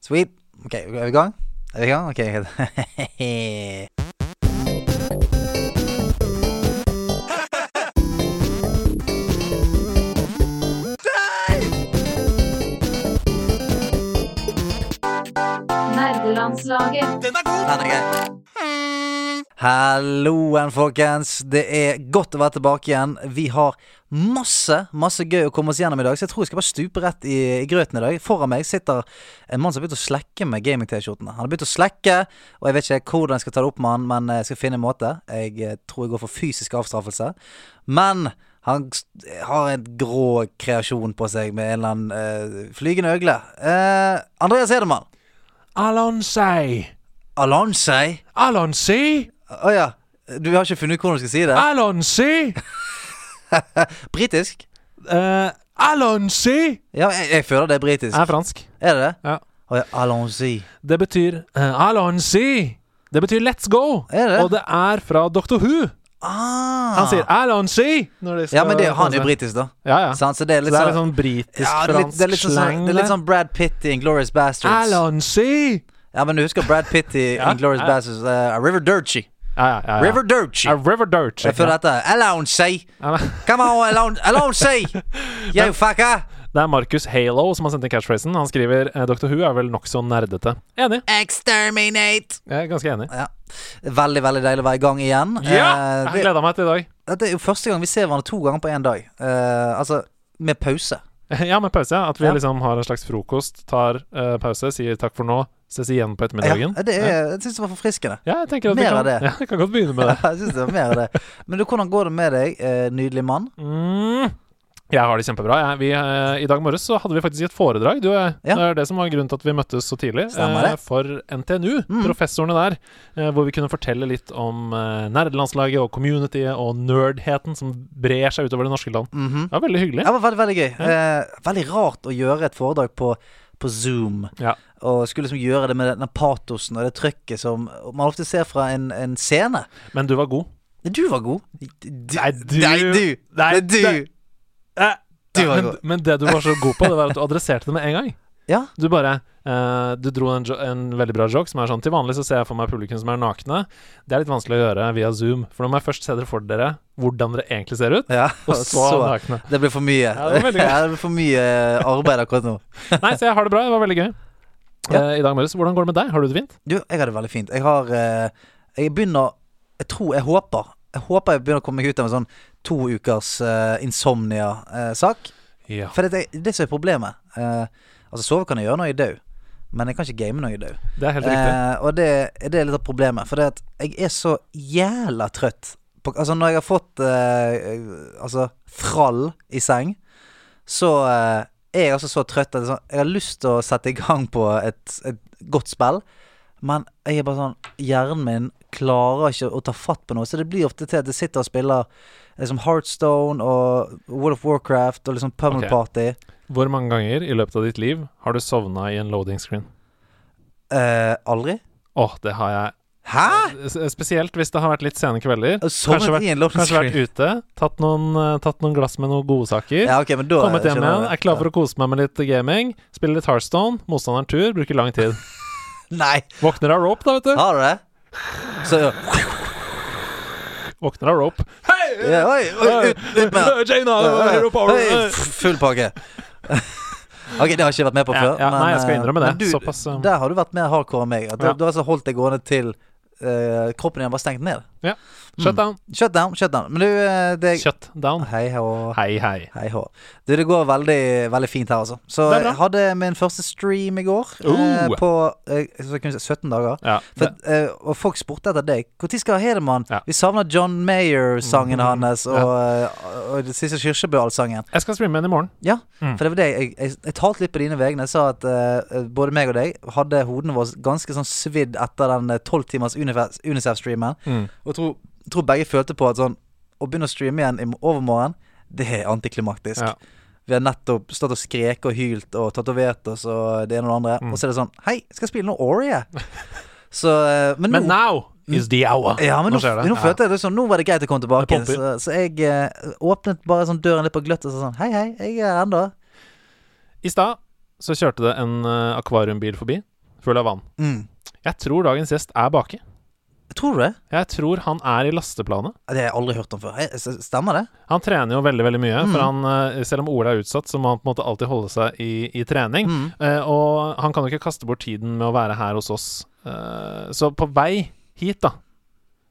Sweet. Ok, er vi i gang? Er vi i gang? Ok. greit. Nerdelandslaget. Halloen, folkens. Det er godt å være tilbake igjen. Vi har masse masse gøy å komme oss gjennom i dag, så jeg tror jeg skal bare stupe rett i, i grøten i dag. Foran meg sitter en mann som har begynt å slekke med gaming-T-skjortene. Han har begynt å slekke, og jeg vet ikke hvordan jeg skal ta det opp med han, men jeg skal finne en måte. Jeg eh, tror jeg går for fysisk avstraffelse. Men han s- eh, har en grå kreasjon på seg med en eller annen eh, flygende øgle. Eh, Andreas Hedemann. Alonsei. Alonsei. Alonsi? Å ja. Du har ikke funnet ut hvordan du skal si Ah. det? Alonsi? Britisk? Uh, Alonsi? Ja, jeg, jeg føler Eh, det er britisk. Er fransk. Er det det? Ja. Å ja, Alonsi. Det betyr uh, Alonsi. Det betyr let's go. Er det? Og det er fra Doctor Who. Ah. Han sier Alonsi. når de skal- Ja, men det, han er jo britisk, da. Ja, ja. Så Sant? Så det er det litt er litt sånn sånn ja, det er litt, britisk-fransk det er litt sånn, slang. det er litt der. sånn Brad Pitt i Inglorious Bastards. Alonsi! Ja, men du husker Brad Pitt i Ja, Inglorious ja. Bastards? eh, River Dirty. Ja, ja, ja, ja. River Dirty. Ja, River Dirt. Jeg føler dette er Alonsi. Ja, men- Come on, Alon- Alonsi! You fucker! Det er Markus Halo som har sendt inn catchphrasen. Han skriver uh, Doctor Who er vel nokså nerdete. Enig. Exterminate! Jeg er ganske enig. Ja. Veldig, veldig deilig å være i gang igjen. Ja! Eh, Jeg det, gleda meg til i dag. dette er jo første gang vi ser hverandre to ganger på én dag. Eh, altså med pause. Ja, med pause. ja. At vi Ja. liksom har en slags frokost, tar eh, pause, sier takk for nå, ses igjen på ettermiddagen. Ja, det er, jeg syns det var forfriskende. Ja, jeg tenker at Mer vi kan, av det. Ja, vi kan godt begynne med det. jeg synes det var mer av det. Men du, hvordan går det med deg, eh, nydelig mann? Mm. Jeg har det kjempebra. Jeg, vi, eh, I dag morges så hadde vi faktisk et foredrag. Du, eh, Ja. Det er det som var grunnen til at vi møttes så tidlig. Stemmer det. Mm. eh, For NTNU, professorene der. eh, Hvor vi kunne fortelle litt om eh, nerdelandslaget og communityet og nerdheten som brer seg utover det norske land. Mhm. Det var veldig hyggelig. Det var veldig, veldig gøy. Eh, veldig rart å gjøre et foredrag på, på Zoom. Ja. Og skulle liksom gjøre det med den patosen og det trykket som man ofte ser fra en, en scene. Men du var god. Du var god. Du, Nei, du- Nei, du. Nei, det er du. Du var men, god. men det du var så god på, det var at du adresserte det med en gang. Ja. Du bare eh, Du dro en, jo en veldig bra joke som er sånn Til vanlig så ser jeg for meg publikum som er nakne. Det er litt vanskelig å gjøre via Zoom, for nå må jeg først se dere for dere hvordan dere egentlig ser ut, Ja, og så nakne. Det ble for mye. Ja, det var veldig gøy. Ja, det ble for mye eh, arbeid akkurat nå. Nei, så jeg har det bra. Det var veldig gøy. Ja. Eh, I dag morges, hvordan går det med deg? Har du det fint? Du, jeg har det veldig fint. Jeg har eh, Jeg begynner Jeg tror Jeg håper. Jeg håper jeg begynner å komme meg ut av en sånn to ukers eh, insomnia-sak. Ja. For det, det som er problemet eh, Altså, sove kan jeg gjøre når jeg er død, men jeg kan ikke game når jeg er død. Det er helt riktig. Eh, og det, det er litt av problemet. For det at jeg er så jævla trøtt. På, altså, når jeg har fått eh, altså, frall i seng, så eh, er jeg altså så trøtt at det er sånn, jeg har lyst til å sette i gang på et, et godt spill, men jeg er bare sånn Hjernen min klarer ikke å ta fatt på noe, så det blir ofte til at jeg sitter og spiller liksom Heartstone og World of Warcraft og liksom Pummel Ok. Party. Hvor mange ganger i løpet av ditt liv har du sovna i en loading screen? Eh, aldri. Åh, det har jeg. Hæ?! S- Spesielt hvis det har vært litt sene kvelder. Sovnet vært, i en loading kanskje vært ute, tatt noen, eh, tatt noen glass med noen godsaker. Ja, ok, men da Kommet hjem skjønner jeg igjen, det. er klar for å kose meg med litt gaming. Spiller litt Hearthstone, motstanderen tur, bruker lang tid. Nei, Våkner av rope, da, vet du. har du det? Så Våkner av rope. Hei! ja, Oi, oi, ut, ut med den! Eh, Jaina, hero power. Oi, f- Full pakke. Ok, det har jeg ikke vært med på Ja, før. ja, nei, jeg skal eh, innrømme det. men Du, Såpass, eh. Der har du vært mer hardcore enn meg. At du, Ja. du har altså holdt deg gående til eh, kroppen din var stengt ned. Ja. Shut down. Shut down, shut down. Men du, eh, det Shut down. Mm. Hei hå. Hei, hei. Hei hå. Du, det går veldig, veldig fint her, altså. Så Det er bra. jeg hadde min første stream i går. eh, Oh. på eh, så kunne jeg si 17 dager. Ja, For, det, eh, og folk spurte etter deg. Når skal Hedemann Ja. Vi savner John Mayer-sangen Mhm. hans og, eh, og, og Sissel Kyrkjebø-allsangen. jeg skal streame igjen i morgen. Ja, Mm. for det var det jeg, jeg, jeg talte litt på dine vegne. Jeg sa at eh, både meg og deg hadde hodene våre ganske sånn svidd etter den tolv timers Unif- Unicef-streamen. Mm. Og jeg tror, jeg tror begge følte på at sånn Å begynne å streame igjen i mo- overmorgen, det er antiklimaktisk. Ja. Vi har nettopp stått og skreket og hylt og tatovert oss og det ene og det andre. Mm. Og så er det sånn Hei, skal jeg spille noe Ori? jeg?» Så, eh, men, Men nå, now is the hour. ja, men nå, skjer nå Ja. følte jeg det sånn Nå var det greit å komme tilbake. Det Så, så jeg eh, åpnet bare sånn døren litt på gløtt og sa sånn Hei, hei, jeg er her ennå. I stad så kjørte det en eh, akvariumbil forbi. full av vann. Mm. Jeg tror dagens gjest er baki. Tror du det? Jeg tror han er i lasteplanet. Det har jeg aldri hørt om før. Eh, s- Stemmer det? Han trener jo veldig veldig mye, Mm. for han, eh, selv om Ola er utsatt, så må han på en måte alltid holde seg i, i trening. Mm. Eh, og han kan jo ikke kaste bort tiden med å være her hos oss. Eh, så på vei hit, da,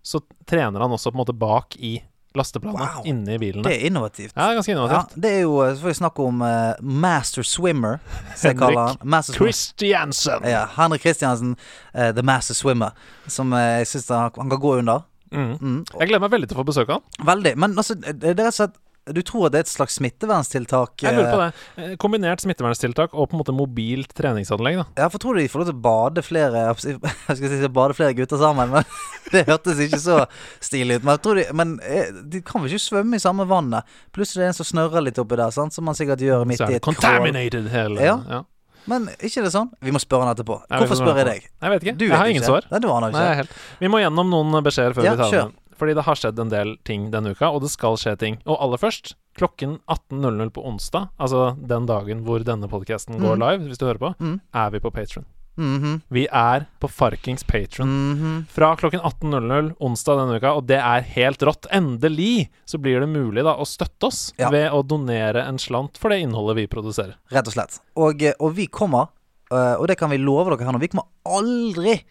så trener han også på en måte bak i lasteplanet, Wow. inne i bilene. Det er innovativt. Ja, det er ganske Ja, innovativt. det er jo eh, så får vi snakke om eh, Master Swimmer, som jeg kaller han. Master swimmer. Christiansen! Ja, Henrik Kristiansen, eh, The Master Swimmer, som eh, jeg syns han, han kan gå under. Mm. Mm. Jeg gleder meg veldig til å få besøke han. Veldig. Men altså, det er rett og slett Du tror at det er et slags smitteverntiltak? Jeg lurer på eh, det. Eh, Kombinert smitteverntiltak og på en måte mobilt treningsanlegg, da. Ja, for tror du de får lov til å bade flere Jeg skal si bade flere gutter sammen, men det hørtes ikke så stilig ut. Men, jeg tror de, men eh, de kan vel ikke svømme i samme vannet? Plutselig er det en som snørrer litt oppi der, sant? som man sikkert gjør midt Så i er det et crawl. contaminated hele Ja. ja. Men ikke det sånn? Vi må spørre han etterpå. Ja, vi Hvorfor får spør jeg spørre deg? Jeg vet ikke. Du vet jeg har ingen ikke. svar. Nei, du aner Nei, ikke. helt. Vi må gjennom noen beskjeder før Ja, vi tar kjør. den. Fordi det har skjedd en del ting denne uka, og det skal skje ting. Og aller først, klokken 18.00 på onsdag, altså den dagen hvor denne podkasten går Mhm. live, hvis du hører på, Mhm. er vi på Patron. Mhm. Vi er på Farkings Patron. Mhm. Fra klokken 18.00 onsdag denne uka, og det er helt rått. Endelig så blir det mulig da å støtte oss Ja. ved å donere en slant for det innholdet vi produserer. Rett og slett. Og, eh, og vi kommer, eh, og det kan vi love dere her nå, vi kommer aldri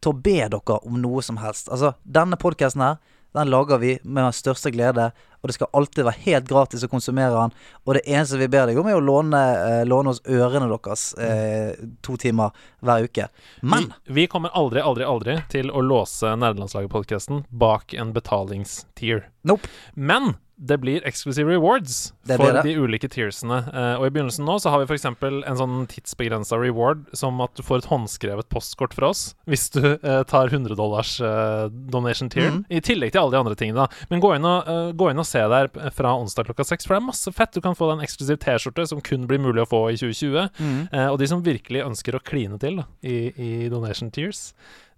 til å be dere om noe som helst. Altså, denne podkasten her, den lager vi med den største glede, og det skal alltid være helt gratis å konsumere den. Og det eneste vi ber deg om, er å låne, eh, låne oss ørene deres eh, to timer hver uke. Men Vi, vi kommer aldri, aldri, aldri til å låse Nerdelandslaget-podkasten bak en betalingstier. nope. Men det blir eksklusive rewards Det for blir det. de ulike tiersene. Eh, og i begynnelsen nå så har vi f.eks. en sånn tidsbegrensa reward som at du får et håndskrevet postkort fra oss hvis du eh, tar 100 dollars eh, donation tier. Mhm. I tillegg til alle de andre tingene, da. Men gå inn og, eh, gå inn og se der p- fra onsdag klokka seks, for det er masse fett. Du kan få deg en eksklusiv T-skjorte som kun blir mulig å få i 2020. Mm. Eh, og de som virkelig ønsker å kline til da, i, i donation tiers,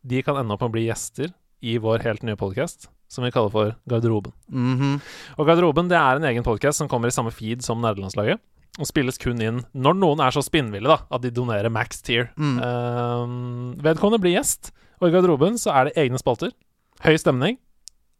de kan ende opp med å bli gjester i vår helt nye podkast som vi kaller for Garderoben. Mhm. Og Garderoben det er en egen podkast som kommer i samme feed som Nerdelandslaget. Og spilles kun inn når noen er så spinnville da, at de donerer max tier. Mm. Ehm, vedkommende blir gjest, og i garderoben så er det egne spalter. Høy stemning.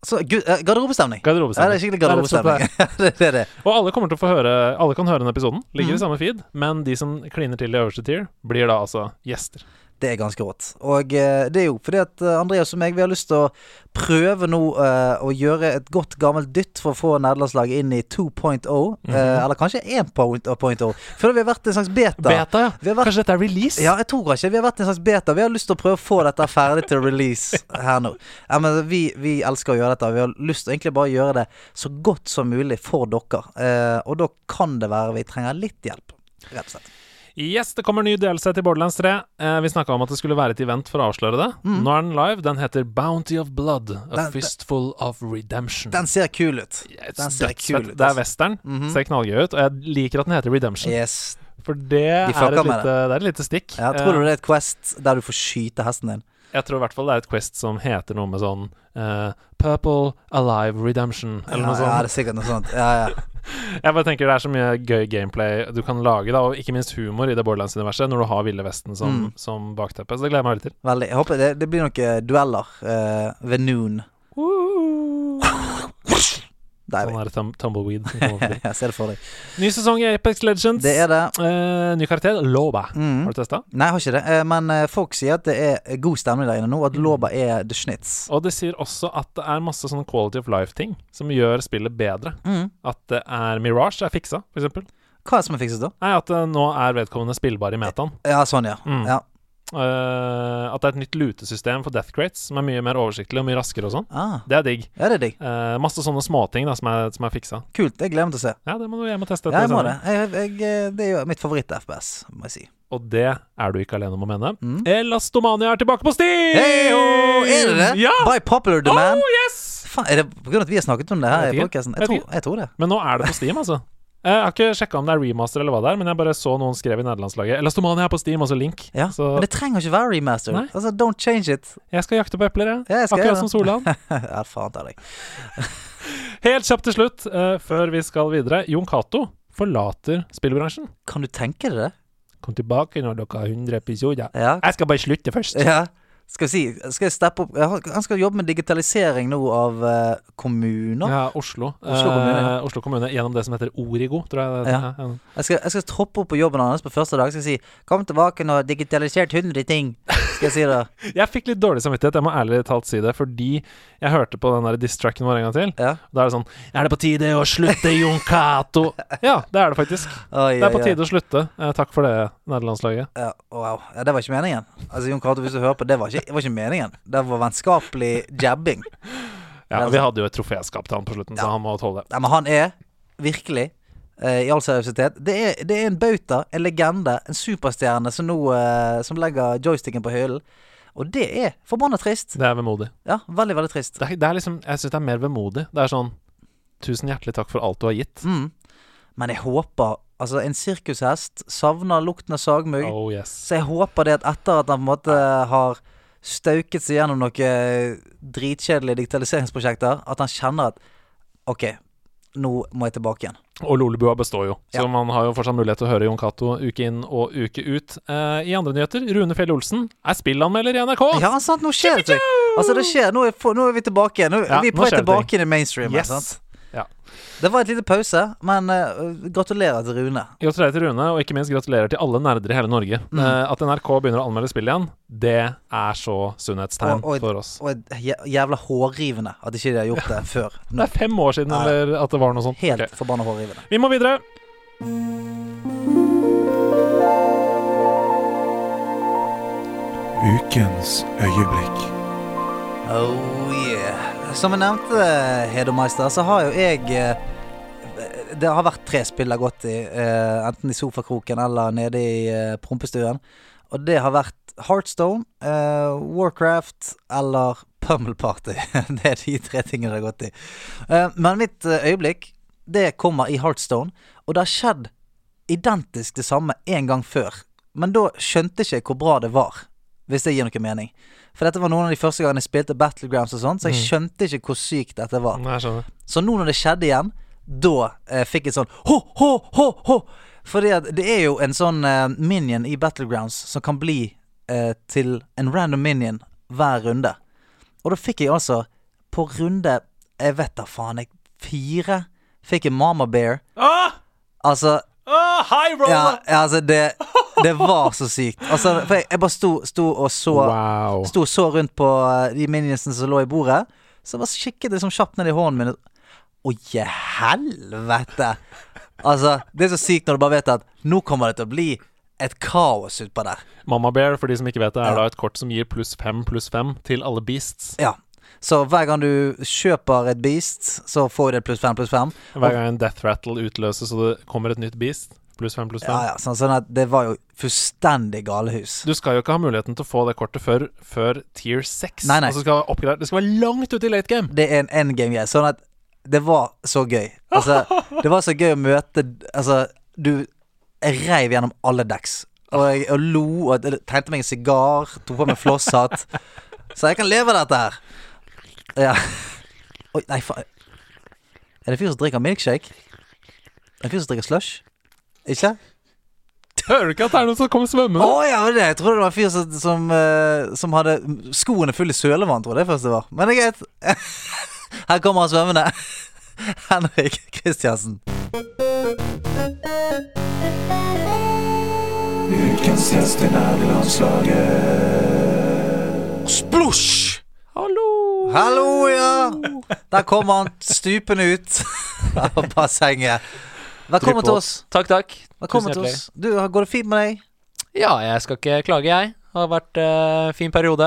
Så gud, eh, garderobestemning. Ja, det er Garderobestemning. skikkelig Det er rett og slett garderobestemning. det er det. Og alle kommer til å få høre Alle kan høre den episoden. Ligger Mhm. i samme feed. Men de som kliner til i øverste tier, blir da altså gjester. Det er ganske rått. Og eh, det er jo fordi at eh, Andreas og meg, vi har lyst til å prøve nå eh, å gjøre et godt gammelt dytt for å få nederlandslaget inn i 2.0. eh, Mhm. Eller kanskje 1.0. oh. Føler vi har vært en slags beta. Beta, ja. Vi har vært Kanskje dette er release? ja, jeg tror ikke. Vi har vært en slags beta. Vi har lyst til å prøve å få dette ferdig til release her nå. Ja, men vi, vi elsker å gjøre dette. Vi har lyst til å egentlig bare gjøre det så godt som mulig for dere. Eh, og da kan det være vi trenger litt hjelp, rett og slett. Yes, det kommer ny delelse til Borderlands 3. Eh, vi snakka om at det skulle være et event for å avsløre det. Mm. Nå er den live. Den heter Bounty of Blood. A Den- Fistful of Redemption. Den ser kul ut. Yeah, it's den ser dødsfett. kul ut, Det er altså. western. Mhm. Ser knallgøy ut. Og jeg liker at den heter Redemption. Yes, For det, er fucker med et, lite, det er et lite stikk. Ja, tror du Eh, det er et quest der du får skyte hesten din? Jeg tror i hvert fall det er et quest som heter noe med sånn eh, Purple Alive Redemption, eller noe ja, ja, sånt. det er sikkert noe sånt. Ja, ja. Jeg bare tenker det er så mye gøy gameplay du kan lage, da, og ikke minst humor i det Borderlands-universet, når du har Ville Vesten som, Mm. som bakteppe. Så det gleder jeg meg veldig til. Veldig. Jeg håper det, det blir noen eh, dueller eh, ved noon. Der er Sånn vi. er det tum tumbleweed. som kommer forbi. Jeg ser det for deg. ny sesong i Apex Legends. Det er det. Eh, ny karakter, Loba. Mm. Har du testa? Nei, jeg har ikke det. Eh, Men eh, folk sier at det er god stemning der inne nå. Mm. At Loba er the schnitz. Og det sier også at det er masse sånne quality of life-ting som gjør spillet bedre. Mm. At det er Mirage er fiksa, for eksempel. Hva er det som er fikset, da? Nei, at eh, nå er vedkommende spillbar i metaen. Ja, sånn, ja. Mm. ja. Eh, at det er et nytt lutesystem for death crates som er mye mer oversiktlig og mye raskere og sånn. Ah. Det er digg. Ja, det er digg. Eh, masse sånne småting da, som, er- som er fiksa. Kult. Jeg gleder meg til å se. Ja, det må du hjem og teste. Ja, jeg må etter det. Jeg, jeg, eh, det er jo mitt favoritt-FPS, må jeg si. sending. Og det er du ikke alene om å mene. Mm. Elastomania er tilbake på Steam! Hei, oh, er det det? Ja! By popular demand. Oh, yes! Faen, er det på grunn av at vi har snakket om det her i Jeg vet ikke. podkasten? Jeg Jeg, vet tror- jeg tror det. Men nå er det på Steam, altså. Jeg har ikke sjekka om det er remaster eller hva det er, men jeg bare så noen skrev i nederlandslaget Elastomania er på Steam, altså link. Ja, Så Men det trenger ikke være remaster. Nei. Altså, don't change it. jeg skal jakte på epler, jeg. Ja, jeg skal gjøre Akkurat det. som Solan. ja, faen ta deg. Helt kjapt til slutt, eh, før vi skal videre. Jon Cato forlater spillbransjen. Kan du tenke deg det? Kom tilbake når dere har 100 episoder. Ja, Jeg skal bare slutte først. ja. Skal vi si Skal jeg steppe opp Jeg har- Han skal jobbe med digitalisering nå av eh, kommuner. Ja, Oslo. Oslo kommune, ja. Eh, Oslo kommune gjennom det som heter Origo, tror jeg. det- Ja. ja. Jeg skal, jeg skal troppe opp på jobben hans på første dag. Skal jeg si 'Kom tilbake når jeg har digitalisert 100 ting'. Skal jeg si det? Jeg fikk litt dårlig samvittighet, jeg må ærlig talt si det, fordi jeg hørte på den der diss-tracken vår en gang til. Ja. Da er det sånn Er det på tide å slutte, Jon Cato? ja, det er det faktisk. Oi, Det er på oi, oi. tide å slutte. Eh, takk for det, nederlandslaget. Ja, wow. ja, det var ikke meningen. Altså, Jon Cato, hvis du hører på, det var ikke, det var ikke meningen. Det var vennskapelig jabbing. Ja, vi hadde jo et troféskap til han på slutten, så han må tåle det. Nei, men han er virkelig, eh, i all seriøsitet det er, det er en bauta, en legende, en superstjerne som nå eh, Som legger joysticken på hyllen. Og det er forbanna trist. Det er vemodig. Ja, veldig, veldig trist. Det er, det er liksom Jeg syns det er mer vemodig. Det er sånn Tusen hjertelig takk for alt du har gitt. Mm. Men jeg håper Altså, en sirkushest savner lukten av sagmugg. Oh yes. Så jeg håper det at etter at han på en måte har stauket seg gjennom noen dritkjedelige digitaliseringsprosjekter, at han kjenner at OK, nå må jeg tilbake igjen. Og Lolebua består jo, så Ja. man har jo fortsatt mulighet til å høre Jon Cato uke inn og uke ut. Eh, I andre nyheter, Rune Fjell Olsen er spillanmelder i NRK! Ja, sant, nå skjer det ting! Altså, det skjer. Nå er, få- nå er vi tilbake igjen. Nå, Ja, vi er nå på vei skjer det tilbake inn i mainstream. Yes. Sant? Ja. Det var et lite pause, men eh, gratulerer til Rune. Gratulerer til Rune, og ikke minst gratulerer til alle nerder i hele Norge. Mm. Eh, at NRK begynner å anmelde spill igjen, det er så sunnhetstegn Og- og- for oss. Og et jæ- jævla hårrivende at ikke de har gjort det før. Det Nå. er fem år siden Nei. eller at det var noe sånt. Helt Ok. forbanna hårrivende. Vi må videre. Ukens øyeblikk. Oh yeah. Som jeg nevnte, eh, Hedomeister, så har jo jeg eh, Det har vært tre spill jeg har gått i, eh, enten i sofakroken eller nede i eh, prompestuen. Og det har vært Heartstone, eh, Warcraft eller Pummel Party. det er de tre tingene det har gått i. Eh, Men mitt eh, øyeblikk, det kommer i Heartstone, og det har skjedd identisk det samme en gang før. Men da skjønte ikke jeg hvor bra det var, hvis det gir noe mening. For dette var noen av de første gangene jeg spilte Battlegrounds og sånn, så jeg skjønte ikke hvor sykt dette var. Nei, jeg skjønner. Så nå når det skjedde igjen, da eh, fikk jeg sånn ho, ho, ho, ho. Fordi at det er jo en sånn eh, minion i Battlegrounds som kan bli eh, til en random minion hver runde. Og da fikk jeg altså på runde Jeg vet da faen, jeg fire fikk jeg Mama Bear. Ah! Altså Ah, high Ja, roller! ja altså det Det var så sykt. Altså, for jeg, jeg bare sto, sto og så Wow. Sto og så rundt på eh, de minionsene som lå i bordet. Så bare kikket det som kjapt ned i hånden min. Å, je helvete! Altså, det er så sykt når du bare vet at nå kommer det til å bli et kaos utpå der. Mamma Bear, for de som ikke vet det, er da et kort som gir pluss fem pluss fem til alle beasts. Ja. Så hver gang du kjøper et beast, så får du det pluss fem, pluss fem. Hver gang en death rattle utløses og det kommer et nytt beast, pluss fem pluss fem. Ja, ja, sånn, sånn at det var jo fullstendig galehus. Du skal jo ikke ha muligheten til å få det kortet før, før tier 6. Nei, nei. Altså, det, skal være oppgradert. det skal være langt ute i late game. Det er en endgame-greie. Sånn at det var så gøy. Altså, det var så gøy å møte Altså, du Jeg reiv gjennom alle decks. Og jeg og lo og jeg tegnet meg en sigar, tok på meg flosshatt. Så jeg kan leve av dette her. Ja. Oi, nei, faen. Er det en fyr som drikker milkshake? Er det en fyr som drikker slush? Ikke? Hører du ikke at det er noen som kommer Å svømmende? ja, det var det. Jeg trodde det var en fyr som, som, eh, som hadde skoene fulle i sølevann, trodde jeg først det var. Men det er greit. Her kommer han svømmende. Henrik Kristiansen. Ukens gjest i nærlandslaget. Splosj! Hallo! Hallo, ja. Der kommer han stupende ut av bassenget. Velkommen til oss. Takk, takk. Velkommen Tusen til hjertelig. oss. Du, Går det fint med deg? Ja, jeg skal ikke klage, jeg. Det har vært eh, fin periode.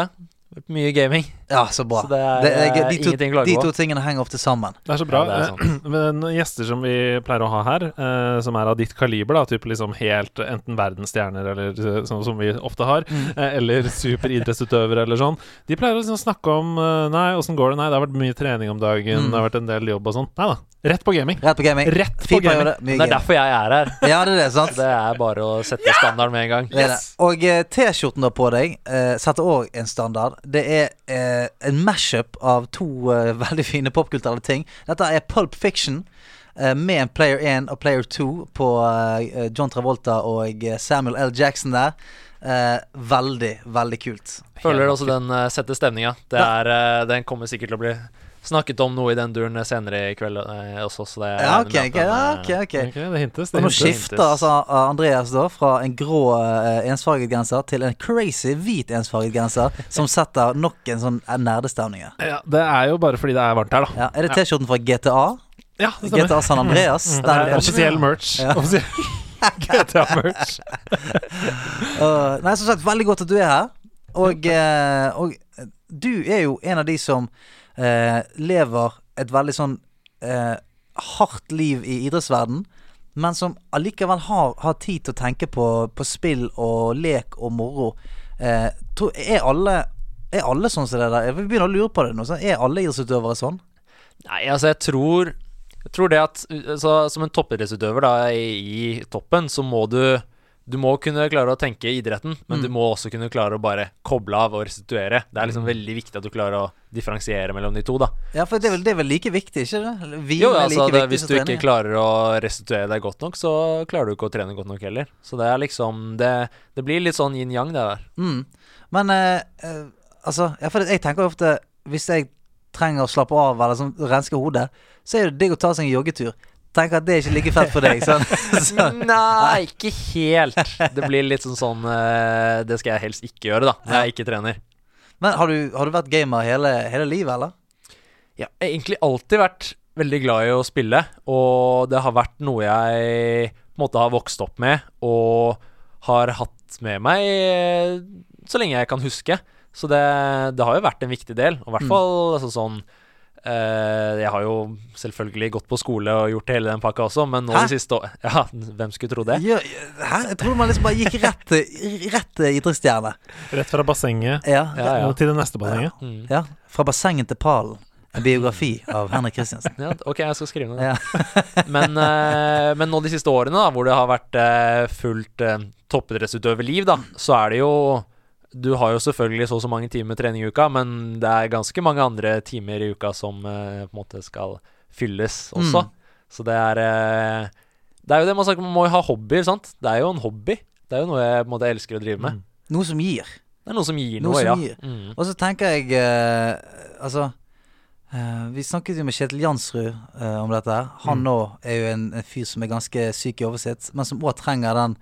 Vært mye gaming. Ja, så bra. Så det er, gøy. eh, de, ingenting å to, klage de på. to tingene henger ofte sammen. Det er så bra. Ja, det er Men eh, gjester som vi pleier å ha her, eh, som er av ditt kaliber, da, type liksom helt enten verdensstjerner eller eh, sånn som vi ofte har, eh, eller superidrettsutøvere eller sånn, de pleier å liksom snakke om eh, Nei, åssen går det? Nei, det har vært mye trening om dagen, det har vært en del jobb og sånn. Nei da. Rett på gaming. Rett på gaming. Rett på Fin gaming. periode, mye Men det er gaming. derfor jeg er her. Ja, det er det, sant? Det er bare å sette standarden med en gang. Det er det. Og eh, T-skjorten du har på deg, eh, setter òg en standard. Det er eh, en mash-up av to eh, veldig fine popkulturelle ting. Dette er Pulp Fiction eh, med en player 1 og player 2 på eh, John Travolta og eh, Samuel L. Jackson der. Eh, veldig, veldig kult. Føler også den eh, setter stemninga. Det er, eh, den kommer sikkert til å bli snakket om noe i den duren senere i kveld eh, også, så det Ja, ok, ok. regner med at den, Ja, eh, ok, ok Ok, det hintes. Det Og nå hintes. skifter altså Andreas da fra en grå eh, ensfarget genser til en crazy hvit ensfarget genser, som setter nok en sånn eh, nerdestemning her. Ja, det er jo bare fordi det er varmt her, da. Ja, er det T-skjorten fra GTA? Ja, det stemmer. Mm. GTA San Andreas? Det er Den- offisiell merch. Ja. Offisiell GTA-merch. Øh, nei, som sagt, veldig godt at du er her. Og, eh, og du er jo en av de som eh, lever et veldig sånn eh, hardt liv i idrettsverden men som allikevel har, har tid til å tenke på, på spill og lek og moro. Eh, tror- er, alle, er alle sånn som det der? Jeg begynner å lure på det nå. sant? Er alle idrettsutøvere sånn? Nei, altså jeg tror Jeg tror det at uh, så, Som en toppidrettsutøver da i, i toppen Så må du Du må kunne klare å tenke i idretten Men du må også kunne klare å bare koble av og restituere Det er liksom veldig viktig at du klarer å differensiere mellom de to da Ja, for det er vel, det er vel like viktig, ikke det? Hvile Jo, er altså like det, viktig hvis som du ikke trening. klarer å restituere deg godt nok Så klarer du ikke å trene godt nok heller Så det er liksom Det, det blir litt sånn yin-yang det der Mm. Men eh, eh, altså ja, for Jeg tenker ofte Hvis jeg trenger å slappe av eller sånn, renske hodet, så er det digg å ta seg en joggetur. Tenker at det er ikke like fett for deg. Sånn. Så, Nei, ikke helt Det blir litt sånn sånn eh, Det skal jeg helst ikke gjøre da Når jeg ikke trener men har du, har du vært gamer hele, hele livet, eller? Ja, jeg har egentlig alltid vært veldig glad i å spille, og det har vært noe jeg på en måte har vokst opp med og har hatt med meg eh, så lenge jeg kan huske. Så det, det har jo vært en viktig del, og i hvert fall altså, sånn eh, Jeg har jo selvfølgelig gått på skole og gjort hele den pakka også, men nå Hæ? det siste å- Ja, hvem skulle tro det? Ja, hæ? Jeg trodde man liksom bare gikk rett til rett til idrettsstjerne. Rett fra bassenget Ja, ja. Ja, ja. til det neste bassenget. Mm. Fra bassenget til pallen. En biografi av Henrik Kristiansen. Ja, ok, jeg skal skrive ned det. Ja. men, eh, men nå de siste årene, da, hvor det har vært eh, fullt eh, toppidrettsutøverliv, da, så er det jo Du har jo selvfølgelig så og så mange timer trening i uka, men det er ganske mange andre timer i uka som eh, på en måte skal fylles også. Mm. Så det er eh, Det er jo det man snakker om, man må jo ha hobbyer, sant? Det er jo en hobby. Det er jo noe jeg på en måte elsker å drive med. Mm. Noe som gir. Det er noe som gir Noe noe, som ja. gir. Mm. Og så tenker jeg eh, Altså eh, Vi snakket jo med Kjetil Jansrud eh, om dette. her Mm. Han nå er jo en, en fyr som er ganske syk i hodet sitt, men som òg trenger den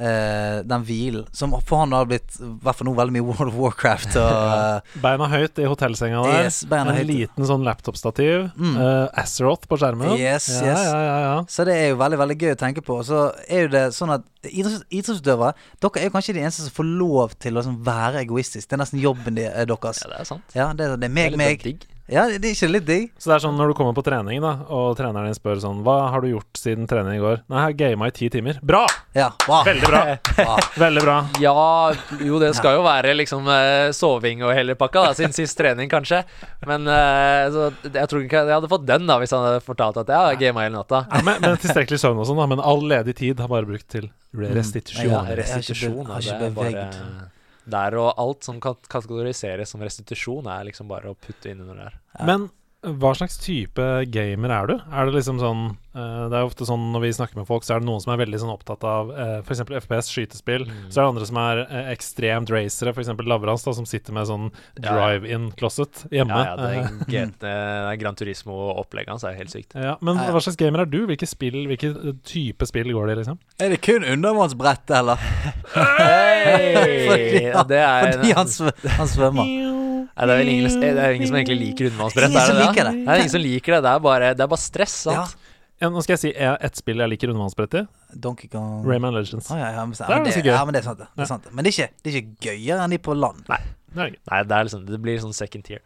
eh, den hvilen. Som for han har blitt i hvert fall nå veldig mye World of Warcraft og eh, Beina høyt i hotellsenga der. Yes, beina en høyt. liten sånn laptopstativ. Mm. eh, Azeroth på skjermen. Yes, ja, yes. ja, ja, ja. Så det er jo veldig veldig gøy å tenke på. Og Så er jo det sånn at idretts, idrettsutøvere Dere er jo kanskje de eneste som får lov til å liksom være egoistiske. Det er nesten jobben de, eh, deres. Ja, det er sant. Ja, det, er- det er Det er meg, litt meg. digg. Ja, det det er ikke litt digg? Så det er sånn når du kommer på trening, da, og treneren din spør sånn Hva har du gjort siden trening i går? Nei, jeg har gama i ti timer. Bra! Ja. Wow. Veldig bra! Veldig bra. Ja, jo det skal jo være liksom eh, soving og hele pakka, da, siden sist trening kanskje. Men eh, så, jeg tror ikke jeg hadde fått den da hvis han hadde fortalt at jeg har gama hele natta. Ja, men, men tilstrekkelig søvn og sånn, da. Men all ledig tid har bare brukt til Mm. Eh, restitusjon. Ja, Nei, jeg har ikke restitusjon be- jeg har er det ikke bare beveget. Der og alt som kan kategoriseres som restitusjon, er liksom bare å putte innunder der. Men hva slags type gamer er du? Er det liksom sånn eh, Det er ofte sånn når vi snakker med folk, så er det noen som er veldig sånn opptatt av uh, f.eks. FPS, skytespill. Mm. Så er det andre som er eh, ekstremt racere, f.eks. Lavrans, da, som sitter med sånn Ja, ja. drive-in-closet hjemme. Ja, ja, det Eh, er GT, det er Gran Turismo-opplegget hans er helt sykt. ja, men Ja, ja. hva slags gamer er du? Hvilke spill, hvilke eh, type spill går det i, liksom? Er det kun undervannsbrettet, eller? Fordi Hey! han- Det er Fordi han, sv han svømmer. Nei, det er vel ingen, det er ingen som egentlig liker undervannsbrett. Ingen er som det liker det? det. Nei, ingen som liker det. Det er bare, det er bare stress. Ja. Sant? Ja, nå skal jeg si eh, ett spill jeg liker undervannsbrett i. Donkey Kong Rayman Legends. Å, ja, ja, men, så- Det er men ganske det, gøy. ja, men det er sant, det. det, er sant, det. Men det er, ikke, det er ikke gøyere enn de på land. Nei, det er gøy. Nei, det, er liksom, det blir sånn second tier.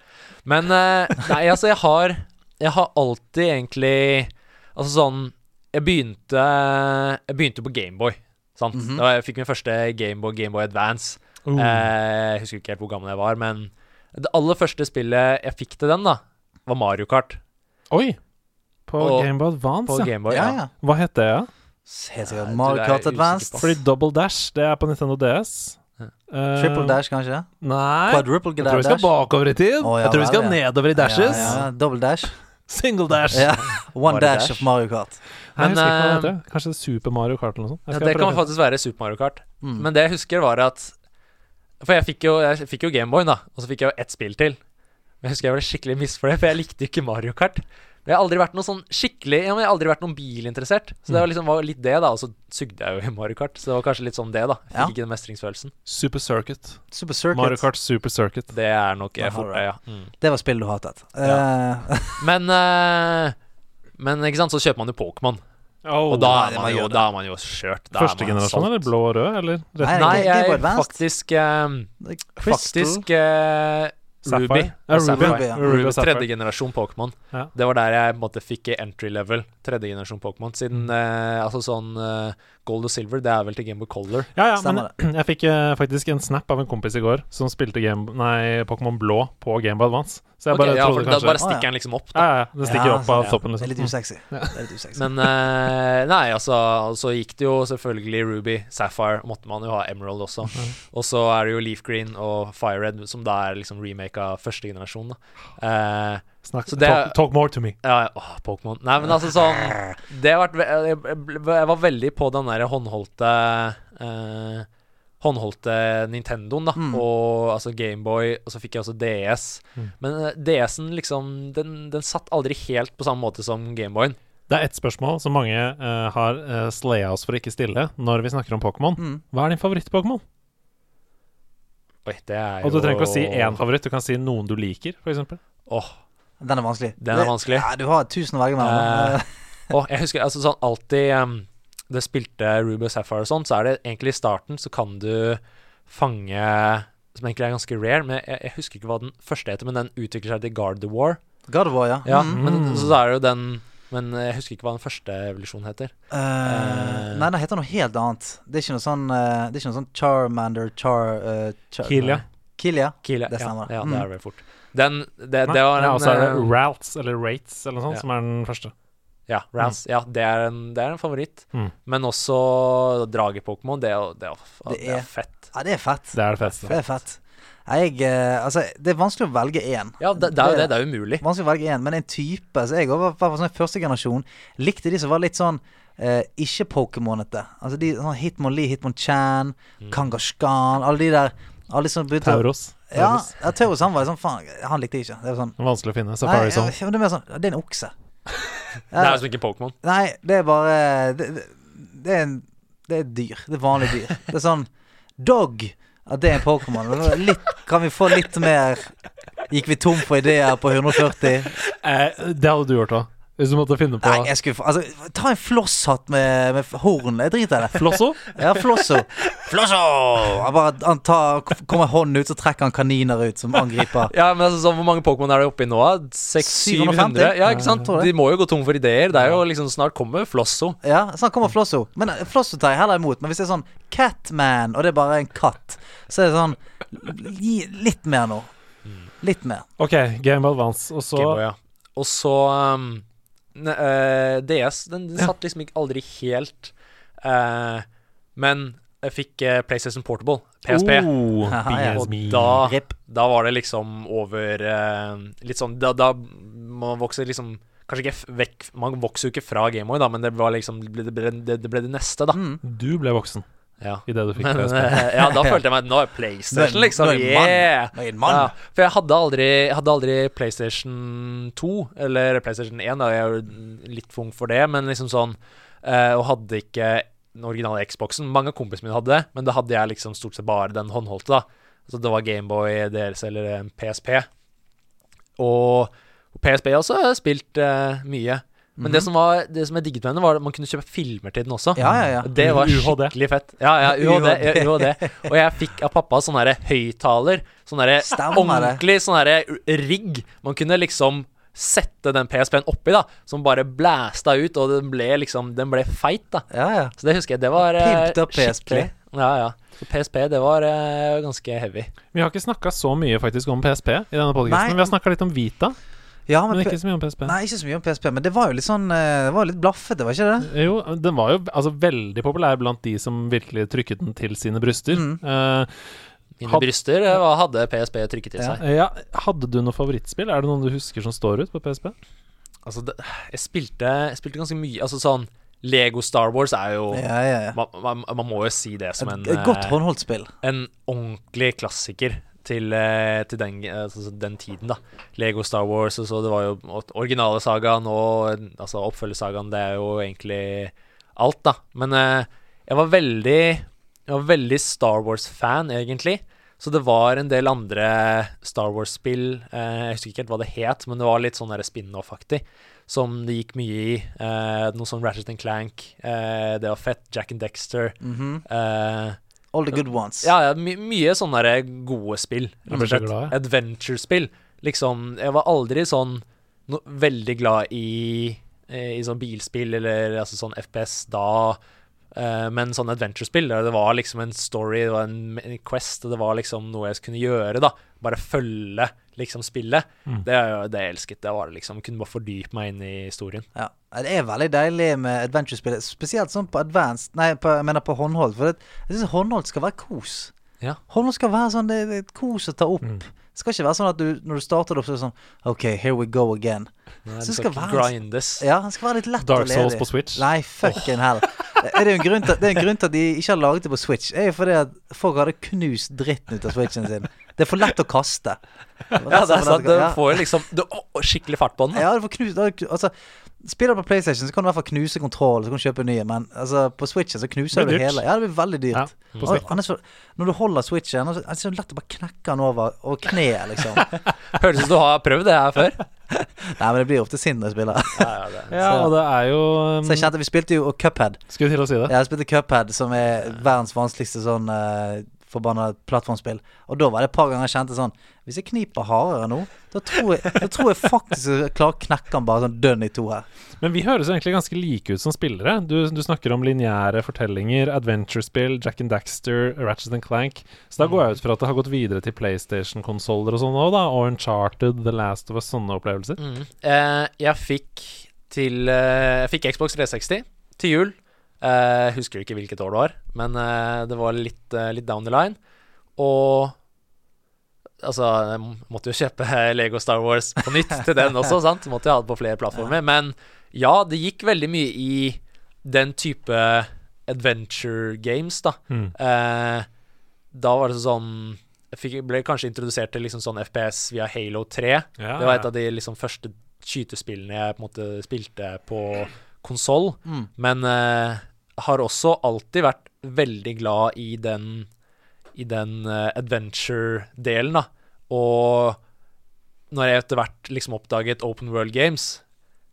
Men eh, nei, altså, jeg har Jeg har alltid egentlig Altså sånn Jeg begynte Jeg begynte på Gameboy. Sant? Mhm. Da jeg fikk min første Gameboy, Gameboy Advance. Uh, Eh, jeg husker ikke helt hvor gammel jeg var, men det aller første spillet jeg fikk til den, da, var Mario Kart Oi! På og- Gameboy Advance, på ja. Gameboy. ja, ja. ja. Hva het det, ja? Helt sikkert. Nei, Mario det er Kart jeg Advanced. usikker på. Fordi Double Dash, det er på Nintendo DS. Ja. Eh, Triple Dash, kanskje? Nei. Quadruple Jeg tror vi skal dash? bakover i tid. Å, ja jeg tror vi vel, skal ja. nedover i Ja, dashes. ja, ja. Double dash. Single dash. Ja. One Mario Dash Dash. of Mario Kart. Jeg Men, husker ikke hva det eh, heter. Kanskje Super Mario Kart eller noe sånt. Jeg Ja, skal det kan prøve faktisk være Super Mario Kart. Mm. Men det jeg husker, var at For jeg fikk jo, jeg fikk jo Gameboyen, da. Og så fikk jeg jo ett spill til. Men jeg husker jeg ble skikkelig misfornøyd, for jeg likte jo ikke Mario Kart. Men jeg har aldri vært noe sånn skikkelig ja, men Jeg har aldri vært noen bilinteressert. Mm. Så det var liksom var litt det, da. Og så sugde jeg jo i Mario Kart. Så det var kanskje litt sånn det, da. Jeg fikk Ja. ikke den mestringsfølelsen. Super Circuit. Super Circuit. Mario Kart Super Circuit. Det er nok jeg Aha, fort, right. ja. Mm. Det var spillet du hatet. Eh, Men eh, Men ikke sant, så kjøper man jo Pokémon. Og da nei, er man man jo, gjør det. da er man jo skjørt. Da er Første man generasjon, salt. eller blå og rød, eller? Nei, Rett- Nei, Game Boy jeg Advance. faktisk eh, Crystal. Faktisk eh, Sapphire. Ruby. Ja, og Ruby. Sapphire. Ruby, ja. Ruby og Ruby, Sapphire. Tredje generasjon Pokémon. Ja. Det var der jeg på en måte fikk i entry level. Tredje generasjon Pokémon. Mm. Siden eh, altså sånn eh, Gold og Silver, det er vel til Game of Color. Ja, ja, men Stemmer jeg fikk eh, faktisk en snap av en kompis i går som spilte Game, nei, Pokémon Blå på Game Boy Advance. Så jeg Ok, bare ja, for trodde da kanskje bare Å, ja. stikker den liksom opp. ja, ja, ja, Det stikker Ja, opp av ja. toppen, Det er liksom. litt Mm. usexy. Det er litt usexy. Men eh, nei, altså, og så gikk det jo selvfølgelig Ruby, Sapphire, måtte man jo ha Emerald også. Og så er det jo Leaf Green og Fire Red, som da er liksom remake av første generasjon. da eh, Snakk, Så det er- talk, talk more to me. Ja, ja. åh, Pokémon. Nei, men altså sånn Det har vært ve- Jeg ble- jeg var veldig på den der håndholdte eh, Håndholdte Nintendoen, da. Mm. Og altså Gameboy, og så fikk jeg også DS. Mm. Men eh, DS-en liksom den, den satt aldri helt på samme måte som Gameboyen. Det er ett spørsmål som mange eh, har uh, slaya oss for å ikke stille når vi snakker om Pokémon. Mm. Hva er din favoritt-Pokémon? Oi, det er jo Og du trenger ikke å si én favoritt, du kan si noen du liker, f.eks. Åh, Den er vanskelig. Den er vanskelig. Ja, du har tusen å velge mellom. Eh, åh, jeg husker altså sånn alltid em, Det spilte Ruby og Sapphire og sånn, så er det egentlig i starten så kan du fange Som egentlig er ganske rare, men jeg, jeg husker ikke hva den første heter, men den utvikler seg til Guard the War. God of War, ja. Ja, Mm. men så er det jo den Men jeg husker ikke hva den første evolusjonen heter. Eh, nei, den heter noe helt annet. Det er ikke noe sånn, eh, det er ikke noe sånn Charmander Char... eh, Char Kilia. Kilia. Kile. Det stemmer, Ja, ja, mm. det er vel fort. Den Det, Nei, det var nei, en Og så er det eh, Ralts, eller Rates, eller noe sånt, ja. som er den første. Ja, Mhm. Rance. Ja, det er en, det er en favoritt. Mm. Men også drage-Pokémon. Det, er jo- det, er jo- Det det er- er fett. Ja, det er fett. Det er det feteste. Det er fett. Nei, Jeg, eh, altså, det er vanskelig å velge én. Ja, det, det er jo det. Det er umulig. Vanskelig å velge én, men en type. Så jeg var var sånn første generasjon. Likte de som var litt sånn eh, ikke-Pokémonete. Altså de sånn Hitmon Lee, Hitmon Chan, Mm. Kangaskhan, alle de der. Alle de som begynte å- Tauros. Ja, Tauros. ja Tauros han var sånn faen, han likte jeg ikke. Det var sånn Vanskelig å finne. Nei, Safari Zone. ja, men det er mer sånn altså- Det er en okse. Det er liksom ikke Pokémon. Nei, det er bare Det, det, det, er, en, det er et dyr. Det er et vanlig dyr. Det er sånn Dog! At det er en Pokémon. Litt- Kan vi få litt mer Gikk vi tom for ideer på 140? Eh, det hadde du gjort òg, hvis du måtte finne på Nei, jeg skulle få Altså, ta en flosshatt med, med horn. Jeg driter i det. Flosso. Ja, flosso. Flosso! Han bare han tar, kommer hånden ut, så trekker han kaniner ut som angriper. Ja, men altså, sånn, Hvor mange Pokémon er det oppi nå? 600-700? 750? Ja, ikke sant? tror det. De må jo gå tom for ideer. Det er jo liksom Snart kommer Flosso. Ja, sånn kommer Flosso. Men eh, Flosso tar jeg heller imot. Men hvis det er sånn Catman, og det er bare en katt, så er det sånn l- Gi litt mer nå. Litt mer. OK, Game of Advance. Og så Gameboy, ja. Og så um, ne, eh, DS den, den Ja. satt liksom ikke aldri helt eh, Men jeg fikk eh, PlayStation Portable, PSP. Oh, Haha, ja. Og PSP. da, Rip. da var det liksom over eh, Litt sånn Da, da man vokser liksom Kanskje ikke f- vekk Man vokser jo ikke fra Gameboy, da, men det var liksom Det ble det, ble, det, det, ble det neste, da. Mm. Du ble voksen Ja. idet du fikk Men, PSP. eh, ja, da følte jeg meg Nå er Nå PlayStation, er- liksom. nå er jeg mann. Yeah! Nå er jeg en mann. Ja, for jeg hadde aldri, jeg hadde aldri PlayStation 2, eller PlayStation 1, da, jeg er jo litt fung for det, men liksom sånn eh, Og hadde ikke den originale Xboxen. Mange av kompisene mine hadde det, men da hadde jeg liksom stort sett bare den håndholdte, da. Så det var Gameboy deres eller eh, en PSP. Og PSP også har jeg spilt eh, mye. Men det, som var, det som jeg digget med henne, var at man kunne kjøpe filmer til den også. Mhm. Ja, ja, ja. Det var UHD. skikkelig fett. Ja, ja, UHD, ja, UHD. Og jeg fikk av pappa sånn derre høyttaler. Sånn derre Stemmer det. ordentlig sånn derre rigg. Man kunne liksom sette den PSP-en oppi, da, som bare blæsta ut, og den ble liksom Den ble feit, da. Ja, ja. Så det husker jeg. Det var eh, Pimped up PSP. skikkelig. Ja, ja. Så PSP, det var eh, ganske heavy. Vi har ikke snakka så mye faktisk om PSP i denne Nei. podkasten. Vi har snakka litt om Vita, ja men, men P- ikke så mye om PSP. Nei, ikke så mye om PSP, men det var jo litt sånn eh, Det var jo litt blaffete, var ikke det? Jo, den var jo altså, veldig populær blant de som virkelig trykket den til sine bryster. Mm. Eh, Mine Had- bryster eh, hva hadde PSP trykket til Ja. Eh, seg. ja, hadde du noe favorittspill? Er det noen du husker som står ut på PSP? Altså, det, jeg, spilte, jeg spilte ganske mye Altså sånn Lego Star Wars er jo Ja, ja, ja. man, man, man må jo si det Mm. som en Et godt eh, håndholdt spill. en ordentlig klassiker til, eh, til den, eh, altså den tiden, da. Lego Star Wars og så, det var jo og originale sagaen og eh, altså oppfølgersagaen, det er jo egentlig alt, da. Men eh, jeg var veldig Jeg var veldig Star Wars-fan, egentlig. Så det var en del andre Star Wars-spill, eh, jeg husker ikke helt hva det het, men det var litt sånn der spin-off-aktig, som det gikk mye i. Eh, noe sånn Ratchet and Clank, eh, det var fett. Jack and Dexter. Mhm. Eh, All the good ones. ja, ja my mye sånne der gode spill. Jeg blir rett og så slett. glad, jeg. Adventure-spill. Liksom, jeg var aldri sånn no veldig glad i, eh, i sånn bilspill eller altså sånn FPS da. eh, men sånn adventure-spill, der det var liksom en story, det var en en quest, og det var liksom noe jeg kunne gjøre, da. Bare følge liksom spillet. Mm. Det, er jo- det jeg elsket. Det var det liksom. Kunne bare fordype meg inn i historien. Ja. Det er veldig deilig med adventure-spill, spesielt sånn på advanced Nei, på, jeg mener på håndholdt. For det, jeg syns håndholdt skal være kos. Ja. Håndholdt skal være sånn det, det er et kos å ta opp. Mm. Det skal ikke være sånn at du, når du starter det opp, så er det sånn OK, here we go again. Nei, Så skal det skal ikke være- sånn. grindes. Ja, han skal være litt lett Dark å leve Souls på Switch. Nei, fucking hell. Er det, jo en grunn til, det er en grunn til at de ikke har laget det på Switch. Det er jo fordi at folk hadde knust dritten ut av Switchen sin. Det er for lett å kaste. Ja, det er sant. Du Ja. får jo liksom du, å, å, skikkelig fart på den. da. Ja, du får knuse da- Altså Spiller du på PlayStation, så kan du i hvert fall knuse kontroll, så kan du kjøpe nye, men altså, på Switchen så knuser Det du blir dyrt. hele. Ja, det blir veldig dyrt. Ja, på Og sikt. han er så, når du holder Switchen, han er så- han er så lett å bare knekke den over, over kneet, liksom. Høres ut som du har prøvd det her før. Nei, men det blir ofte sint når jeg spiller. Mm. Ja, ja, det. Ja, Så- og det er jo um, Så jeg kjente, vi spilte jo Cuphead. Skulle til å si det. Jeg spilte Cuphead, som er verdens vanskeligste sånn uh, forbanna plattformspill. Og da var det et par ganger jeg kjente sånn Hvis jeg kniper hardere nå, da tror jeg, da tror jeg faktisk jeg klarer å knekke den bare sånn dønn i to her. Men vi høres jo egentlig ganske like ut som spillere. Du, du snakker om lineære fortellinger, adventure-spill, Jack and Daxter, Ratchet and Clank. Så da går jeg ut fra at det har gått videre til PlayStation-konsoller og sånn òg, da. Og Uncharted, The Last of Us, sånne opplevelser. Mm. Eh, jeg fikk til eh, Jeg fikk Xbox 360 til jul. Eh, husker ikke hvilket år det var, men eh, det var litt, eh, litt down the line. Og Altså, jeg måtte jo kjøpe Lego Star Wars på nytt til den også, sant? Måtte jo ha det på flere plattformer. Men ja, det gikk veldig mye i den type adventure games, da. Mm. Eh, da var det sånn Jeg fikk, ble kanskje introdusert til liksom sånn FPS via Halo 3. Ja, Det var et av de liksom, første skytespillene jeg på en måte spilte på konsoll. Mm. Men eh, har også alltid vært veldig glad i den, i den eh, adventure-delen, da. Og når jeg etter hvert liksom oppdaget Open World Games,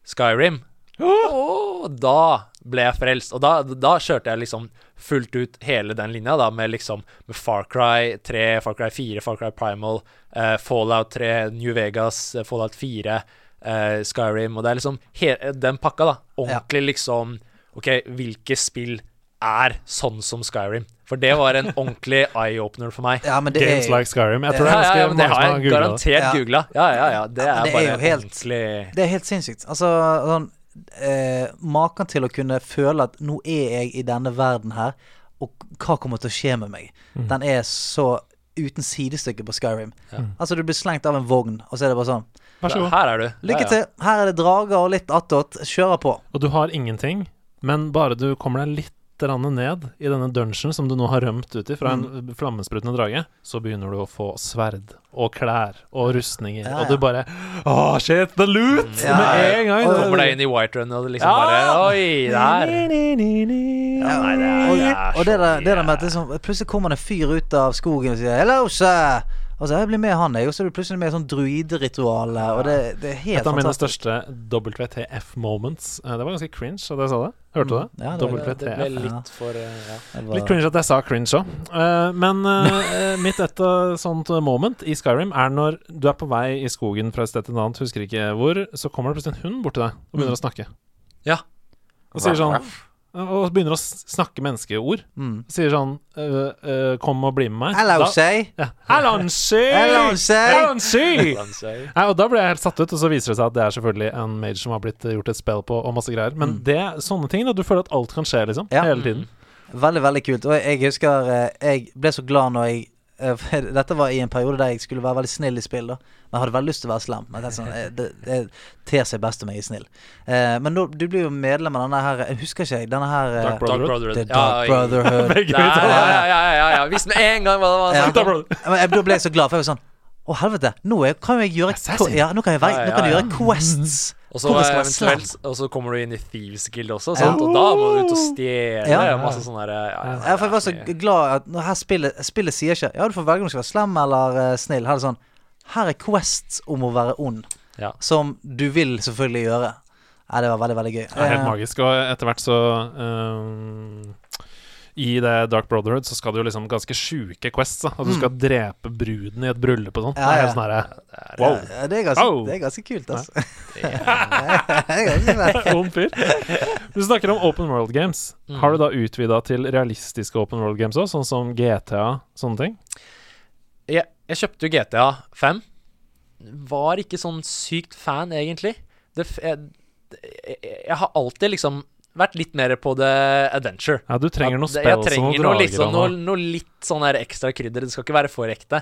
Skyrim Åh, Da ble jeg frelst. Og da, da kjørte jeg liksom fullt ut hele den linja, da, med liksom med Far Cry 3, Far Cry 4, Far Cry Primal, eh, Fallout 3, New Vegas, eh, Fallout 4, eh, Skyrim Og det er liksom he den pakka, da. Ordentlig liksom OK, hvilke spill er sånn som Skyrim? For det var en ordentlig eye-opener for meg. Ja, men det Games er like Skyrim. Jeg tror det Ja, er ja, ganske ja, men det mange har som har jeg googla det. garantert Ja. googla. Ja, ja, ja. Det Ja, er, men det er bare jo helt- ordentlig Det er helt sinnssykt. Altså, sånn eh, Maken til å kunne føle at nå er jeg i denne verden her, og hva kommer til å skje med meg? Mm. Den er så uten sidestykke på Skyrim. Mm. Altså, du blir slengt av en vogn, og så er det bare sånn Vær så god. Her er du. Lykke til! Her er det drager og litt attåt. Kjører på. Og du har ingenting, men bare du kommer deg litt grann ned i denne dungeon som du nå har rømt ut i fra en Mm. flammesprutende drage, så begynner du å få sverd og klær og rustninger, Ja, og du ja. bare Åh, shit, the loot! Ja, Med ja. en gang. Og- Kommer deg inn i White Run og liksom Ja! bare Oi, der. Ja, nei, det er, Og, det er og det, så der, det der med at mye. liksom, plutselig kommer det en fyr ut av skogen og sier 'hello, sir'. Og så jeg blir med han, jeg. Og så er du plutselig med i sånn druideritual. Og det, det er helt Et av mine fantastisk. største WTF-moments. Eh, Det var ganske cringe at jeg sa det. Hørte du det? Mm. Ja, det var- Det- Det ble WTF. Ja. litt for eh, ja. Det var- Litt cringe at jeg sa cringe òg. men eh, mitt et eh, sånt moment i Skyrim er når du er på vei i skogen fra et sted til et annet, husker ikke hvor, så kommer det plutselig en hund bort til deg og begynner å snakke. Ja. Og sier sånn Og begynner å s- snakke menneskeord. Mm. Sier sånn eh, eh, Kom og bli med meg. Hello, Da- sir. ja. Alonsi! Alonsi! Alonsi! Landsøy. Nei, og Da ble jeg helt satt ut, og så viser det seg at det er selvfølgelig en mage som har blitt eh, gjort et spill på, og masse greier. Men det sånne ting, da. Du føler at alt kan skje, liksom. Ja. Hele tiden. Veldig, veldig kult. Og jeg husker eh, jeg ble så glad når jeg eh, for Dette var i en periode der jeg skulle være veldig snill i spill. da Men jeg hadde veldig lyst til å være slem. Men det, er sånn, eh, det, det ter seg best om jeg er snill. Eh, men nå- du blir jo medlem av denne her Jeg husker ikke, jeg. Denne her eh, Dark Brother. Dark Brotherhood. The Dark Brotherhood. Ja, jeg- Brotherhood. Begge Nei, uttaler. ja, ja, ja, ja, ja. Visste med en gang hva det var. Ja. han Dark Brotherhood. Men jeg- Da ble jeg så glad, for jeg var sånn Å, helvete! Nå er, kan jeg gjøre Assassin. ja, Nå kan jeg, være, Ja, nå kan jeg ja, gjøre quests. Og så Hvorfor skal jeg være eventuelt Og så kommer du inn i Thieves Guild også, sant? og da må du ut og stjele. Oh. Ja. og Masse sånne der, ja, ja, Ja, for jeg var så ja. glad at når her spillet, spillet sier ikke Ja, du får velge om du skal være slem eller eh, snill. Her er det sånn Her er quests om å være ond, Ja. som du vil selvfølgelig gjøre. Ja, det var veldig, veldig gøy. Det er helt Eh, magisk. Og etter hvert så ehm, I det Dark Brotherhood så skal du jo liksom ganske sjuke quests. da. At du skal drepe bruden i et bryllup og sånn. Ja, Det er ja. helt sånn herre ja, Wow. det, er ganske, Au. det er ganske kult, altså. Det det er ganske fett. Ung fyr. Du snakker om open world games. Har du da utvida til realistiske open world games òg, sånn som GTA, sånne ting? Jeg, jeg kjøpte jo GTA 5. Var ikke sånn sykt fan, egentlig. Det, f- jeg, jeg, jeg har alltid liksom vært litt mer på the adventure. Ja, du trenger noe At det- spill Jeg og trenger noe noe, drager litt sånn- og noe, noe. noe litt sånn der ekstra krydder. Det skal ikke være for ekte.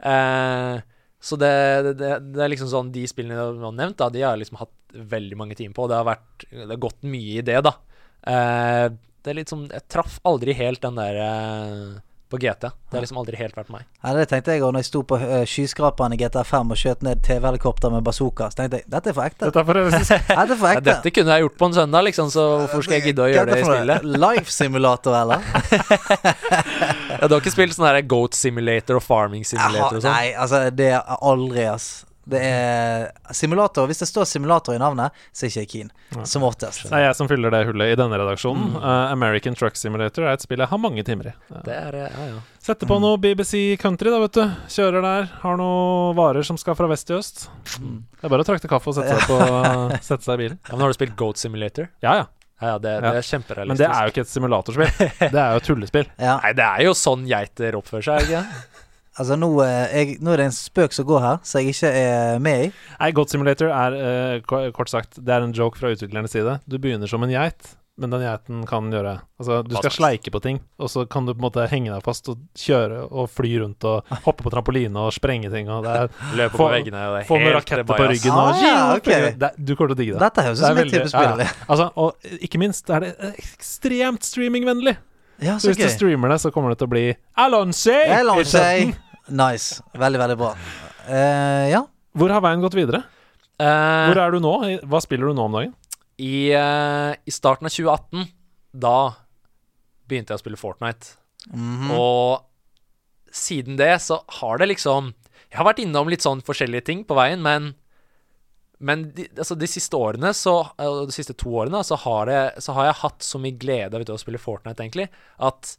Eh, så det, det, det, det er liksom sånn De spillene du har nevnt, da, de har jeg liksom hatt veldig mange timer på. og Det har, vært, det har gått mye i det, da. Eh, det er litt sånn Jeg traff aldri helt den der eh, på GT. Det har liksom aldri helt vært meg. Ja, det tenkte jeg òg når jeg sto på eh, skyskraperen i GTA5 og skjøt ned TV-helikopter med bazooka. Så tenkte jeg dette er for ekte. Dette er for realistisk. Dette er for Ja, ekte. dette kunne jeg gjort på en søndag, liksom, så hvorfor skal jeg gidde å gjøre det i spillet? Life-simulator, eller? Ja, du har ikke spilt sånn her Goat Simulator og Farming Jaha, Simulator og sånn? nei, altså det er aldri, ass. Det er simulator. Hvis det står simulator i navnet, så er ikke jeg keen. Som oftest. Det er jeg som fyller det hullet i denne redaksjonen. Eh, American Truck Simulator er et spill jeg har mange timer i. Eh, Det er, eh, ja, ja. Setter på noe BBC Country, da, vet du. Kjører der. Har noen varer som skal fra vest til øst. Det er bare å trakte kaffe og sette seg, på, sette seg i bilen. Mm. ja, men har du spilt Goat Simulator? Ja, ja. Ja, ja, det, Ja. det er Men kjemperealistisk. det er jo ikke et simulatorspill. Det er jo et tullespill. Ja, Nei, det er jo sånn geiter oppfører seg, er det ikke det? altså nå, eh, jeg, nå er det en spøk som går her, som jeg ikke er med i. Nei, Goat Simulator er eh, ko- kort sagt Det er en joke fra utviklernes side. Du begynner som en geit, men den geiten kan gjøre Altså, du Hva skal slags? sleike på ting, og så kan du på en måte henge deg fast og kjøre og fly rundt og hoppe på trampoline og sprenge ting, og det er Løper Få- på veggene og det er Få noen helt raketter på bajas. ryggen Ah, og ja, ok. det, Du kommer til å digge det. Dette høres ut som Det er et veldig- type spill. Ja, Altså, og ikke minst er det ekstremt streamingvennlig. Så så hvis du gøy. streamer det, så kommer det til å bli Altså, Alonso! Det er langt seg. Nice. Veldig, veldig bra. Eh, ja. Hvor har veien gått videre? Eh, Hvor er du nå? Hva spiller du nå om dagen? i, eh, I starten av 2018, da begynte jeg å spille Fortnite. Mhm. Og siden det så har det liksom Jeg har vært innom litt sånn forskjellige ting på veien, men men de, altså de siste årene, så, eh, de siste to årene, så har, det, så har jeg hatt så mye glede av vet du, å spille Fortnite, egentlig, at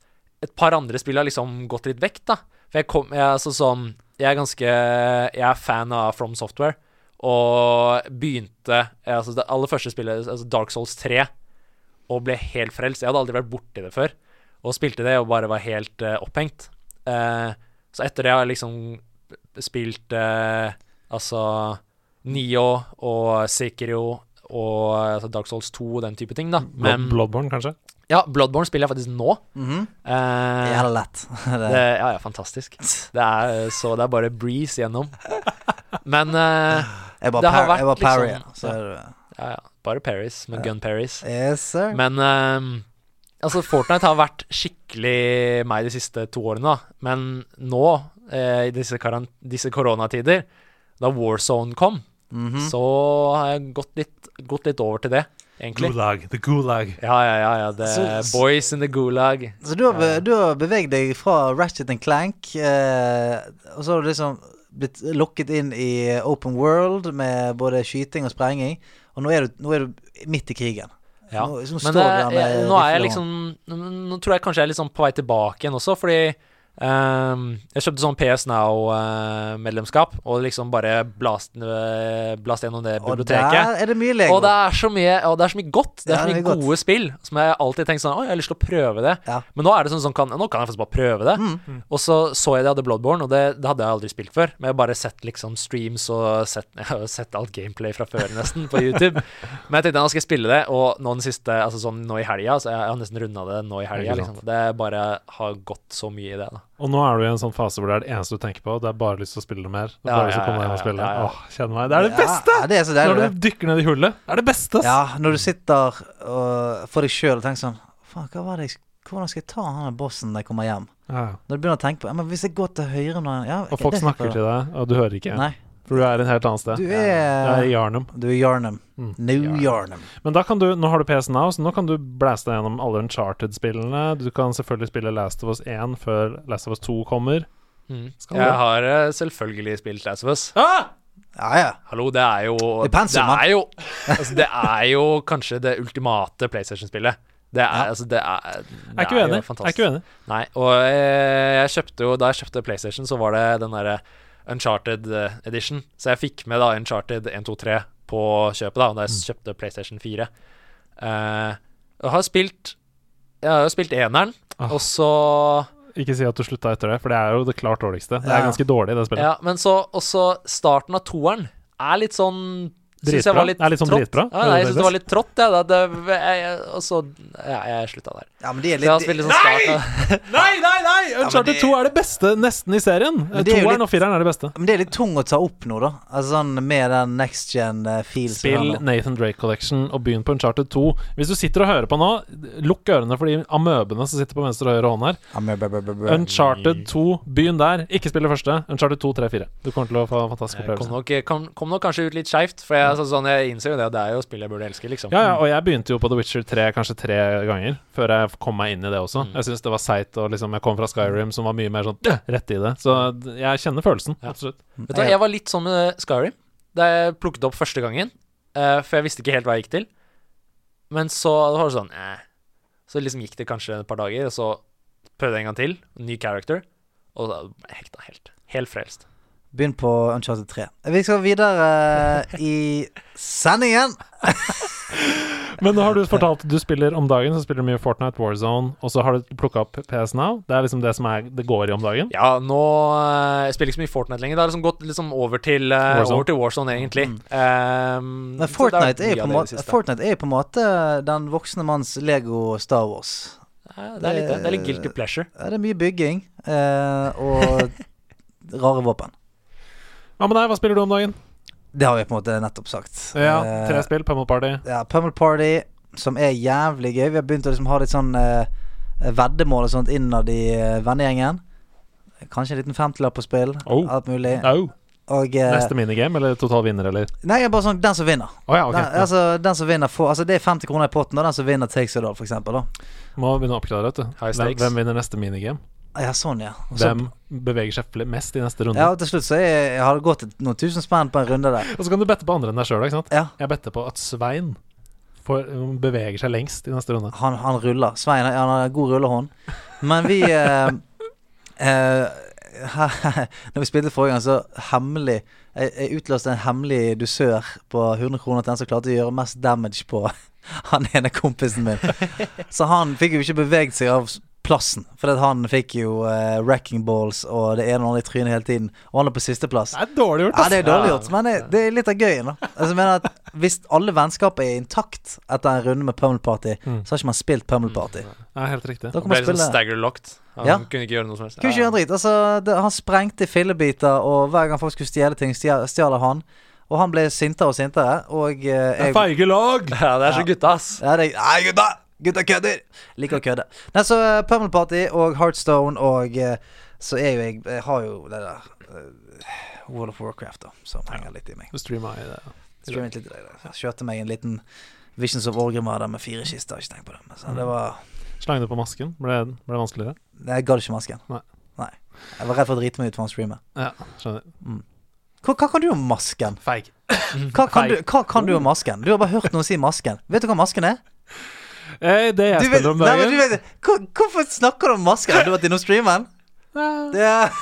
et par andre spill har liksom gått litt vekk, da. For jeg kom jeg, er altså, sånn, jeg er ganske Jeg er fan av From Software, og begynte eh, altså, Det aller første spillet, altså Dark Souls 3, og ble helt frelst. Jeg hadde aldri vært borti det før, og spilte det og bare var helt eh, opphengt. Eh, så etter det har jeg liksom spilt eh, altså Nio og Sikrio og altså, Dark Souls 2 og den type ting, da. Men Bloodborne, kanskje? ja, Bloodborne spiller jeg faktisk nå. Mhm. Eh, Jævla lett. det, det. ja, ja, fantastisk. Det er, så det er bare breeze gjennom. Men eh, Jeg bare det har par- jeg bare vært parry. liksom- så er det- ja, ja, bare Paris, med Gun Paris. Yes, sir. Men eh, altså, Fortnite har vært skikkelig meg de siste to årene, da. Men nå, eh, i disse, karan- disse koronatider, da Warzone kom, Mhm. så har jeg gått litt, gått litt over til det, egentlig. Gulag. The Gulag. Ja, ja, ja. ja det, Så- boys in the gulag. Så du har, be- du har beveget deg fra Ratchet and Clank, eh, og så har du liksom blitt lokket inn i open world med både skyting og sprenging, og nå er du, nå er du midt i krigen. Ja. Nå, liksom står Men det, du der med jeg, nå er jeg rifle liksom Nå nå tror jeg kanskje jeg er litt sånn på vei tilbake igjen også, fordi ehm, jeg kjøpte sånn PS Now-medlemskap, eh, og liksom bare blast, øh, blast gjennom det og- Og biblioteket. der er det mye Lego. og det er så mye Og det er så mye godt. Det er Ja, så det mye er godt. gode spill som jeg alltid tenkt sånn Å, jeg har lyst til å prøve det. Ja. Mm. Men nå er det sånn som kan Nå kan jeg faktisk bare prøve det. Og så så jeg de hadde Bloodborne, og det, det hadde jeg aldri spilt før. Men jeg har bare sett liksom streams og sett, jeg har jo sett alt gameplay fra før nesten på YouTube. Men jeg tenkte nå skal jeg spille det, og nå den siste Altså sånn nå i helga, så jeg, jeg har nesten runda det nå i helga. Ikke Liksom. Det bare har gått så mye i det, da. Og nå er du i en sånn fase hvor det er det eneste du tenker på, det er bare lyst til å spille det mer. Det er Ja, bare lyst til å ja, komme ja, hjem og ja, spille. ja, ja. Åh, kjenn meg. Det er det beste! Ja, det er så deilig. Når det. du dykker ned i hullet, det er det beste, ass. Ja, når du sitter og for deg sjøl og tenker sånn Faen, hva var det jeg Hvordan skal jeg ta han der bossen når jeg kommer hjem? Ja. Når du begynner å tenke på Ja, men hvis jeg går til høyre nå ja, Og folk snakker til deg, og du hører ikke. Nei. For du er en helt annen sted. Du Jeg er er i Jarnum. Du er Yarnum. Mm. New Yarnum. Yarnum. Men da kan du, nå har du PC Now, så nå kan du blæste deg gjennom alle Uncharted-spillene. Du kan selvfølgelig spille Last of Us 1 før Last of Us 2 kommer. Skal Mm. Jeg du? har eh, selvfølgelig spilt Last of Us. Ah! Ja, ja. Hallo, det er jo I pensum, det mann. er jo, altså, det er jo kanskje det ultimate PlayStation-spillet. Det er, altså, det er, det Jeg er ikke jo uenig. Jeg er fantastisk. ikke uenig. Nei, og eh, jeg kjøpte jo Da jeg kjøpte PlayStation, så var det den derre Uncharted eh, Edition. Så jeg fikk med da Uncharted 1, 2, 3 på kjøpet, da da jeg kjøpte PlayStation 4. Eh, og har spilt Jeg har jo spilt eneren, Ah. og så Ikke si at du slutta etter det, for det er jo det klart dårligste. Det Ja. er ganske dårlig, det spillet. Ja, men så også starten av toeren er litt sånn Synes jeg Dritbra. var litt Er litt sånn trått. dritbra. Ja, nei, jeg syns det var litt trått, jeg. da. Det- jeg- jeg- Og så Ja, jeg slutta der. ja men det er Så jeg har spilt litt litt sånn starten Nei, nei, nei! Uncharted det- 2 er det beste nesten i serien. det er jo Toeren litt- og fireren er det beste. men det er litt tung å ta opp nå, da. Altså sånn Med den next eh, gen-feel. Spill Nathan Drake Collection og begynn på Uncharted 2. Hvis du sitter og hører på nå, lukk ørene for de amøbene som sitter på venstre og høyre hånd her. Uncharted 2, begynn der. Ikke spill det første. Uncharted 2, 3, 4. Du kommer til å få en fantastisk av. Kom opplevelse. nok, kom, kom nok kanskje ut litt skeivt, for jeg, altså, sånn, jeg innser jo det. og Det er jo spill jeg burde elske, liksom. Ja, ja, og jeg begynte jo på The Witcher 3 kanskje tre ganger før jeg kom meg inn i det også. Mm. Jeg syns det var seigt, og liksom jeg kom fra Skyrim som var mye mer sånn «Døh!» rett i det. Så jeg kjenner følelsen, Ja. absolutt. Vet du, hva, jeg var litt sånn med Skyrim da jeg plukket det opp første gangen, eh, for jeg visste ikke helt hva jeg gikk til. Men så var det sånn eh. Så liksom gikk det kanskje et par dager, og så prøvde jeg en gang til. Ny character. Og da ble jeg hekta helt. Helt frelst. Begynn på Uncharted 3. Vi skal videre eh, i sendingen. Men nå har du fortalt du spiller om dagen, så spiller du mye Fortnite, Warzone, og så har du plukka opp PS Now. Det er liksom det som er, det går i om dagen. Ja, nå eh, jeg spiller ikke så mye Fortnite lenger. Det har liksom gått liksom over til eh, Warzone. Over til Warzone, egentlig. Mm. Ehm, Men så det har vært Fortnite er, mye jo på en av det i det måte, siste. Fortnite er jo på en måte den voksne manns Lego Star Wars. Ja, det, er litt, det er litt Eh, guilty pleasure. Ja, det er mye bygging eh, og rare våpen. Hva med deg, hva spiller du om dagen? Det har vi på en måte nettopp sagt. Ja, Eh, Tre spill, Pummel Party. ja, Pummel Party, som er jævlig gøy. Vi har begynt å liksom ha litt sånn eh, veddemål og sånt innad i eh, vennegjengen. Kanskje en liten femtilapp på spill. Oh. Alt mulig. Au. Og eh, Neste minigame, eller total vinner, eller? Nei, bare sånn den som vinner. Å ja, ok. Den, altså, den som vinner får Altså, det er 50 kroner i potten, og den som vinner, takes it all, for eksempel. Da. Må begynne å oppklare, vet du. High Hvem, stakes. hvem vinner neste minigame? Ja, sånn, ja. Og så- Hvem beveger seg fl- mest i neste runde? Ja, og til slutt så er, har det gått et- noen tusen spenn på en runde der. Og så kan du bette på andre enn deg sjøl, ikke sant? Ja, Jeg better på at Svein får, um, beveger seg lengst i neste runde. han, han ruller. Svein han har en god rullehånd. Men vi eh, eh, Når vi spilte forrige gang, så hemmelig Jeg, jeg utløste en hemmelig dusør på 100 kroner til den som klarte å gjøre mest damage på han ene kompisen min. Så han fikk jo ikke beveget seg av s- plassen, for at han fikk jo eh, wrecking balls og det ene og det andre i trynet hele tiden. Og han er på sisteplass. er dårlig Ja, det er dårlig Ja. gjort, men det, det er litt av gøyen. da Altså, jeg mener at Hvis alle vennskap er intakt etter en runde med Pummel Party, Mm. så har ikke man spilt Pummel Party. Ja, helt riktig. Da Det kan man ble liksom spille stagger locked. Han Ja. kunne ikke gjøre noe som helst. Kunne ikke gjøre en drit. Altså, det, han sprengte i fillebiter, og hver gang folk skulle stjele ting, stjal stjal han. Og han ble sintere og sintere, og eh, jeg feige lag! Ja, det er så gutta, ass. ja, det, Nei, gutta! Gutta kødder! Liker å kødde. Nei, så eh, Pummel Party og Heartstone og eh, Så er jo jeg Jeg har jo det der eh, World of Warcraft, da, som henger litt i meg. Du streama i det. Streamet litt i dag, da. Kjørte meg en liten Visions of Orgrimmar der med fire kister. Ikke tenkt på det. Men så det var Slang det på masken. Ble, ble det vanskeligere? Nei, Jeg gadd ikke masken. Nei. Nei. Jeg var redd for å drite meg ut foran streamet. Ja, skjønner. Hva, hva kan du om masken? Feig. Hva kan, du, hva kan du om masken? Du har bare hørt noen si masken. Vet du hva masken er? Eh, det jeg Du vet, spiller om nei, men du dagen vet, hvor, hvorfor snakker du om masken? Har du vært innom streamen? Ah, Det er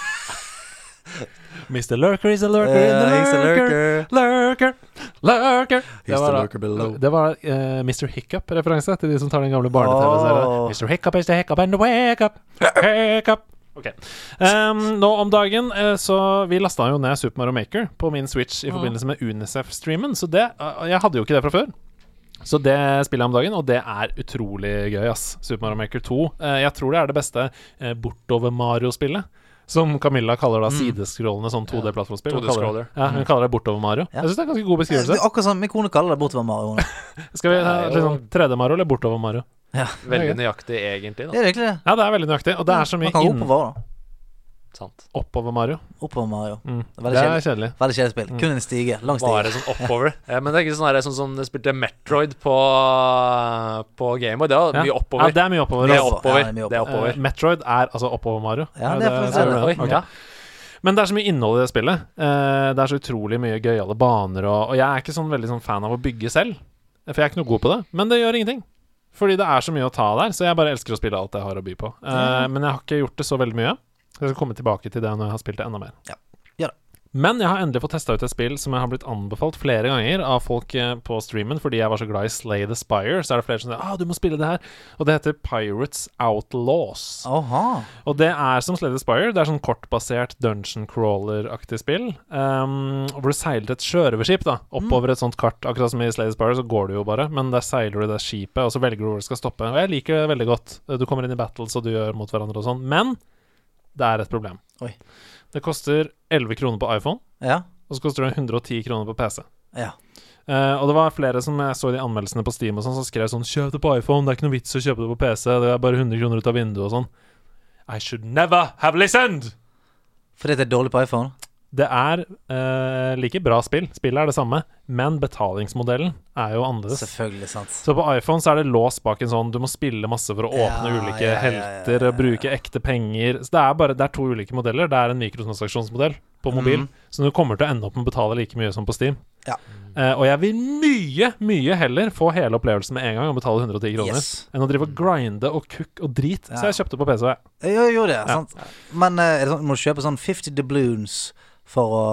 Mr. Lurker is a lurker in the Eh, he's a lurker. lurker. Lurker, lurker the Det var, lurker da, below. det var eh, Mr. Hiccup-referanse til de som tar den gamle barne-TV-serien. Åh. Mr. Hiccup is the hiccup and the wake up. Wake up. Ok. Em, nå om dagen eh, så Vi lasta jo ned Super Mario Maker på min Switch i forbindelse med Unicef-streamen, så det eh, Jeg hadde jo ikke det fra før. Så det spiller jeg om dagen, og det er utrolig gøy, ass. Super Mario Maker 2. Eh, Jeg tror det er det beste eh, bortover Mario-spillet. Som Camilla kaller da sideskrollende sånn 2D-plattformspill. Hun kaller det- Ja, hun kaller det bortover Mario. Jeg syns det er en ganske god Det beskrivelse. er akkurat sånn min kone kaller det bortover Mario. nå. Skal vi ha Det er jo- liksom 3D-Mario eller bortover Mario? Veldig nøyaktig, Det egentlig. da er virkelig det. Ja, det er veldig nøyaktig, og det er så Man mye kan gå inn oppover, da. Sant. oppover Mario. Oppover Mario. Mm. Det er veldig Det er kjedelig. kjedelig. Veldig kjedelig Mm. spill. Kun en stige. Lang stige. Bare sånn oppover. Eh, Men det er ikke sånn her, sånn som jeg spilte Metroid på, på Gameboy. Det var Ja. mye Ja, oppover. det er mye oppover. Det er ass. Ja, oppover. det er mye Det er Eh, oppover. Metroid er altså oppover Mario. Ja, det er faktisk ser du det. det. Oi, Ok. ja. Men det er så mye innhold i det spillet. Eh, det er så utrolig mye gøyale baner, og, og jeg er ikke sånn veldig sånn fan av å bygge selv. For jeg er ikke noe god på det. Men det gjør ingenting. Fordi det er så mye å ta der, så jeg bare elsker å spille alt jeg har å by på. Eh, Men jeg har ikke gjort det så veldig mye. Jeg skal komme tilbake til det når jeg har spilt det enda mer. Ja. Gjør det. Men jeg har endelig fått testa ut et spill som jeg har blitt anbefalt flere ganger av folk eh, på streamen fordi jeg var så glad i Slay the Spire. Så er det flere som sier ah, du må spille det her. Og det heter Pirates Outlaws. Aha. Og det er som Slade Spire. Det er sånn kortbasert dungeon crawler-aktig spill. ehm, hvor du seiler et sjørøverskip da oppover et sånt kart. Akkurat som i Slade Spire, så går du jo bare, men der seiler du det skipet, og så velger du hvor du skal stoppe. Og jeg liker det veldig godt. Du kommer inn i battles, og du gjør mot hverandre og sånn. Men det er et problem. Oi. Det koster 11 kroner på iPhone, Ja. og så koster det 110 kroner på PC. Ja. Eh, og det var flere som jeg så i de anmeldelsene på Steam og sånn, som skrev sånn 'Kjøp det på iPhone, det er ikke noe vits å kjøpe det på PC, det er bare 100 kroner ut av vinduet' og sånn. I should never have listened! Fordi det er dårlig på iPhone? Det er eh, like bra spill, spillet er det samme, men betalingsmodellen er jo annerledes. Selvfølgelig, sant. Så på iPhone så er det låst bak en sånn du må spille masse for å åpne Ja, ulike ja, ja, ja, helter, ja, ja. bruke ekte penger Så det er bare det er to ulike modeller. Det er en mikrotransaksjonsmodell på mobil, Mhm. så du kommer til å ende opp med å betale like mye som på Steam. Ja. Eh, og jeg vil mye, mye heller få hele opplevelsen med en gang og betale 110 kroner Yes. enn å drive og grinde og kukke og drit. Ja. Så jeg kjøpte på PC. jeg. Jeg gjør jo det, sant. Men eh, er det sånn, må du kjøpe sånn 50 doubloons for å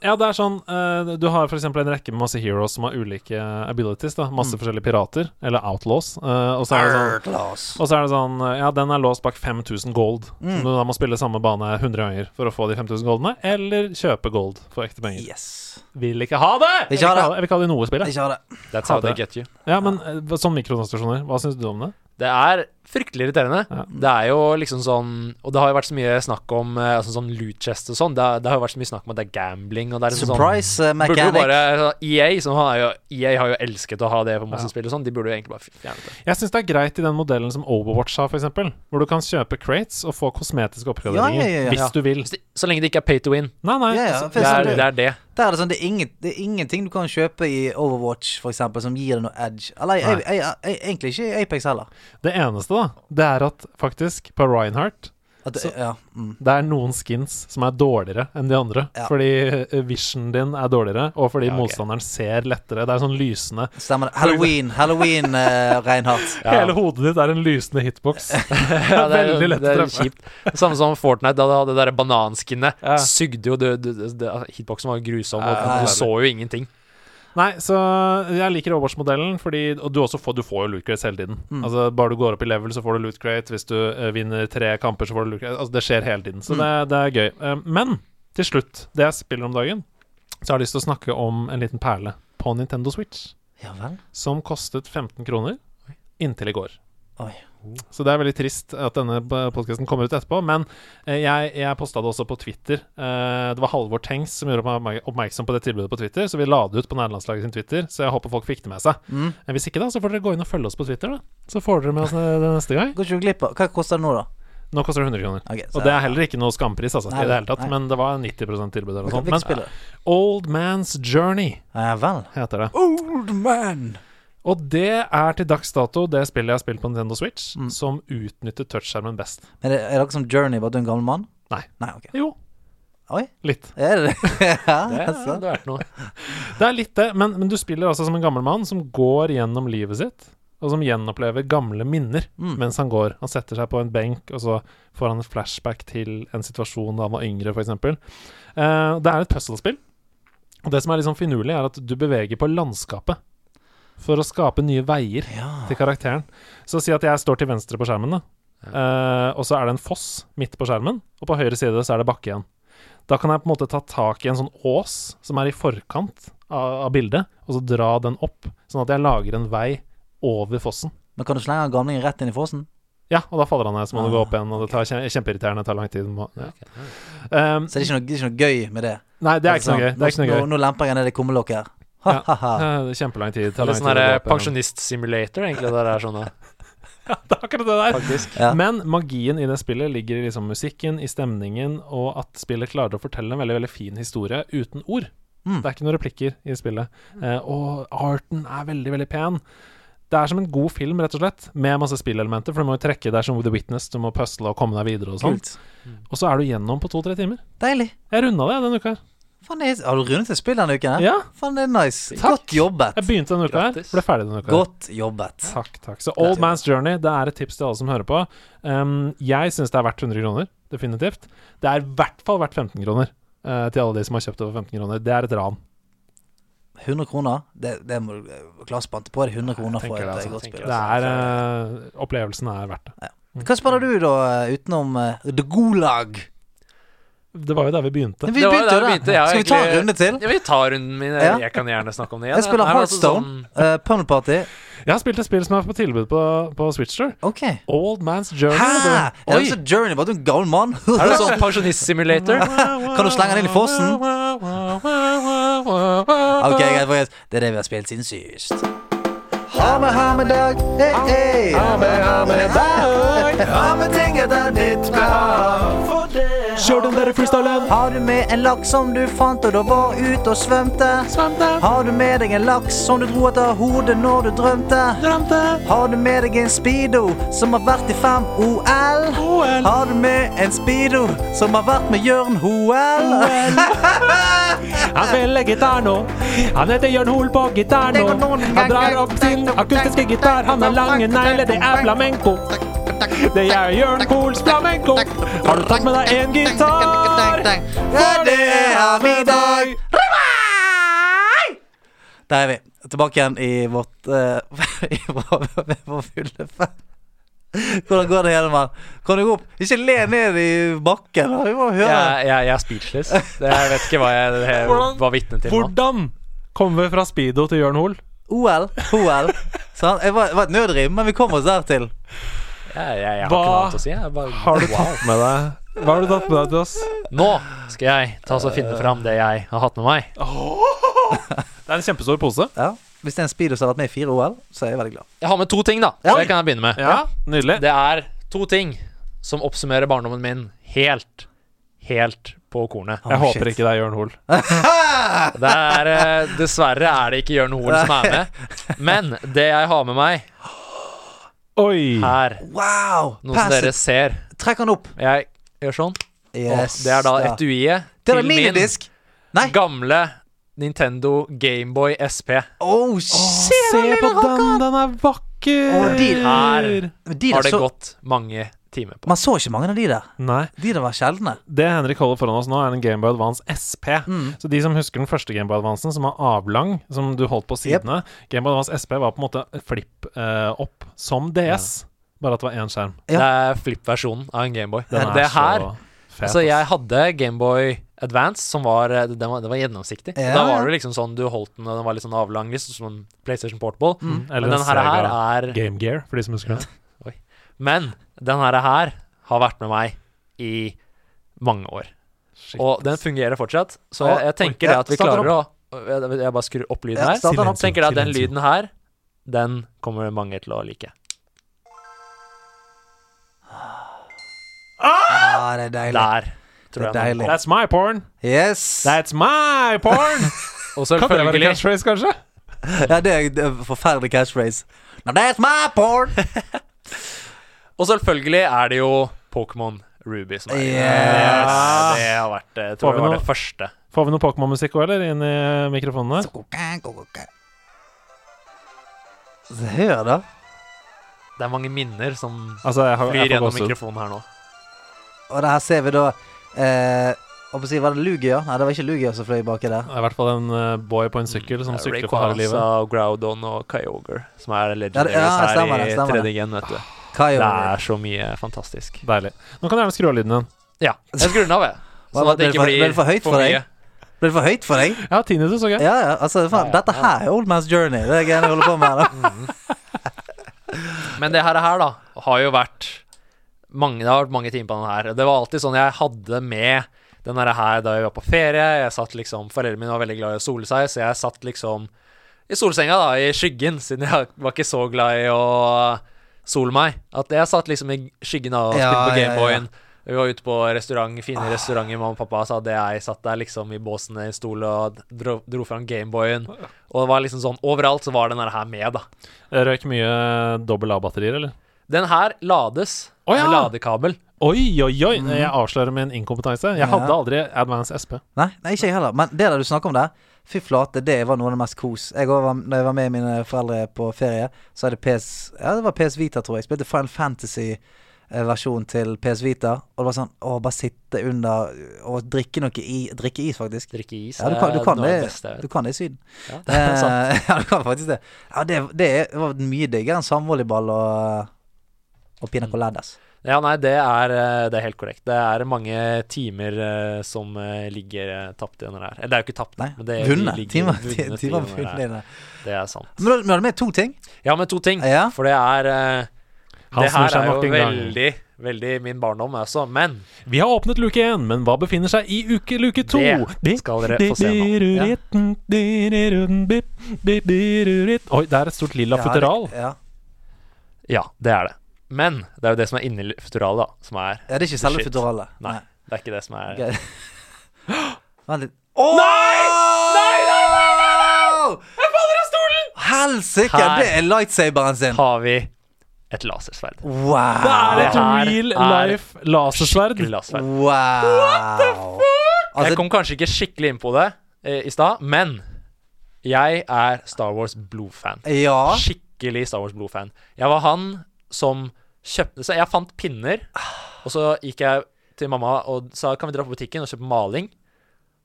Ja, det er sånn eh, Du har f.eks. en rekke med masse heroes som har ulike abilities. da Masse Mm. forskjellige pirater, eller outlaws. eh, og så er det sånn Class. Og så er det sånn Ja, den er låst bak 5000 gold. Mm. Så du da må spille samme bane 100 ganger for å få de 5000 goldene. Eller kjøpe gold for ekte penger. Yes. Vil ikke ha det! Vil ikke ha det. Jeg vil ikke ha det i noe spill. jeg. Ikke ha det. That's how hadde- they get you. Ja, men eh, hva- sånn mikrotransaksjoner, hva syns du om det? Det er fryktelig irriterende. Ja. Det er jo liksom sånn Og det har jo vært så mye snakk om eh, altså, sånn loot chest og sånn. Det, har- det har jo vært så mye snakk om at det er gambling og det er liksom sånn Surprise eh, Burde jo mechanic. bare EA, som har jo, EA har jo elsket å ha det på masse spill og sånn, de burde jo egentlig bare fjernet det. Jeg syns det er greit i den modellen som Overwatch har, f.eks. Hvor du kan kjøpe crates og få kosmetiske oppgraderinger Ja, ja, ja, ja. hvis du vil. Så, så lenge det ikke er pay to win. Nei, nei. Ja, ja, så- for Det er eksempel- det. Er det. Der er det sånn, det er, ingen, det er ingenting du kan kjøpe i Overwatch for eksempel, som gir deg noe edge. Eller jeg, jeg, jeg, jeg, egentlig ikke i Apex heller. Det eneste, da, det er at faktisk på Reinhardt At, det- Så- ja, mm. det er noen skins som er dårligere enn de andre. Ja. Fordi eh, visionen din er dårligere, og fordi Ja, ok. motstanderen ser lettere. Det er sånn lysende Stemmer det. Halloween, Halloween, eh, Reinhardt. Ja. Hele hodet ditt er en lysende hitbox. Ja, det er, Veldig lett å det er treffe. kjipt. Samme som Fortnite, da det hadde det der bananskinnet. Ja. Sugde jo det, det, det, det- Hitboxen var jo grusom, og Ja, ja, ja. du så jo ingenting. Nei, så jeg liker Overwatch-modellen, fordi Og du også får, du får jo loot crates hele tiden. Mm. Altså Bare du går opp i level, så får du loot crate. Hvis du eh, vinner tre kamper, så får du loot crate. Altså, det skjer hele tiden. Mm. Så det, det er gøy. Eh, men til slutt, det jeg spiller om dagen, så har jeg lyst til å snakke om en liten perle på Nintendo Switch. Ja vel. som kostet 15 kroner inntil i går. Oi. Så det er veldig trist at denne podkasten kommer ut etterpå. Men eh, jeg, jeg posta det også på Twitter. Eh, Det var Halvor Tengs som gjorde meg oppmerksom på det tilbudet på Twitter. Så vi la det ut på nærlandslaget sin Twitter, så jeg håper folk fikk det med seg. Mm. Eh, Hvis ikke, da, så får dere gå inn og følge oss på Twitter, da. Så får dere med oss eh, det neste gang. Går ikke du glipp av Hva koster det nå, da? Nå koster det 100 kroner. Ok, så- Og det er heller ikke noe skampris, altså, Nei, i det hele tatt. nei. Men det var 90 tilbud Vi eller noe kan sånt. vi kan Men spille det. Old Man's Journey Ja vel. heter det. Old man. Og det er til dags dato det spillet jeg har spilt på Nintendo Switch Mm. som utnytter touchskjermen best. Men er det, er det ikke som Journey, bare at du er en gammel mann? Nei. Nei, ok. Jo. Oi. Litt. Er det det? ja, altså. Det sant. hadde vært noe. Det er litt det, men, men du spiller altså som en gammel mann som går gjennom livet sitt, og som gjenopplever gamle minner Mm. mens han går. Han setter seg på en benk, og så får han et flashback til en situasjon da han var yngre, f.eks. Uh, det er et puzzlespill. Og det som er litt sånn finurlig, er at du beveger på landskapet for å skape nye veier. Ja. til karakteren. Så si at jeg står til venstre på skjermen, da. Eh, og så er det en foss midt på skjermen, og på høyre side så er det bakke igjen. Da kan jeg på en måte ta tak i en sånn ås som er i forkant av, av bildet, og så dra den opp, sånn at jeg lager en vei over fossen. Men kan du slenge han gamlingen rett inn i fossen? Ja, og da faller han ned, så må du gå Ah, opp igjen, og det tar kjem- kjempeirriterende, det tar lang tid. Må, ja. um, Så det er ikke noe, det er ikke noe gøy med det? nei, det er ikke noe gøy. Det er ikke noe Sånn. Nå, gøy. nå, nå lemper jeg ned det kummelokket her. Ha, Ja. ha, ha. Eh, det er Kjempelang tid. det tar Litt lang tid sånn å der gå opp igjen. pensjonistsimulator, egentlig, det der er sånn da. Det er akkurat det der. faktisk. Ja. Men magien i det spillet ligger i liksom musikken, i stemningen, og at spillet klarer å fortelle en veldig veldig fin historie uten ord. Mm. Det er ikke noen replikker i spillet. Eh, og arten er veldig, veldig pen. Det er som en god film, rett og slett, med masse spillelementer. For du må jo trekke deg som The Witness, du må pusle og komme deg videre og sånn. Kult. Og så er du gjennom på to-tre timer. Deilig. Jeg runda det denne uka. her. Faen, det er, har du rundet et spill denne uken? her? Ja, Faen, det er nice. Takk. Godt jobbet. jeg begynte denne uka her, Grattis. ble ferdig denne uka. her. Godt jobbet. Takk, takk. Så Old Man's Journey, det er et tips til alle som hører på. Um, jeg syns det er verdt 100 kroner, definitivt. Det er i hvert fall verdt 15 kroner eh, til alle de som har kjøpt det for 15 kroner. Det er et ran. 100 kroner, det, det må du klart spante på. Det er 100 kroner for et tenker det, eh, altså. godt Tenker spill. Det er eh, Opplevelsen er verdt det. Hva spiller du, da, utenom eh, The Gulag? Det var jo der vi begynte. Vi Det var begynte jo der vi der. begynte, ja, Skal vi ta en egentlig- runde til? Ja, vi tar runden min. Ja. Jeg kan gjerne snakke om det igjen. Jeg spiller Nei, men altså Heartstone, sånn- uh, Pummel Party. Jeg har spilt et spill som er på tilbud på, på Switcher. Ok. Old Man's Journey. Hæ? Det- Er Oi! det så Journey? Var du en gammel mann? sånn, er det sånn pensjonistsimulator? Kan du slenge den inn i fossen? Ok, greit, greit. Det er det vi har spilt siden sist. Ha med, ha med dag. Hey, hey. Ha med, ha med dag. Ha med ting etter ditt behag. Kjør den derre freestylen! Har du med en laks som du fant og du var ute og svømte? Har du med deg en laks som du dro etter hodet når du drømte? Har du med deg en speedo som har vært i fem OL? Har du med en speedo som har vært med Jørn Hoel? Han spiller gitar nå. Han heter Jørn Hoel på gitar nå. Han drar opp sin akustiske gitar. Han har lange negler, det er flamenco. Det er Jørn Hoels flamenco. Har du tatt med deg en gitar? Ja, det har vi i dag. Der er vi. Tilbake igjen i vårt eh, I vår, med vår fulle fem. Hvordan går det, Hjelman? Kan du gå opp? Ikke le ned i bakken. da. Vi må høre. Jeg, jeg, jeg er speechless. Det, jeg vet ikke hva jeg, jeg Hvordan- var vitne til nå. Hvordan kommer vi fra Speedo til Jørn Hoel? OL, OL. Sant? Det var, det var et nødrim, men vi kom oss der til. Jeg, jeg, jeg har Hva ikke noe annet å si. Jeg bare, Har du tatt med deg Hva har du tatt med deg til oss? Nå skal jeg ta og finne fram det jeg har hatt med meg. Det er en kjempestor pose. Ja. Hvis det er en speedo som har vært med i fire OL, så er jeg veldig glad. Jeg har med to ting, da. Ja. Det kan jeg begynne med. Ja, Nydelig. Det er to ting som oppsummerer barndommen min helt, helt på kornet. Oh, Jeg shit. håper ikke det er Jørn Hoel. Det er, eh, dessverre er det ikke Jørn Hoel som er med. Men det jeg har med meg Oi! her, Wow! noe som Pass dere it. ser Trekk han opp. Jeg gjør sånn. Yes, og det er da da. etuiet Det er til en min minidisk. Nei. gamle Nintendo Gameboy SP. Oh, se, Se den på lille rakkeren! Og den, den er de vakker! er- Men De Har der det så, gått mange timer på. man så ikke mange av de der. Nei. De der var sjeldne. Det Henrik holder foran oss nå, er en Gameboy Advance SP. Mm. Så de som husker den første Gameboy Advancen, som var avlang, som du holdt på sidene Gameboy Advance SP var på en måte flipp eh, opp, som DS, bare at det var én skjerm. Ja. Det er flip-versjonen av en Gameboy. Den Det er her så fet. Altså, jeg ass. hadde Gameboy Advance, som var eh, Den var, den var gjennomsiktig. Ja, Da var ja. det liksom sånn du holdt den, og den var litt sånn avlang, liksom som en PlayStation Portable. Eller Men en den her, her Sega er Game Gear, for de som husker det. Men den her, her har vært med meg i mange år. Shit. Og den fungerer fortsatt, så Ja, jeg, jeg oi, tenker det ja, at vi starter klarer å jeg, jeg bare skrur opp lyden Ja, her. starter den opp. Tenker det at den Silencio. lyden her, den kommer mange til å like. Ah, det er deilig. Der, Det er tror jeg. den deilig. kom. That's my porn! Yes. That's my porn! Og kan det være selvfølgelig catchphrase, kanskje? Ja, det er det er en eh, forferdelig catchphrase. Now that's my porn! Og selvfølgelig er det jo Pokémon Ruby som er i det. Yes. Det har vært Jeg tror Får vi det var det noe? første. Får vi noe Pokémon-musikk òg, eller? Inn i mikrofonene? Så Hør, da. Det er mange minner som Altså, jeg har, flyr jeg får gjennom gåsehud. mikrofonen her nå. Og det her ser vi da eh, hva skal jeg si, Var det Lugia? Nei, det var ikke Lugia som fløy baki der. Det er I hvert fall en eh, boy på en sykkel som sykler for harde livet. Rayquaza, Groudon og Kyogre, som er legendaries Ja, det- ja, stemmer her det, i stemmer det. 3D gen, vet du. Det Kyogre. er så mye fantastisk. Deilig. Nå kan du gjerne skru av lyden igjen. Ja, jeg skrur den av, jeg. Hva Sånn var at det det ikke for- ble blir det for høyt for deg? mye. Ble det for høyt for deg? Jeg har tinnitus, OK? Ja, ja, altså, faen, dette her er old man's journey. Det er greiene jeg holder på med. Da. Men det her, her da, har jo vært mange, Det har vært mange timer på den her. Det var alltid sånn jeg hadde med den her her da jeg var på ferie. Jeg satt liksom, Foreldrene mine var veldig glad i å sole seg, så jeg satt liksom i solsenga, da, i skyggen, siden jeg var ikke så glad i å sole meg. At jeg satt liksom i skyggen av og Ja, spilte ja, på Ah. Gameboyen. Vi var ute på restaurant, fine restauranter, mamma og pappa sa at jeg satt der liksom i båsen i stol og dro, dro fram Gameboyen. Og det var liksom sånn, overalt så var den her med, da. Røyk mye eh, dobbel A-batterier, eller? Den her lades Å ja! med ladekabel. Oi, oi, oi! Jeg avslører min inkompetanse. Jeg hadde aldri Advance SP. Nei, nei, ikke jeg heller. Men det der du snakker om der, fy flate, det var noe av det mest kos. Jeg også var, når jeg var med mine foreldre på ferie, så hadde PS Ja, det var PS Vita, tror jeg. Spilte Final Fantasy-versjon til PS Vita. Og det var sånn Å, bare sitte under og drikke noe i Drikke is, faktisk. Drikke is Ja, du kan, du er kan, noe av det det, beste jeg du vet. kan det i Syden. Ja, det er sant. Eh, ja, du kan faktisk det. Ja, det, det er- var mye diggere enn samvolleyball og, og Mm. pina coladas. Ja, nei, det er, eh, det er helt korrekt. Det er mange timer eh, som eh, ligger eh, tapt i den der. Eller det er jo ikke tapt, Nei, men det vunnet. ligger Timer vunnet i timer den der. vunnet. inne. Det er sant. Men du hadde med to ting. Ja, men to ting. Ja. For det er eh, Han Det snur her seg er jo nok en gang. veldig, veldig min barndom også. Men Vi har åpnet luke én, men hva befinner seg i uke luke to? det skal dere få se nå. Ja. Oi, det er et stort lilla futteral. Ja, det, ja. Ja, det er det. Men det er jo det som er inni futuralet, da. Som er ja, det er ikke selve Shit. futuralet. Nei, det er ikke det som er Gøy. Vent litt. Nei! Nei, nei, Jeg faller av stolen! Helsike, Her. det er lightsaberen sin. Har vi et lasersverd? Wow. Det er et Det her real er life lasersverd. Skikkelig lasersverd. Wow. What the fuck? jeg Altså, kom kanskje ikke skikkelig inn på det eh, i stad, men jeg er Star Wars Blue-fan. ja. Skikkelig Star Wars Blue-fan. Jeg var han som kjøpte Så jeg fant pinner, og så gikk jeg til mamma og sa kan vi dra på butikken og kjøpe maling.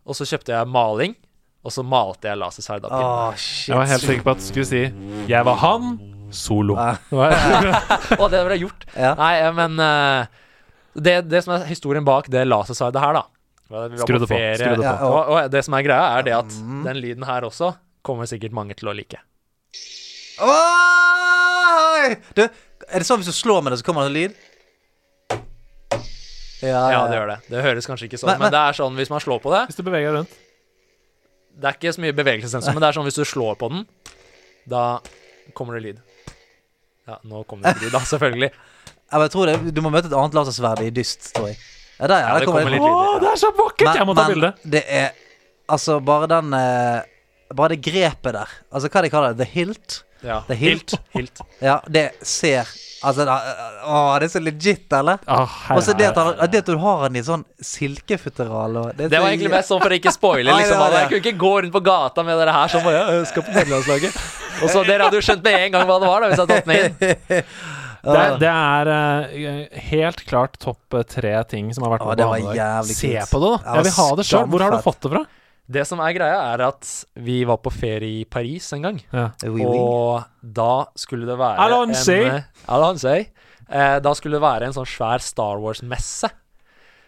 Og så kjøpte jeg maling, og så malte jeg lasersverd av Å, pinnen. shit. Jeg var helt sikker på at du skulle si 'Jeg var han, solo'. Ja. Og det ble gjort. Ja. Nei, eh, men eh, det, det som er historien bak det lasersverdet her, da var at vi var Skru det på, ferie, skru det på. Ja, og- Mm. og, og det som er greia, er det at den lyden her også kommer sikkert mange til å like. Oi! Du, er det sånn hvis du slår med det, så kommer det en lyd? Ja, Ja, det gjør det. Det høres kanskje ikke sånn, Men- men, det er sånn hvis man slår på det Hvis du beveger deg rundt. Det er ikke så mye bevegelsessensor, men det er sånn hvis du slår på den, da kommer det lyd. Ja, nå kom det ikke lyd, da, selvfølgelig. Ja, men jeg tror det, Du må møte et annet lasersverd i dyst, tror jeg. Ja, der, ja, Ja, der det kommer kommer det. litt lyd. Å, det er så vakkert! jeg må ta bilde. det er Altså, bare den eh, Bare det grepet der. Altså, hva de kaller det? The hilt? Ja. The hilt? Hilt. Ja, det ser Altså, da, å, det er så legit, eller? Ah, her Og så det, at er- han- at det at du har den i sånn silkefutteral og Det var egentlig best sånn for å ikke spoile, Nei, det liksom. var det. Jeg kunne ikke gå rundt på gata med dere her sånn bare «Ja, jeg skal på nederlandslaget. Og så dere hadde jo skjønt med en gang hva det var, da, hvis jeg hadde tatt den inn. det, er- det er eh, helt klart topp eh, tre ting som har Å, vært på det var banen i dag. jævlig Se kult. på det, Det da! Jeg vil ha var det sjøl. Hvor har du skamfett. fått det fra? Det som er greia, er at vi var på ferie i Paris en gang. Ja. Oui, oui. Og da skulle det være Alonsi! en eh, Alonsi. Eh, da skulle det være en sånn svær Star Wars-messe.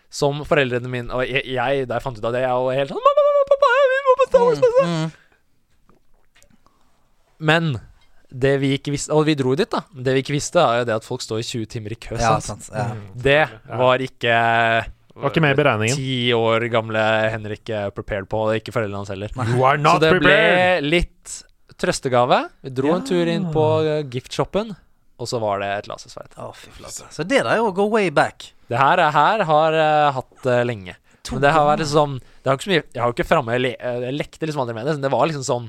Som foreldrene mine Og jeg, jeg da jeg fant ut av det, jeg var helt sånn Mamma, mamma, pappa, vi må på Star Wars-messe! Mm, Men det vi ikke visste Og vi dro dit, da. Det vi ikke visste, er jo det at folk står i 20 timer i kø. Ja, sant? sant. Ja. Mm. Det var ikke Var ikke med i beregningen. Ti år gamle Henrik eh, prepared på, og ikke foreldrene hans heller. You are Så not det ble prepared! litt trøstegave. Vi dro Ja. en tur inn på eh, giftshoppen, og så var det et lasersverd. Å, fy flate. Så det der er jo å go way back. Det her, er- her har jeg hatt det lenge. Men det har vært liksom Det har ikke så mye Jeg har jo ikke framme Jeg, le, eh, jeg lekte liksom aldri med det. men Det var liksom sånn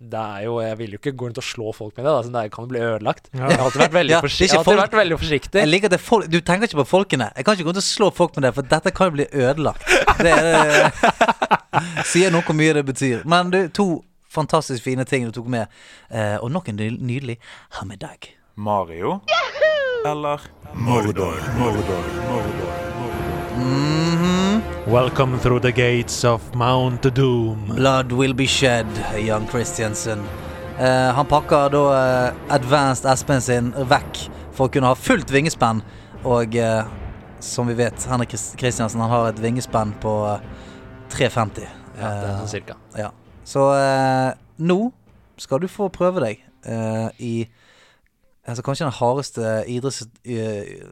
det er jo, Jeg vil jo ikke gå rundt og slå folk med det. Da, sånn, det kan jo bli ødelagt. Ja. Jeg har alltid vært veldig, Ja, det er forsi jeg ikke har alltid folk- vært veldig forsiktig. Jeg liker at det er folk, Du tenker ikke på folkene. Jeg kan ikke gå rundt og slå folk med det, for dette kan jo bli ødelagt. Det er det Sier noe hvor mye det betyr. Men du, to fantastisk fine ting du tok med, eh, og nok en ny- nydelig hammedag. Mario eller Mordor. Mordor. Mordor. Welcome through the gates of Mount Doom. Blood will be shed, Jan Christiansen. Eh, han pakker da eh, Advanced Espen sin vekk for å kunne ha fullt vingespenn. Og eh, som vi vet, Henrik Christ- Christiansen han har et vingespenn på eh, 3,50. Ja, det er sånn cirka. Ja. Så eh, nå skal du få prøve deg eh, i altså kanskje den hardeste idretts, eh,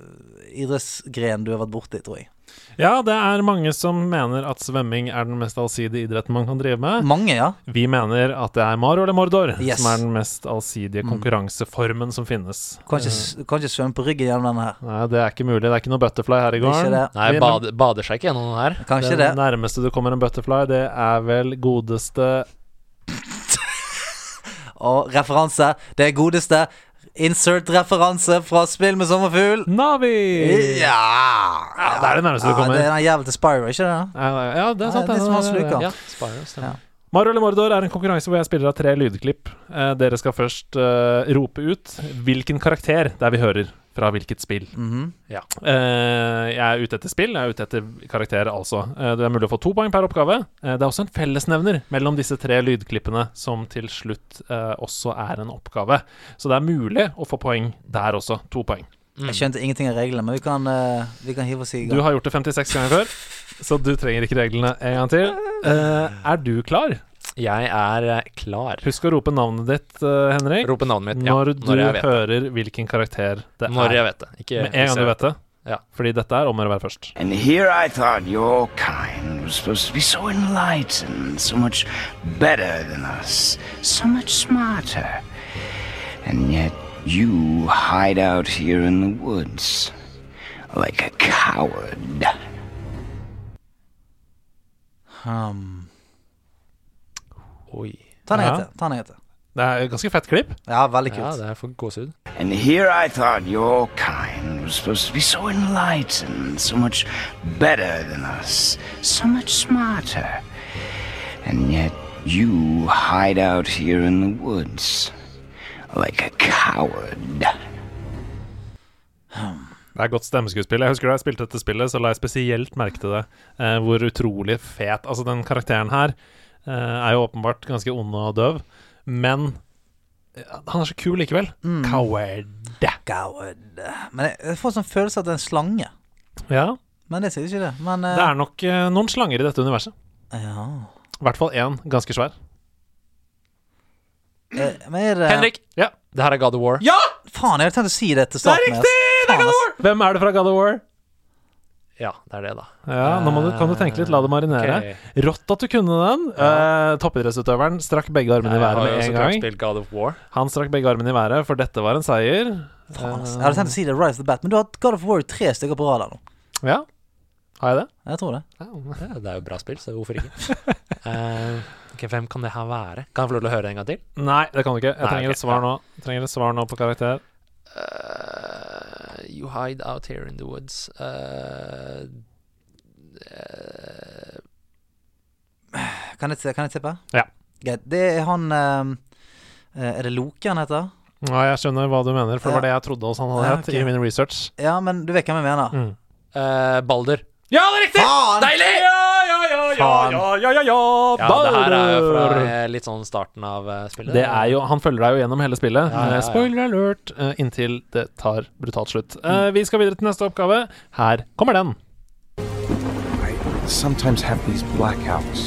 idrettsgren du har vært borti, tror jeg. Ja, det er mange som mener at svømming er den mest allsidige idretten man kan drive med. Mange, ja. Vi mener at det er Mario eller Mordor Yes. som er den mest allsidige konkurranseformen som finnes. Kan ikke, s- kan ikke svømme på ryggen gjennom denne her. Nei, det er ikke mulig. Det er ikke noe butterfly her Det i er gården. ikke det. Nei, Vi- bade, bader seg ikke gjennom den her. Kanskje Den det. nærmeste du kommer en butterfly, det er vel godeste Og referanse. Det er godeste insert-referanse fra Spill med sommerfugl. Navi! Ja. Ja, det er det nærmeste du Ja, kommer. det er den jævla til Spyro, ikke det? Ja, ja, det er sant. Nei, litt det er- som han sluker. ja. Ja, Spyro, stemmer. Mario eller Mordor er en konkurranse hvor jeg spiller av tre lydklipp. Eh, dere skal først eh, rope ut hvilken karakter det er vi hører fra hvilket spill. Mhm. Eh, jeg er ute etter spill, jeg er ute etter karakterer, altså. Eh, det er mulig å få to poeng per oppgave. Eh, det er også en fellesnevner mellom disse tre lydklippene, som til slutt eh, også er en oppgave. Så det er mulig å få poeng der også. To poeng. Jeg Mm. skjønte ingenting av reglene, men vi kan, eh, vi kan hive oss i Mm. Du gang. har gjort det 56 ganger før, så du trenger ikke reglene en gang til. Eh, er du klar? Jeg er eh, klar. Husk å rope navnet ditt, eh, Henrik. Rope navnet mitt. Ja, Når du når jeg vet det. hører hvilken karakter det Når er. jeg vet det. Ikke Med en gang du vet det. Ja. Fordi dette er om å gjøre å være først. And here I thought your kind was supposed to be so enlightened, so much better than us, so much smarter. And yet you hide out here in the woods like a coward. Hmm. Oi. Ta den Ja. etter. Ta den etter. Det er et ganske fett klipp. Ja, veldig Ja, kult. det er for gåsehud. And here I thought your kind was supposed to be so enlightened, so much better than us, so much smarter. And yet you hide out here in the woods like a coward. Det er godt stemmeskuespill. Jeg husker da jeg spilte dette spillet, så la jeg spesielt merke til det. Eh, hvor utrolig fet Altså, den karakteren her eh, er jo åpenbart ganske ond og døv, men eh, han er så kul likevel. Coward. Coward. Men jeg, jeg får sånn følelse at det er en slange. Ja. Men det sier ikke det. Men eh, Det er nok eh, noen slanger i dette universet. ja. I hvert fall én ganske svær. Eh, Men er det Henrik! Ja. Det her er God of War. ja! Faen, jeg hadde tenkt å si det til starten. ass. Faen, ass. Hvem er det fra God of War? Ja, det er det, da. Ja, nå må du, kan du tenke litt, la det marinere. Ok. Rått at du kunne den. Eh, toppidrettsutøveren strakk begge armene i Jeg har været jo med så en klart gang. spilt God of War. Han strakk begge armene i været, for dette var en seier. Faen, ass. Jeg hadde tenkt å si det right off the bat, men du har hatt God of War tre stykker på rad her nå. Ja, har jeg det? Jeg tror det. Ja, det er jo bra spill, så hvorfor ikke? Eh, ok, hvem kan det her være? Kan jeg få lov til å høre det en gang til? Nei, det kan du ikke. Jeg Nei, trenger ok, et svar nå. Jeg trenger et svar nå på karakter. Eh, you hide out here in the woods. Eh, Kan jeg, kan jeg tippe? Ja. Greit. Det er han eh, eh, Er det Loke han heter? Ja, jeg skjønner hva du mener, for det var det jeg trodde også han hadde Ja, hett ok. i min research. Ja, men du vet hvem jeg mener. Mm. eh, Balder. Ja, det er riktig! Faen! Deilig! Ja, ja, ja, ja, ja, ja, ja, ja. Ja, det her er jo fra Balder! eh, litt sånn starten av eh, spillet. Det er jo, Han følger deg jo gjennom hele spillet. Ja, ja, ja. Eh, Spoiler alert! eh, Inntil det tar brutalt slutt. Eh, Mm. Vi skal videre til neste oppgave. Her kommer den. I sometimes have these blackouts.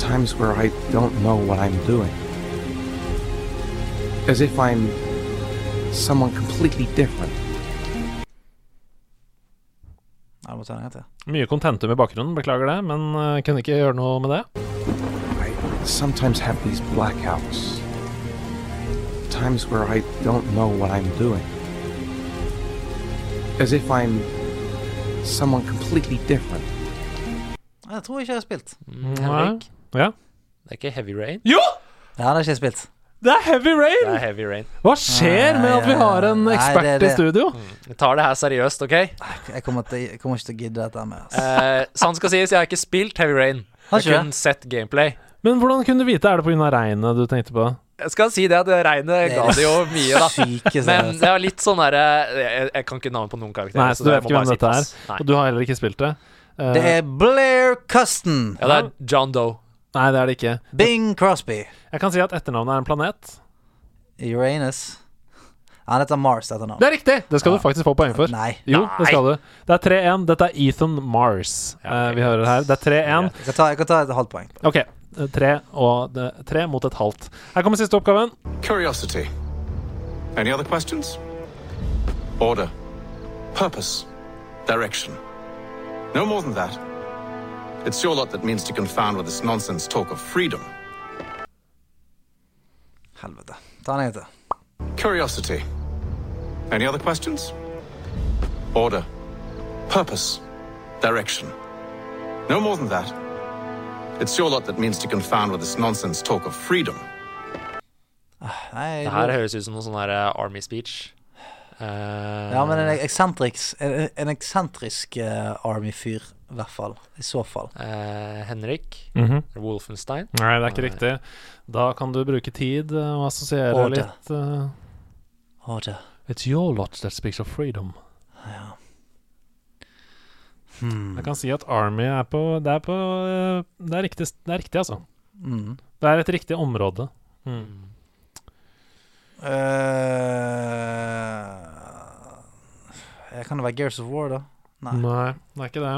Times where I don't know what I'm doing. As if I'm someone completely different. Ja, du må ta den en gang til. Mye kontentum i bakgrunnen, beklager det, men eh, kunne ikke gjøre noe med det. I sometimes have these blackouts. Times where I don't know what I'm doing. As if I'm someone completely different. Jeg tror ikke jeg har spilt. Mm, Henrik. Ja. Det er ikke Heavy Rain. Jo! Ja, det har ikke jeg spilt. Det er Heavy Det Rain! er Heavy Rain. Hva skjer med at vi har en Nei, ekspert det er det. Mm. i studio? Vi tar det her seriøst, OK? Jeg kommer, til, jeg kommer ikke til å gidde dette her mer. ass. Eh, sant skal sies, jeg har ikke spilt Heavy Rain. Har Jeg ikke har det? kun sett gameplay. Men hvordan kunne du vite? Er det pga. regnet du tenkte på? Jeg skal si det at regnet Det ga er det jo mye, da. Syke Men seriøst. det er litt sånn derre jeg, jeg kan ikke navnet på noen karakterer. Nei, så du det vet må ikke hvem bare si dette er. pass. Og Nei. du har heller ikke spilt det. Eh, Det er Blair Custon. Ja, det er John Doe. Nei, det er det ikke. Bing Crosby. Jeg kan si at etternavnet er en planet. Uranus. Han heter Mars, dette navnet. Det er riktig! Det skal du faktisk få poeng for. Nei. Jo, det skal du. Det er 3-1. Dette er Ethan Mars eh, vi hører her. Det er 3-1. Jeg kan ta, jeg kan ta et halvt poeng. Ok, eh, tre, og det, tre mot et halvt. Her kommer siste oppgaven. Curiosity. Any other questions? Order. Purpose. Direction. No more than that. It's your lot that means to confound with this nonsense talk of freedom. Helvete. Ta en gang til. Curiosity. Any other questions? Order. Purpose. Direction. No more than that. It's your lot that means to confound with this nonsense talk of freedom. Nei, Det her høres ut som noe sånn her eh, Army speech. Eh, Ja, men en eksentriks En, en eksentrisk eh, Army-fyr, i hvert fall. I så fall. eh, Henrik Wolfenstein. Nei, det er ikke riktig. Da kan du bruke tid eh, og assosiere Order. litt. eh. Å, det. It's your lot that speaks of freedom. Hmm. Jeg kan si at Army er på Det er, på, eh, det er, riktig, det er riktig, altså. Mm. Det er et riktig område. Hmm. Mm. Eh, kan det være Gears of War, da? Nei. Nei, det er ikke det.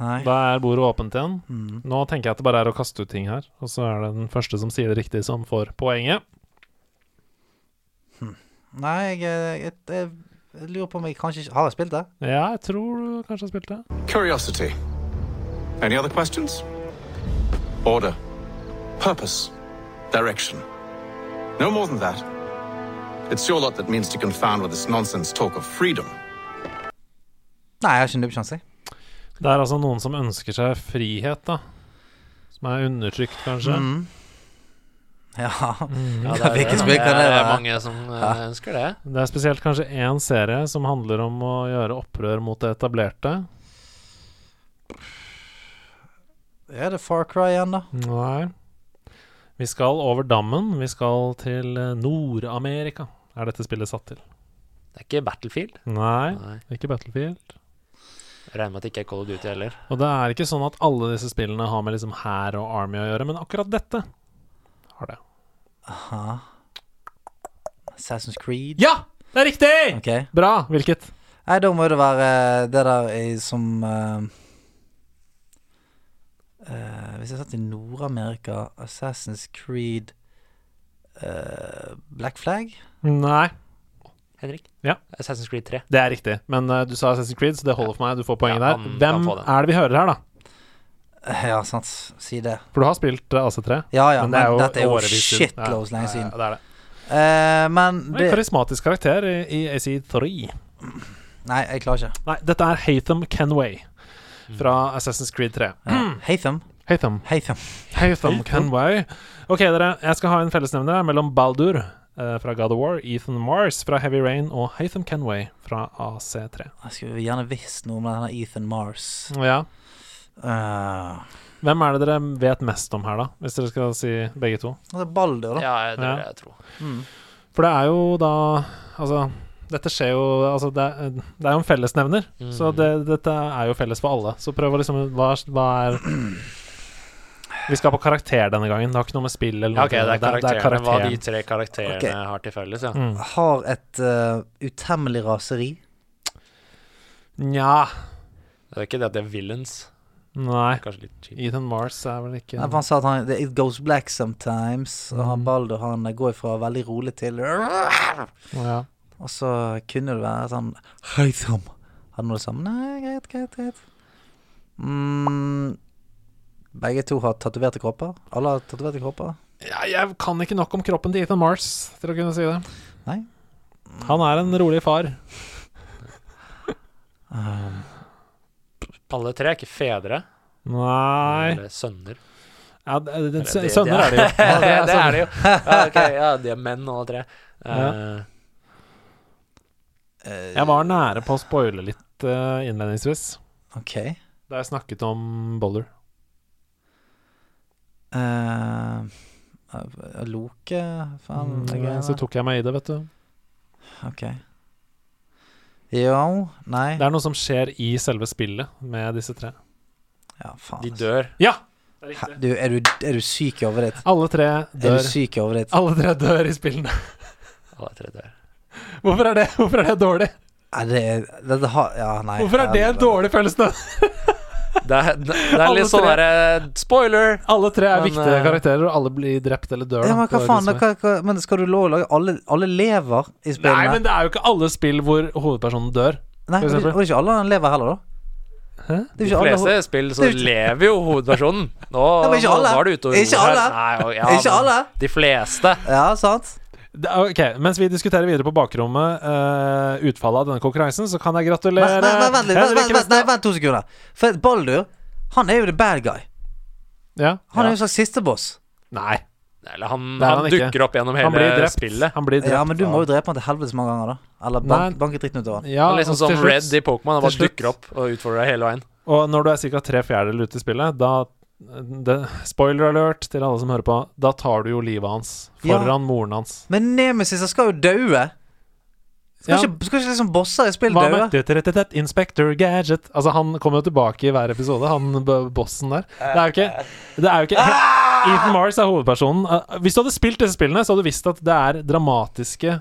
Nei. Da er bordet åpent igjen. Mm. Nå tenker jeg at det bare er å kaste ut ting her, og så er det den første som sier det riktig, som får poenget. Nei, jeg, eh, jeg, jeg, jeg lurer på om jeg kanskje ikke Har jeg spilt det? Ja, jeg tror du kanskje har spilt det. Curiosity. Any other questions? Order. Purpose. Direction. No more than that. It's your lot that means to confound with this nonsense talk of freedom. Nei, jeg har ikke nubbsjanse. jeg. Det er altså noen som ønsker seg frihet, da. Som er undertrykt, kanskje. Mm. Ja. Ja, Ja, hvilken det, spill det kan det er være? mange som eh, ønsker det. Det er spesielt kanskje én serie som handler om å gjøre opprør mot det etablerte. Er det Far Cry igjen, da? Nei. Vi skal over dammen. Vi skal til eh, Nord-Amerika, er dette spillet satt til. Det er ikke Battlefield. Nei, Nei. ikke Battlefield. Jeg Regner med at det ikke er Call of Duty heller. Og det er ikke sånn at alle disse spillene har med liksom hær og army å gjøre, men akkurat dette har det. Aha. Assassin's Creed? Ja! Det er riktig! Ok. Bra. Hvilket? Nei, da må det være eh, det der i, som eh, eh, Hvis jeg satt i Nord-Amerika, Assassin's Creed eh, Black Flag? Nei, Henrik? Ja. Assassin's Creed 3. det er riktig. Men eh, du sa Assassin's Creed, så det holder for meg. Du får poenget Ja, der. han kan Hvem få den. er det vi hører her, da? Eh, Ja, sant. Si det. For du har spilt eh, AC3. Ja ja, men, dette er jo årevis siden. shitloads lenge siden. Ja, det er det. Eh, men Det er En det karismatisk karakter i, i AC3. Nei, jeg klarer ikke. Nei, dette er Hatham Kenway Mm. fra Assassin's Creed 3. Ja. Haytham. Hatham. Haytham. Hatham Kenway. Ok, dere. Jeg skal ha en fellesnevner her mellom Baldur eh, fra God of War, Ethan Mars fra Heavy Rain og Hatham Kenway fra AC3. Jeg skulle gjerne visst noe om denne Ethan Mars. Ja. Eh, Hvem er det dere vet mest om her, da? Hvis dere skal si begge to. det er Balder, da. Ja, det Ja. vil jeg tro. For det er jo da Altså, dette skjer jo Altså, det er, det er jo en fellesnevner. Mm. Så det, dette er jo felles for alle. Så prøv å liksom Hva, hva er Vi skal på karakter denne gangen. Det har ikke noe med spill eller noe Ja, ok, det er karakterene. Hva de karakteren. tre karakterene Ok. har til felles, ja. Mm. Har et eh, utemmelig raseri. Nja Det er ikke det at det er villains. Nei. Kanskje litt cheap. Ethan Mars er vel ikke Nei, for han sa at han, det- It goes black sometimes. Og Mm. han Balder han eh, går fra veldig rolig til Og ja. så kunne det være sånn Hei, Tom. Hadde noe det samme? Nei, greit, greit, greit. Mm, begge to har tatoverte kropper? Alle har tatoverte kropper? ja, Jeg kan ikke nok om kroppen til Ethan Mars til å kunne si det. Nei. Han er en rolig far. Eh, Alle tre er ikke fedre Nei eller sønner. ja, det, det, Eller det- Sønner er det jo. Ja, det, det er er sønner. det jo. Ja, ok, ja, de er menn, alle tre. Eh, Jeg var nære på å spoile litt eh, innledningsvis. Ok. Eh, Da jeg snakket om Boller. eh, Loke? Faen, det Mm, greiene. så tok jeg meg i det, vet du. Ok. Jo Nei. Det er noe som skjer i selve spillet med disse tre. Ja, faen. de altså. dør. Ja! Hæ, Du, er, du, er du syk i hodet ditt? Alle tre Er du dør. syk i hodet ditt? Alle tre dør i spillene. Alle tre dør. Hvorfor er det, hvorfor er det dårlig? Nei, det, det, det har Ja, nei. Hvorfor er det en dårlig følelse? da? Det er, det det er Alle litt sånn tre. derre Spoiler! Alle tre er Men, viktige eh, karakterer, og alle blir drept eller dør. Ja, da. men hva Det er faen? det Da, som er- hva, hva, men skal du lov å lage Alle, alle lever i spillene. Nei, men det er jo ikke alle spill hvor hovedpersonen dør. Nei, for og det, eksempel. og det er ikke alle han lever heller, da. Det Hæ? er De ikke alle fleste spill så det er ikke- lever jo hovedpersonen. Nå, Ja, men ikke nå- alle. nå er du ute og Ikke roer her. alle. Nei, og- ja, Ikke men alle. De fleste. Ja, sant? Det- Ok, Mens vi diskuterer videre på bakrommet eh, utfallet av denne konkurransen, så kan jeg gratulere Vent, vent, vent, vent, litt, vent, Henrik vent, vent, Westad. nei, vent to sekunder. For Baldur, han er jo the bad guy. Ja. Han er ja. jo en slags sisteboss. Nei, Eller han, Det er han, han ikke. dukker opp gjennom han blir hele drept. spillet. Han blir drept Ja, men du av- må jo drepe han til helvetes mange ganger, da. Eller Nei. bank, banke dritten ut av han. ja, Han er og liksom til som slutt- Red i Pokémon. Han til bare slutt- dukker opp og utfordrer deg hele veien. Og når du er ca. tre fjerdedeler ute i spillet, da det, Spoiler alert til alle som hører på. Da tar du jo livet hans foran Ja. moren hans. Men Nemesis han skal jo daue. Skal, Ja. ikke, skal ikke liksom bosser i spill Hva med daue? Tut-tut-tut-tut, Inspector Gadget? Altså Han kommer jo tilbake i hver episode, han b- bossen der. Det er jo ikke, det er jo ikke Ah! Ethan Mars er hovedpersonen. Eh, Hvis du hadde spilt disse spillene, så hadde du visst at det er dramatiske,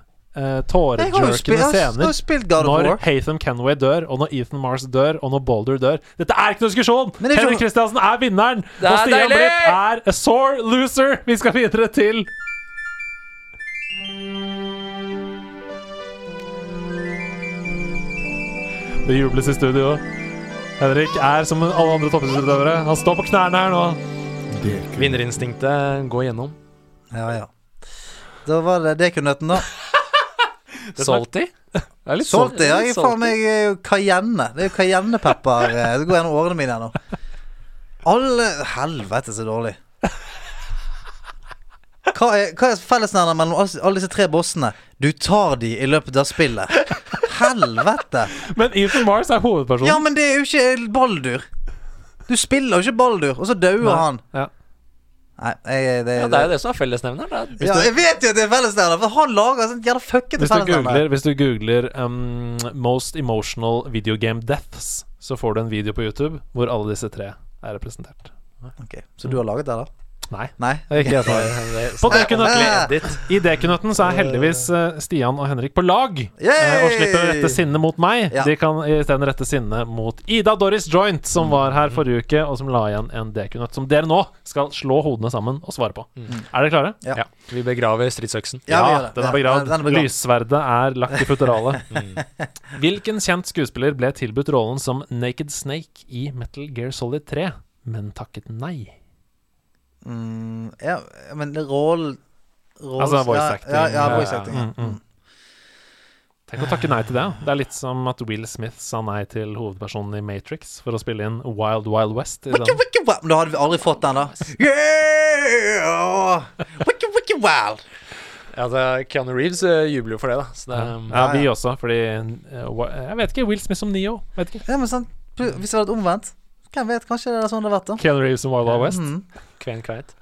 Jeg eh, har jo spilt- tårejerkende jeg har- jeg har scener. spilt God of Når War. Hatham Kenway dør, og når Ethan Mars dør, og når Boulder dør. Dette er ikke noen diskusjon! Men det er ikke- Henrik Kristiansen er vinneren! er Og Stian deilig! Blipp er a sore loser! Vi skal videre til Det jubles i studio. Henrik er som alle andre toppidrettsutøvere. Han står på knærne her nå. Vinnerinstinktet går gjennom. Ja, ja. Da var det dekonøtten, da. Salty? Det er litt Solgte, ja. Jeg, litt faen, salty. jeg er jo cayenne. Det er jo cayennepepper. eh, Det går gjennom årene mine her nå. Alle Helvete, så dårlig. Hva er, hva er fellesnevneren mellom alle alle disse tre bossene? Du tar de i løpet av spillet. Helvete. Men Ethan Mars er hovedpersonen. Ja, men det er jo ikke Baldur. Du spiller jo ikke Baldur, og så dauer han. Ja. Nei, jeg, det, Ja, det er jo det som er fellesnevneren. Det er- ja, jeg vet jo at det er fellesnevner, for han lager sånn jævla fuckete Hvis du fellesnevner. googler, hvis du googler um, 'Most Emotional Video Game Deaths', så får du en video på YouTube hvor alle disse tre er representert. Ok, så du har laget det, da? Nei. Nei? Det er ikke jeg som har- det- På Dekunøtten- Ah, I Dekunøtten så er heldigvis eh, Stian og Henrik på lag eh, og slipper å rette sinnet mot meg. Ja. De kan isteden rette sinnet mot Ida Doris Joint, Mm. som var her forrige uke, og som la igjen en dekunøtt, som dere nå skal slå hodene sammen og svare på. Er dere klare? Mm. Ja. Ja. Vi begraver stridsøksen. Ja, vi gjør det. den er Ja, begravd. den er Mm. begravd. Lyssverdet er lagt i futteralet. Hvilken kjent skuespiller ble tilbudt rollen som Naked Snake i Metal Gear Solid 3, men takket nei? Mm, ja, men det er roll, roll Altså, voice ja, acting. Ja, ja, Ja, voice ja. acting. Mm, mm. Tenk å takke nei til det. Det er litt som at Will Smith sa nei til hovedpersonen i Matrix for å spille inn Wild Wild West. I Wicka, den. wicka, wow. Men da hadde vi aldri fått den, da. Yeah! Wicka, wicka, wow. Ja, det, Keanu Reeves eh, jubler jo for det, da. Så det, Um, um, Ja, vi også, fordi eh, wa- Jeg vet ikke. Will Smith som Neo. Vet ikke. Ja, men sant? Hvis det hadde vært omvendt, hvem vet? Kanskje det er sånn det har vært, da. Keanu Reeves som Wild Wild West. Mm. Kven kveit.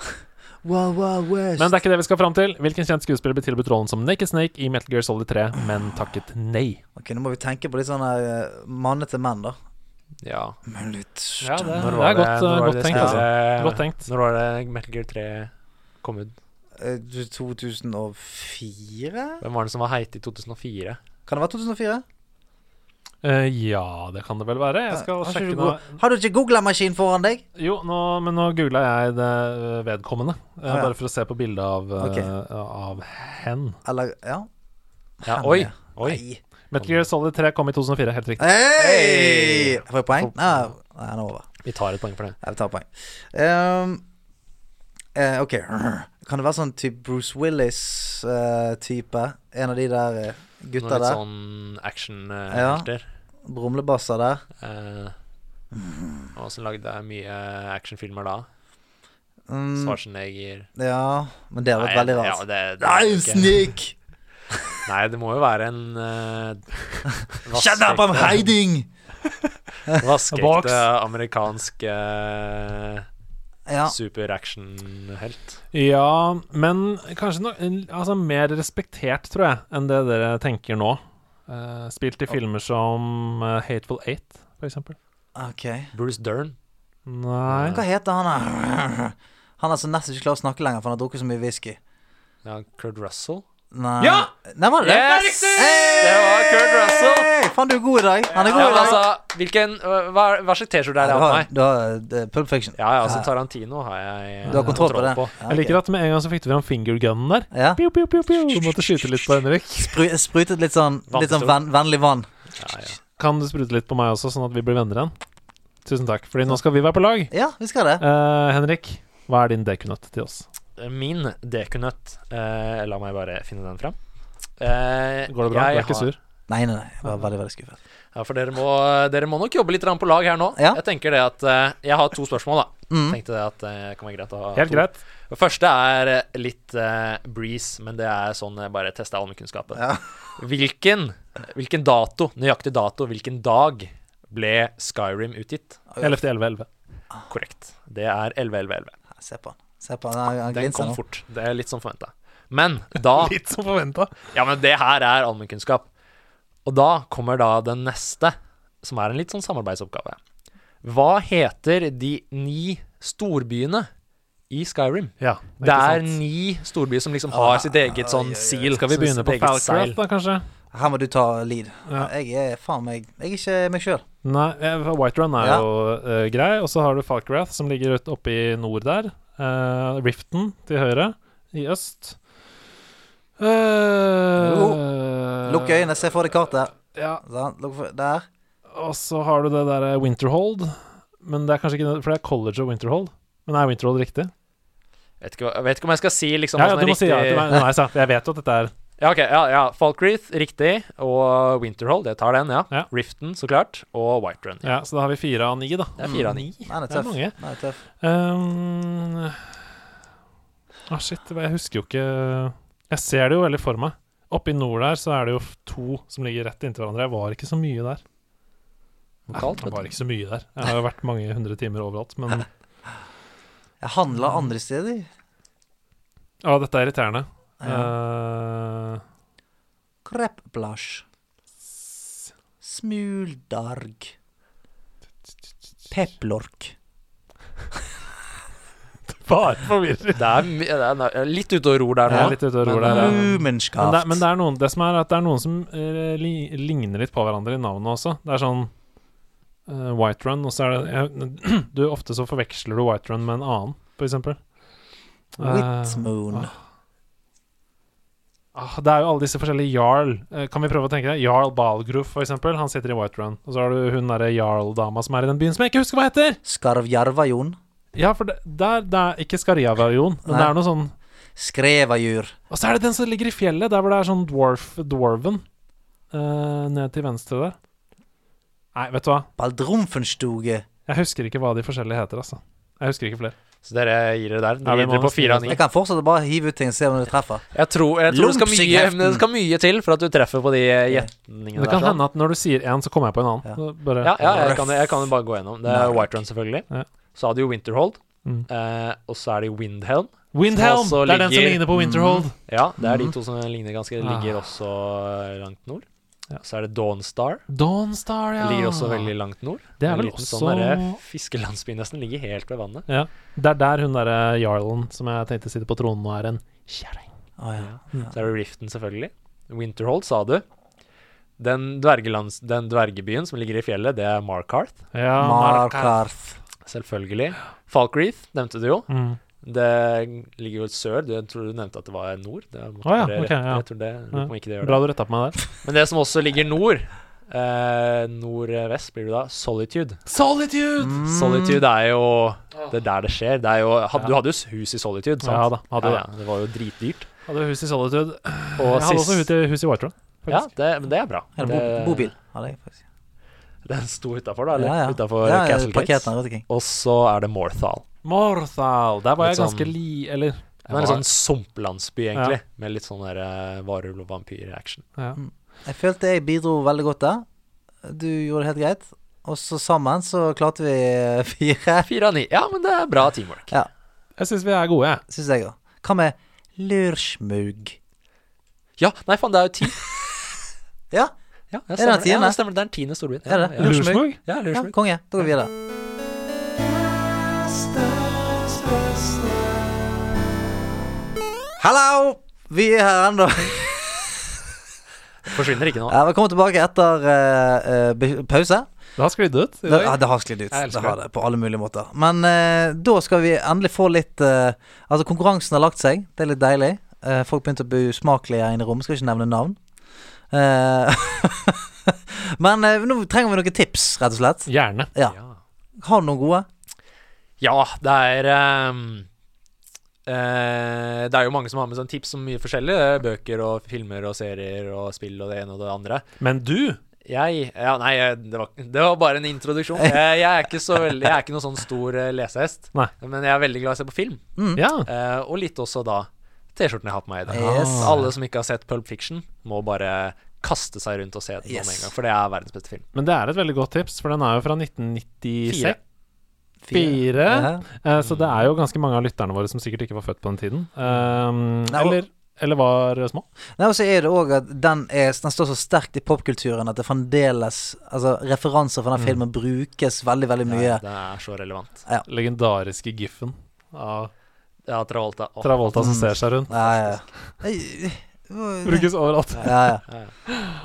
Wow, wow, west. Men det er ikke det vi skal fram til. Hvilken kjent skuespiller ble tilbudt rollen som Naked Snake i Metal Gear Solid 3, men takket nei? Ok, Nå må vi tenke på litt sånn her eh, mannete menn, da. Ja. Men litt Ja, det, Når det var er godt, når eh, var godt det tenkt, skal altså. spillet- Godt tenkt. Eh, Når var det Metal Gear 3 kom ut? Eh, 2004? Hvem var det som var heite i 2004? Kan det være 2004? Eh, ja, det kan det vel være. Jeg skal Har ikke sjekke du nå. go- Har du ikke googlemaskin foran deg? Jo, nå, men nå googla jeg det eh, vedkommende. eh, Ah, ja. Bare for å se på bildet av, eh, Ok. av hen. Eller Ja. Ja, Hen, oi! ja. Oi. Nei. Metal Gear Solid 3 kom i 2004, helt riktig. Hei! Får jeg poeng? Nei, nei, nå er det over. Vi tar et poeng for det. Jeg tar poeng. Ehm, eh, ok. Kan det være sånn type Bruce Willis-type? en av de der eh, Noen gutta litt der? sånn Ja. actionhelter. Brumlebasser der? Eh, og så lagde jeg mye actionfilmer da. Mm, Schwarzenegger ja Men det har vært Nei, veldig Ja, rart. det, det er Nei, ikke- snik! Nei, det må jo være en uh, Shut up, I'm hiding! Box. vaskeekte amerikansk eh, Ja. superactionhelt. Ja, men kanskje no, altså, mer respektert, tror jeg, enn det dere tenker nå. Eh, spilt i filmer som eh, Hateful Eight, for eksempel. Ok. Bruce Dern. Nei Hva heter han her? Han er som nesten ikke klarer å snakke lenger, for han har drukket så mye whisky. Ja, Kurt Russell. Nei. Ja! Nei, var det det? Yes! Det er riktig! Hey! Det var Kurt Russell. Faen, du er god i dag. Han er god i Ja, men dag. altså, hvilken, hva, hva slags T-skjorte du er det jeg har på har, meg? du har eh, Pulp Fiction. Ja, ja, altså Tarantino har jeg eh, Du har kontroll på det. Ja, Jeg liker at med en gang så fikk du fram fingergunnen der. Ja. Pew, pew, pew, pew. Du måtte skyte litt på Henrik. Spru, sprutet litt sånn, litt sånn Vannpistol. venn, vennlig vann. Kan du sprute litt på meg også, sånn at vi blir venner igjen? Tusen takk, Fordi nå skal vi være på lag. Ja, vi skal det. Eh, Henrik, hva er din dekunøtt til oss? Min dekunøtt eh, La meg bare finne den fram. Eh, Går det bra? jeg Du er ikke har- sur? Nei, nei, nei. Jeg var veldig, veldig skuffet. Ja, for dere må, dere må nok jobbe litt grann på lag her nå. Ja. Jeg tenker det at eh, Jeg har to spørsmål, da. Mm. Tenkte det at eh, kan være greit å ha Helt to. greit. Det første er eh, litt eh, breeze, men det er sånn jeg bare teste allmennkunnskapen. Ja. Hvilken, hvilken dato, nøyaktig dato, hvilken dag ble Skyrim utgitt? 11.11.11. Korrekt. Det er 11.11.11. Se på han. Se på han. Han, han Den glinser kom nå. fort. Det er litt som forventa. Men da Litt som forventa. Ja, men det her er allmennkunnskap. Og da kommer da den neste, som er en litt sånn samarbeidsoppgave. Hva heter de ni storbyene i Skyrim? Ja, Det er ikke sant. ni storbyer som liksom har sitt eget sånn seal. Skal vi sitt begynne på eget Falcraft, seil. da, kanskje? Her må du ta lead. Ja. Jeg er faen meg Jeg er ikke meg sjøl. Nei, eh, White Run er Ja. jo eh, grei. Og så har du Falkgrath, som ligger ut oppe i nord der. Eh, Riften til høyre, i øst. Eh, Lukk øynene, se for deg kartet. Ja, Sånn, lukk for- Der. og så har du det derre Winterhold. Men det er kanskje ikke For det er College og Winterhold. Men er Winterhold riktig? Vet ikke, hva- jeg vet ikke om jeg skal si liksom Ja, hva ja, som du er må si ja. til meg. riktig. Nei, sa jeg. jeg vet jo at dette er Ja, ok, ja, ja. Falkreath, riktig. Og Winterhold, jeg tar den, ja. Ja. Riften, så klart. Og Whiterun. Ja, så da har vi fire av ni, da. Det er fire av ni. Den er Det er tøff. mange. Den er tøff. Um, ah, shit, jeg husker jo ikke Jeg ser det jo veldig for meg. Oppe i nord der så er det jo f- to som ligger rett inntil hverandre. Jeg var ikke så mye der. Lokalt, Jeg vet var du. ikke så mye der. Jeg har jo vært mange hundre timer overalt, men Jeg handla andre steder. Ja, dette er irriterende. Ja. Eh, Kreppblasj. Smuldarg. Peplork. bare forvirret. Det er, mi- det er litt ute og ror der Jeg nå. er litt ute og ror Mm. der. ja. Men, det, Lumenskaft. men det, er noen, det som er at det er noen som eh, li, ligner litt på hverandre i navnet også. Det er sånn eh, White Run, og så er det jeg, du, Ofte så forveksler du White Run med en annen, for eksempel. Eh, Whitmoon. ah, det er jo alle disse forskjellige Jarl. Eh, kan vi prøve å tenke det? Jarl Balgruf, for eksempel. Han sitter i White Run. Og så har du hun derre Jarl-dama som er i den byen som jeg ikke husker hva heter! Skarvjarvajon. Ja, for det, der, det er ikke Skarjavajon, men det Nei. er noe sånn Skrevajur. Og så er det den som ligger i fjellet, der hvor det er sånn dwarf, dwarven. eh, ned til venstre der. Nei, vet du hva? Baldrumfenstuge. Jeg husker ikke hva de forskjellige heter, altså. Jeg husker ikke flere. Så dere gir dere Ja, der. vi Dere gir må dere på nesten fire gi av ni. oss Jeg kan fortsette bare hive ut ting og se om det treffer. Jeg tror, jeg tror det, skal Lumps i mye, kjeften. det skal mye til for at du treffer på de gjetningene det kan der. sånn. hende at når du sier én, så kommer jeg på en annen. Ja. Så Bare, Ja, ja jeg, kan, jeg kan jo bare gå gjennom. Det er Whiterun, selvfølgelig. Ja. Så har de jo Winterhold. Mm. Eh, og så er det Windhelm. Windhelm! Som også Det er den som ligger- ligner på Winterhold. Ja, det er de to som ligner ganske Ligger Mhm. Ah. også eh, langt nord. Ja. Så er det Dawnstar. Dawnstar, ja. Ligger også veldig langt nord. Det er En vel liten også- sånn derre fiskelandsby, nesten. Ligger helt ved vannet. ja. Det er der hun derre jarlen som jeg tenkte sitter på tronen nå, er en kjerring. Å ja. Så er det Riften, selvfølgelig. Winterhold, sa du. Den, dvergelands, den dvergebyen som ligger i fjellet, det er Markarth. Ja, Markarth. Selvfølgelig. Falkreath nevnte du jo. Mm. Det ligger jo et sør. Du, jeg tror du nevnte at det var nord. Det måtte Å ja, ok, være rett. ja. Jeg tror det, lurer på om ikke det gjør Bra det. du retta på meg der. Men det som også ligger nord, eh, nordvest, blir det da Solitude. Solitude! Mm. Solitude er jo Det er der det skjer. Det er jo, had, Du hadde jo hus i Solitude, sant? Ja da, hadde det. ja, ja, det var jo dritdyrt. Hadde hus i Solitude. Og Jeg hadde sist også hus i, hus i Whiterun. Ja, det, men det er bra. Er det Det- bo- bobil? Ja, det er faktisk. Den sto utafor, da? Eller Ja, ja. utenfor ja, Castle parkert Gates. den rundt omkring. Og så er det Morthal. Morthal. Der var Litt jeg ganske sånn- li... Eller Det er en sånn sumplandsby, Ja. egentlig, med litt sånn der eh, varulv- og vampyr-action. ja. Jeg følte jeg bidro veldig godt der. Du gjorde det helt greit. Og så sammen så klarte vi eh, fire, Fire av ni. Ja, men det er bra teamwork. Jeg syns vi er gode, jeg. syns jeg òg. Hva med lursmug? Ja, nei faen, det er jo ti. Ja, Ja, Er det den tiende? Ja, det stemmer. Det er den tiende storbyen. Er det? Ja, Lursmug? Lursmug? ja, ja, Lursmug. konge. Da går vi videre. Hallo! Vi er her ennå. Forsvinner ikke nå. Ja, Velkommen tilbake etter eh, eh, be- pause. Det har sklidd ut i Det, ja, dag. det har sklidd ut. Jeg Det elsker har det på alle mulige måter. Men eh, da skal vi endelig få litt eh, Altså, konkurransen har lagt seg. Det er litt deilig. Eh, folk begynte å bli usmakelige her inne i rommet. Skal ikke nevne navn. Eh, men eh, nå trenger vi noen tips, rett og slett. Gjerne. Ja. Har du noen gode? Ja, det er ehm, eh, Det er jo mange som har med sånn tips om mye forskjellig. Det er Bøker og filmer og serier og spill og det ene og det andre. Men du Jeg Ja, nei, jeg- det var, det var bare en introduksjon. Jeg, jeg er ikke så veldig Jeg er ikke noen sånn stor eh, lesehest. Nei. Men jeg er veldig glad i å se på film. Mm. Ja. Eh, og litt også da T-skjorten jeg har på meg i dag. Ah. Yes. Alle som ikke har sett Pulp Fiction, må bare kaste seg rundt og se den Yes. om en gang. For det er verdens beste film. Men det er et veldig godt tips, for den er jo fra 1996. Fire. Ja. Eh, Så det er jo ganske mange av lytterne våre som sikkert ikke var født på den tiden. Mm. Um, Nei, og- eller, eller var små. Nei, og så er det òg at den, er, den står så sterkt i popkulturen at det fremdeles Altså, referanser fra den filmen brukes veldig, veldig mye. Den er så relevant. Legendariske giffen av Ja, Travolta. Åh, Travolta som altså- ser seg rundt. Ja, ja. ja. Brukes overalt. ja, ja.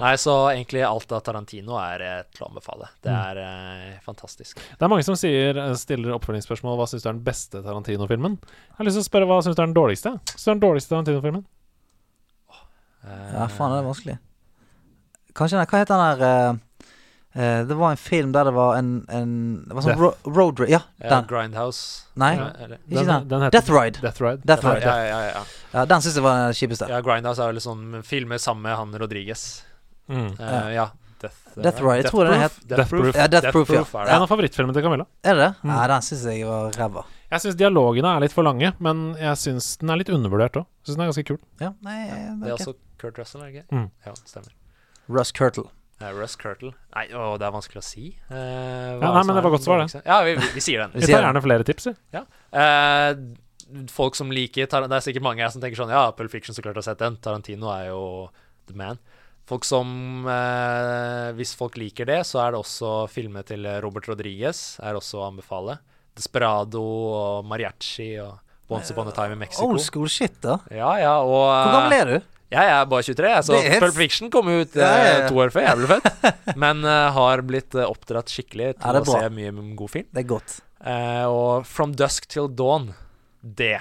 Nei, så egentlig alt av Tarantino er eh, til å anbefale. Mm. Det er eh, fantastisk. Det er mange som sier, eh, stiller oppfølgingsspørsmål hva syns du er den beste Tarantino-filmen. Jeg har lyst til å spørre hva syns du er den dårligste. Syns du er den dårligste Tarantino-filmen? Eh, Ja, faen, det er vanskelig. Kanskje den Hva het den der eh, eh, Det var en film der det var en, en Det var sånn Death. ro, road ra- Ja, Ja, den. Grindhouse. Nei, Ja, eller- ikke den. den heter Death Ride. Death Ride. Death ja, Ride. ja, ja, ja. Ja, den syns jeg var den kjipeste. ja, Grindhouse er vel sånn filmer sammen med han Rodriguez. Mm. Ja. Eh, ja. Death, Death Ride, jeg tror det Proof? het- Death Death Proof. Proof. Ja, Death Proof, ja. er det. En av favorittfilmene til Camilla. Er det det? Nei, den syns jeg var ræva. Jeg syns dialogene er litt for lange, men jeg syns den er litt undervurdert òg. Syns den er ganske kul. Ja, nei, Det er ok. også Kurt Russell, er det ikke? Mm. Ja, det stemmer. Russ Curtle. Eh, Russ Kurtle. Nei, å, det er vanskelig å si. Eh, hva Ja, er nei, som men er det var den godt svar, det. dårligste? Ja, vi, vi, vi sier den. Vi Vi sier tar det. gjerne flere tips, vi. Ja. Eh, folk som liker Tar- Det er sikkert mange her som tenker sånn Ja, Pulp Fiction, så klart jeg har sett den. Tarantino er jo the man. Folk som eh, Hvis folk liker det, så er det også filmer til Robert Rodriguez er også å anbefale. Desperado og Mariachi og Once Upon a Time in Mexico. Old school shit, da. Ja, ja, og eh, Hvor gammel er du? Jeg er bare 23, jeg, så Det er helt- Pulp Fiction kom ut eh, Ja, ja, ja. to år før jeg ble født. Men eh, har blitt eh, oppdratt skikkelig Ja, til det er å bra. se mye m- god film. Det er godt. Eh, og From Dusk Till Dawn, det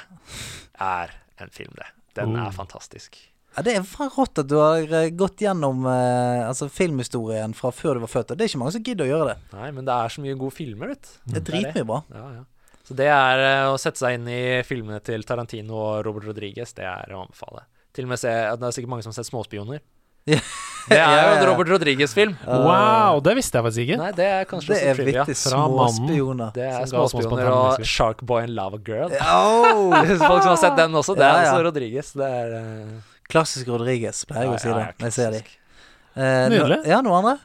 er en film, det. Den Oh. er fantastisk. Ja, det er faen rått at du har eh, gått gjennom eh, altså filmhistorien fra før du var født. Og det er ikke mange som gidder å gjøre det. Nei, men det er så mye gode filmer, vet du. Det er dritmye bra. Ja, ja. Så det er eh, å sette seg inn i filmene til Tarantino og Robert Rodriguez, det er å anbefale. Til og med se, Det er sikkert mange som har sett Småspioner. Ja. Det er jo Ja, en ja. Robert Rodriguez-film. Øh, Wow, det visste jeg faktisk ikke. Nei, det er kanskje Eh, Det også er trivia. viktig. Fra Små mannen. spioner. Det er Som ga oss masse Småspioner spontane og mennesker. Sharkboy and Lava Girl. Au! Folk som har sett den også. Det er Ja, ja. også Rodriguez. Det er eh, Klassisk Rodriguez, pleier jeg å si ja, det. ja, Jeg ser de. klassisk. Eh, no- Nydelig. Ja, noe andre?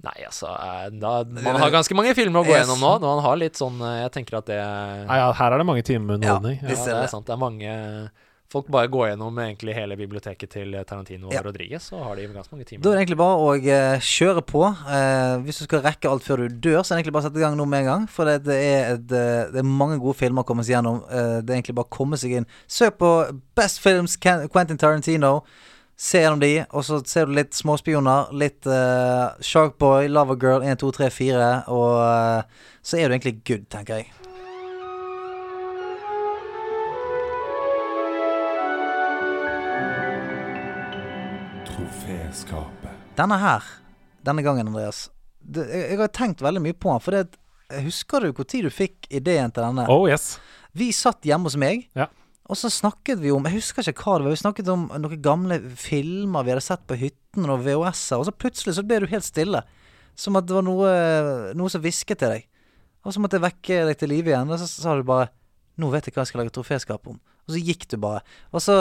Nei, altså eh, da, Man har ganske mange filmer å gå Yes. gjennom nå. Når man har litt sånn eh, Jeg tenker at det Nei, ja, her er det mange timer med Ja, underholdning. Ja. vi Ja, ser det det. er sant. Det er mange Folk bare går gjennom egentlig hele biblioteket til eh, Tarantino og Ja. Rodriguez, så har de ganske mange Da er timer. det egentlig bare å eh, kjøre på. Eh, hvis du skal rekke alt før du dør, så er det egentlig bare å sette i gang nå med en gang. For det, det, er, et, eh, det er mange gode filmer å komme seg gjennom. Eh, det er egentlig bare å komme seg inn. Søk på Best Films Ken- Quentin Tarantino. Se gjennom de, og så ser du litt småspioner. Litt eh, Sharkboy, Lava Girl 1, 2, 3, 4. Og eh, så er du egentlig good, tenker jeg. Troféskapet. Denne her, denne gangen, Andreas. Det, jeg, jeg har tenkt veldig mye på den. For det, at- husker du når du fikk ideen til denne? Oh yes. Vi satt hjemme hos meg, Ja. og så snakket vi om Jeg husker ikke hva det var. Vi snakket om noen gamle filmer vi hadde sett på hytten, og VHS-er, og så plutselig så ble du helt stille. Som at det var noe, noe som hvisket til deg. Og så måtte jeg vekke deg til live igjen, og så sa du bare 'Nå vet jeg hva jeg skal lage troféskap om'. Og så gikk du bare. Og så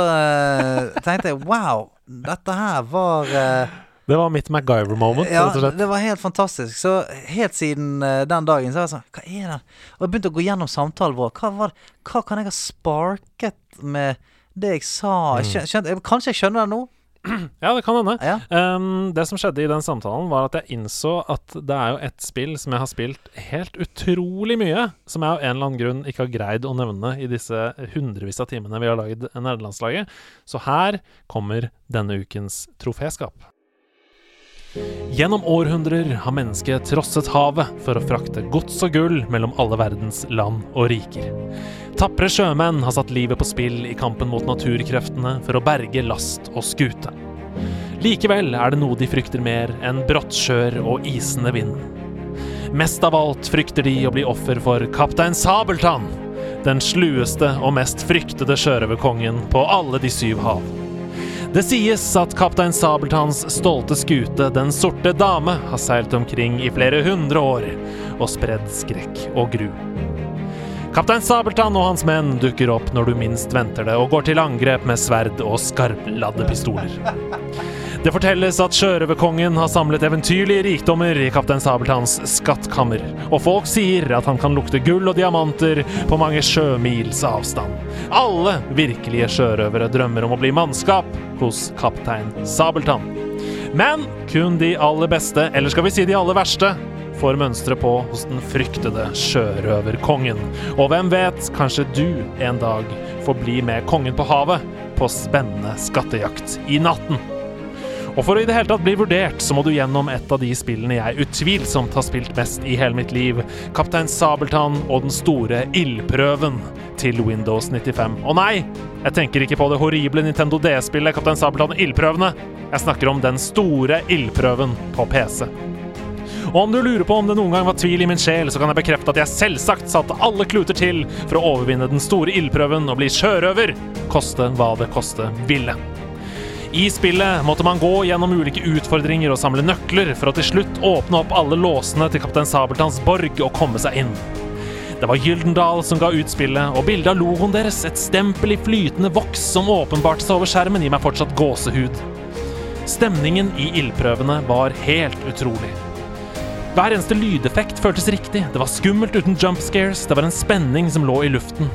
eh, tenkte jeg 'wow, dette her var eh, Det var mitt MacGyver-moment, ja, rett og slett. det var helt fantastisk. Så helt siden eh, den dagen så var jeg sånn Hva er den? Og jeg begynte å gå gjennom samtalen vår. Hva, var, det- Mm. hva kan jeg ha sparket med det jeg sa? Jeg skjøn- skjønte, jeg, kanskje jeg skjønner det nå. Ja, det kan hende. Ja. Ehm, det som skjedde i den samtalen, var at jeg innså at det er jo et spill som jeg har spilt helt utrolig mye, som jeg av en eller annen grunn ikke har greid å nevne i disse hundrevis av timene vi har lagd Nerdelandslaget. Så her kommer denne ukens troféskap. Gjennom århundrer har mennesket trosset havet for å frakte gods og gull mellom alle verdens land og riker. Tapre sjømenn har satt livet på spill i kampen mot naturkreftene for å berge last og skute. Likevel er det noe de frykter mer enn brått sjøer og isende vind. Mest av alt frykter de å bli offer for kaptein Sabeltann, den slueste og mest fryktede sjørøverkongen på alle de syv hav. Det sies at kaptein Sabeltanns stolte skute Den sorte dame har seilt omkring i flere hundre år og spredd skrekk og gru. Kaptein Sabeltann og hans menn dukker opp når du minst venter det, og går til angrep med sverd og skarpladde pistoler. Det fortelles at sjørøverkongen har samlet eventyrlige rikdommer i kaptein Sabeltanns skattkammer, og folk sier at han kan lukte gull og diamanter på mange sjømils avstand. Alle virkelige sjørøvere drømmer om å bli mannskap hos kaptein Sabeltann. Men kun de aller beste, eller skal vi si de aller verste, får mønstre på hos den fryktede sjørøverkongen. Og hvem vet, kanskje du en dag får bli med kongen på havet på spennende skattejakt i natten. Og for å i det hele tatt bli vurdert, så må du gjennom et av de spillene jeg utvilsomt har spilt mest i hele mitt liv. Kaptein Sabeltann og den store ildprøven til Windows 95. Og nei, jeg tenker ikke på det horrible Nintendo DS-spillet Kaptein Sabeltann og ildprøvene. Jeg snakker om den store ildprøven på PC. Og om du lurer på om det noen gang var tvil i min sjel, så kan jeg bekrefte at jeg selvsagt satte alle kluter til for å overvinne den store ildprøven og bli sjørøver, koste hva det koste ville. I spillet måtte man gå gjennom ulike utfordringer og samle nøkler for å til slutt åpne opp alle låsene til kaptein Sabeltanns borg og komme seg inn. Det var Gyldendal som ga ut spillet, og bildet av logoen deres, et stempel i flytende voks som åpenbarte seg over skjermen, gir meg fortsatt gåsehud. Stemningen i ildprøvene var helt utrolig. Hver eneste lydeffekt føltes riktig. Det var skummelt uten jump scares. Det var en spenning som lå i luften.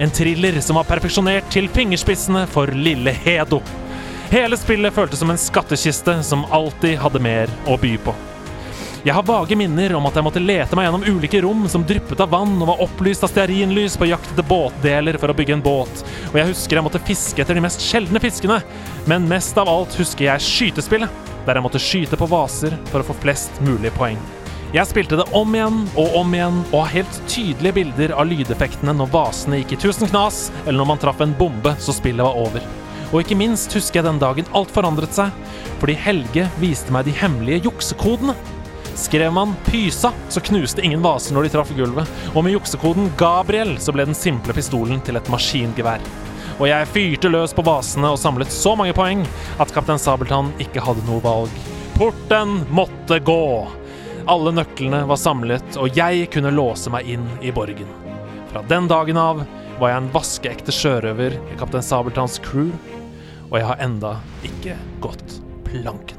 En thriller som var perfeksjonert til fingerspissene for lille Hedo. Hele spillet føltes som en skattkiste som alltid hadde mer å by på. Jeg har vage minner om at jeg måtte lete meg gjennom ulike rom som dryppet av vann og var opplyst av stearinlys på jakt etter båtdeler for å bygge en båt, og jeg husker jeg måtte fiske etter de mest sjeldne fiskene, men mest av alt husker jeg skytespillet, der jeg måtte skyte på vaser for å få flest mulig poeng. Jeg spilte det om igjen og om igjen og har helt tydelige bilder av lydeffektene når vasene gikk i tusen knas, eller når man traff en bombe så spillet var over. Og ikke minst husker jeg den dagen alt forandret seg, fordi Helge viste meg de hemmelige juksekodene. Skrev man 'pysa', så knuste ingen vaser når de traff gulvet, og med juksekoden 'Gabriel' så ble den simple pistolen til et maskingevær. Og jeg fyrte løs på vasene og samlet så mange poeng at kaptein Sabeltann ikke hadde noe valg. Porten måtte gå! Alle nøklene var samlet, og jeg kunne låse meg inn i borgen. Fra den dagen av var jeg en vaskeekte sjørøver i kaptein Sabeltanns crew, og jeg har enda ikke gått planken.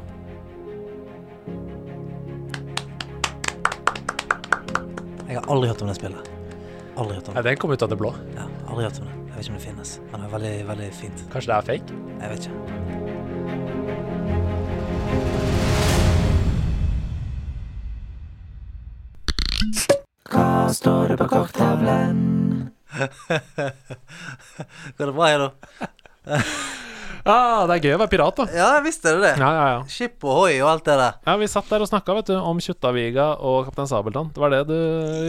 Jeg har aldri hørt om det spillet. Aldri hørt om Ja, det. den kom ut av det blå. Ja, aldri hørt om det. Jeg vet ikke om det finnes, men det er veldig, veldig fint. Kanskje det er fake? Jeg vet ikke. Går det bra, Hedo? Ah, det er gøy å være pirat, da. Ja, visste du det. Ja, ja, ja. Skip ohoi og alt det der. ja Vi satt der og snakka om Kjuttaviga og Kaptein Sabeltann. Det var det du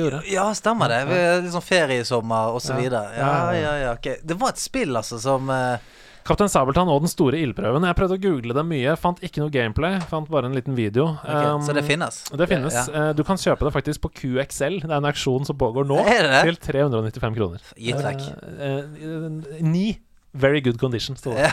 gjorde. Ja, stemmer det. Vi er litt sånn feriesommer og så videre. Ja, ja, ja. ok Det var et spill, altså, som eh, Kaptein Sabeltann og Den store ildprøven. Jeg prøvde å google det mye. Fant ikke noe gameplay. Fant bare en liten video. ok, Så det Um, finnes? Det finnes. Ja. Eh, Du kan kjøpe det faktisk på QXL. Det er en auksjon som pågår nå, Er det det? til 395 kroner. Gitt vekk. Eh, eh, Ni. Very good condition, sto det.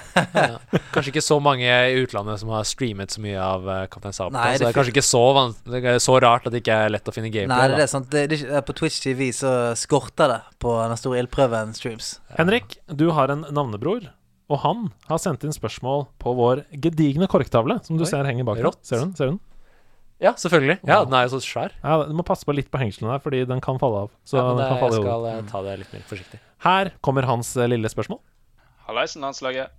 Kanskje ikke så mange i utlandet som har streamet så mye av eh, Kaptein Sabeltann. Nei, det så det er kanskje ikke så, van det er så rart at det ikke er lett å finne Nei, gameplay. det er det, sant. Det, det, er ikke- på Twitch TV så skorter det på den store ildprøven streams. Henrik, du har en navnebror, og han har sendt inn spørsmål på vår gedigne korktavle, som du ser henger bak deg. rått. Ser du den? Ser du den? da. Ja, selvfølgelig. Ja, Den er jo så svær. Ja, du må passe på litt på hengslene der, fordi den kan falle av. Så Ja, men den kan det, jeg falle i hodet. skal eh, ta det litt mer forsiktig. Her kommer hans eh, lille spørslandslaget. Hallaisen, landslaget.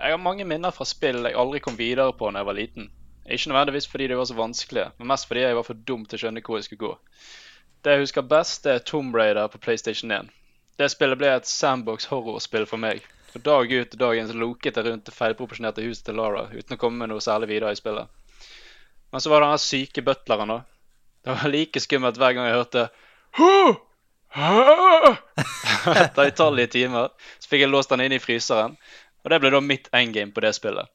Jeg har mange minner fra spill jeg aldri kom videre på når jeg var liten. Ikke nødvendigvis fordi de var så vanskelige, men mest fordi jeg var for dum til å skjønne hvor jeg skulle gå. Det jeg husker best, det er Tomb Raider på PlayStation 1. Det spillet ble et sandbox horrorspill for meg. For dag ut og dag inn så loket jeg rundt det feilproporsjonerte huset til Lara uten å komme med noe særlig videre i spillet. Men så var det den her syke butleren, da. Det var like skummelt hver gang jeg hørte «Huh! Huh!» etter utallige timer. Så fikk jeg låst den inn i fryseren. Og det ble da mitt endgame på det spillet.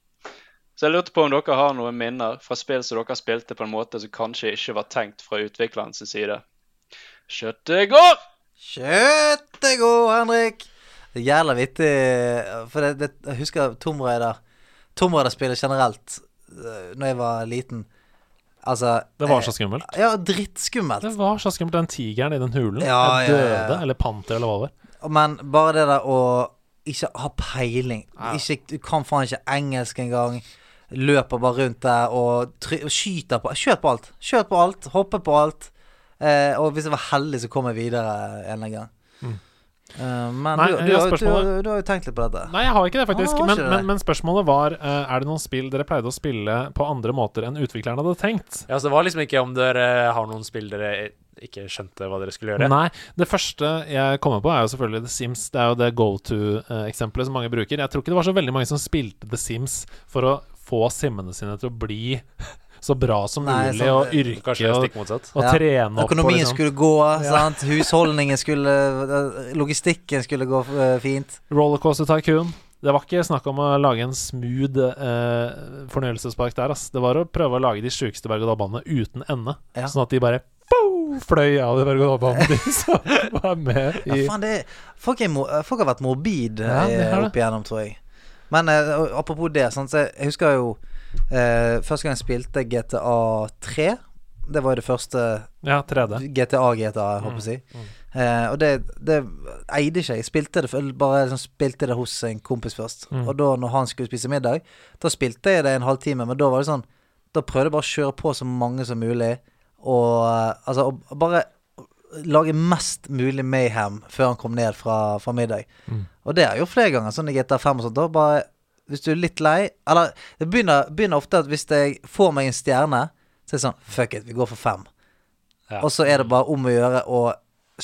Så jeg lurte på om dere har noen minner fra spill som dere spilte på en måte som kanskje ikke var tenkt fra utviklerens side. Kjøttet går! Kjøttet god, Henrik! Det er jævla vittig. For det, det, jeg husker Tomb Raider. Tomb Raider-spillet generelt, øh, Når jeg var liten. Altså Det var så skummelt. eh, Ja, drittskummelt. Det var så skummelt, den tigeren i den hulen. Ja, jeg ja, døde, ja, ja. eller panter, eller hva det var. Men bare det der å ikke ha peiling ikke, Du kan faen ikke engelsk engang. Løper bare rundt der og try og skyter på Skjøt på alt. Skjøt på alt. Hoppe på alt. Eh, og hvis jeg var heldig, så kom jeg videre en eller annen gang. Eh, men Mm. Nei, du, du, ja, har- du, du, spørsmålet- du har jo tenkt litt på dette. Nei, jeg har ikke det, faktisk. Ah, har ikke men, det? men, men spørsmålet var eh, Er det noen spill dere pleide å spille på andre måter enn utvikleren hadde tenkt? Ja, så det var liksom ikke om dere har noen spill dere eh, ikke skjønte hva dere skulle gjøre. Nei. Det første jeg kommer på, er jo selvfølgelig The Sims. Det er jo det go to-eksempelet som mange bruker. Jeg tror ikke det var så veldig mange som spilte The Sims for å få simmene sine til å bli så bra som Nei, mulig, sånn- og yrke Kanskje det er og, stikk motsatt. og Ja. trene opp og Økonomien liksom- skulle gå, sant? husholdningen skulle eh, Logistikken skulle gå eh, fint. Rollercoaster Tycoon. Det var ikke snakk om å lage en smooth eh, fornøyelsespark der, ass. Det var å prøve å lage de sjukeste berg-og-dal-banene uten ende. Ja. Sånn at de bare pow, fløy av de berg-og-dal-banene de som var med Ja, i faen, det er, folk, er, mo- eh, folk har vært morbid Ja, de eh, har det. opp igjennom, tror jeg. Men eh, og apropos det, sant, så jeg, jeg husker jo eh, Første gang jeg spilte GTA 3. Det var jo det første Ja, 3D. GTA-GTA, jeg håper å si. Eh, og det, det eide ikke jeg. Jeg spilte det, for- bare liksom spilte det hos en kompis først. Og da når han skulle spise middag, da spilte jeg det en halvtime, men da var det sånn Da prøvde jeg bare å kjøre på så mange som mulig, og eh, altså og bare lage mest mulig mayhem før han kom ned fra, fra middag. Og det har jeg gjort flere ganger, sånn i GTA5 og sånt. Da bare Hvis du er litt lei Eller det begynner, begynner ofte at hvis jeg får meg en stjerne, så er det sånn Fuck it, vi går for fem. Ja. Og så er det bare om å gjøre å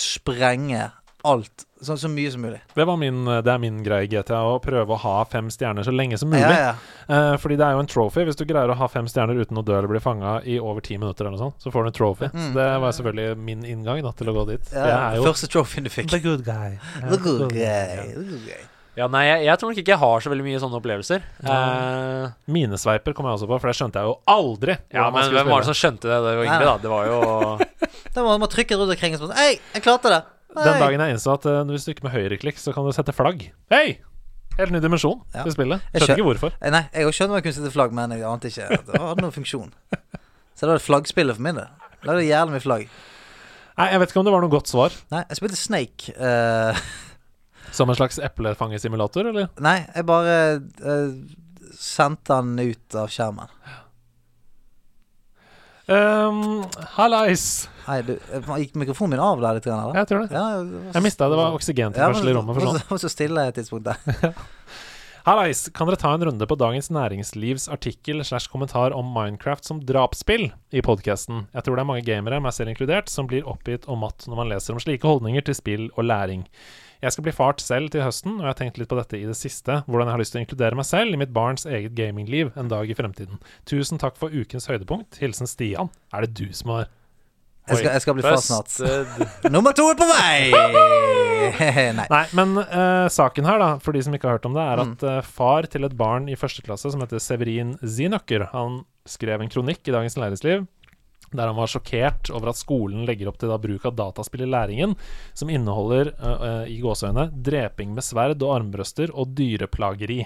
sprenge alt. Så, så mye som mulig. Det, var min, eh, det er min greie i GTA, å prøve å ha fem stjerner så lenge som mulig. Ja, ja. Eh, fordi det er jo en trophy. Hvis du greier å ha fem stjerner uten å dø eller bli fanga i over ti minutter, eller noe sånt, så får du en trophy. Så det var selvfølgelig min inngang da, til å gå dit. Mm. ja. Jeg er jo Første trophyen du fikk. The good guy. good guy. The good guy. Ja, nei, jeg, jeg tror nok ikke jeg har så veldig mye sånne opplevelser. Eh, Minesveiper kom jeg også på, for det skjønte jeg jo aldri. ja, hvordan man men skulle hvem var spille. det som skjønte det da vi var yngre, da? Det var jo Da må man trykke rundt omkring og sånn Hei, jeg klarte det! Den Hei!» dagen jeg innså at eh, hvis du ikke med høyreklikk, så kan du sette flagg. Hei! Helt ny dimensjon Ja. til spillet. Jeg Skjønner skjø- ikke hvorfor. Eh, Nei, jeg skjønner man kunne sette flagg, men jeg ante ikke at det hadde noen funksjon. Så det var et flaggspillet for min del. Lagde jævlig mye flagg. Nei, Jeg vet ikke om det var noe godt svar. Nei, jeg spilte Snake. eh, Som en slags eplefangesimulator, eller? nei, jeg bare eh, sendte han ut av skjermen. Um, Hallais! Hei, du, eh, gikk mikrofonen min av der litt, grann, eller? Jeg tror det. Ja, det var så- Jeg mista det var Ja, men- oksygentilførsel i rommet. for sånn Det var så stille et tidspunkt der. Hallais! Kan dere ta en runde på Dagens Næringslivs artikkel slash kommentar om Minecraft som drapsspill i podkasten? Jeg tror det er mange gamere, meg selv inkludert, som blir oppgitt og matt når man leser om slike holdninger til spill og læring. Jeg skal bli fart selv til høsten, og jeg har tenkt litt på dette i det siste, hvordan jeg har lyst til å inkludere meg selv i mitt barns eget gamingliv en dag i fremtiden. Tusen takk for ukens høydepunkt. Hilsen Stian. Er det du som har Jeg skal, jeg skal bli far snart. busted. Nummer to er på vei! Nei. Nei, men eh, saken her, da, for de som ikke har hørt om det, er at eh, far til et barn i første klasse som heter Severin Zinøkker, han skrev en kronikk i Dagens Læringsliv der han var sjokkert over at skolen legger opp til da bruk av dataspill i læringen, som inneholder, eh, eh, i gåseøyne, dreping med sverd og armbrøster og dyreplageri.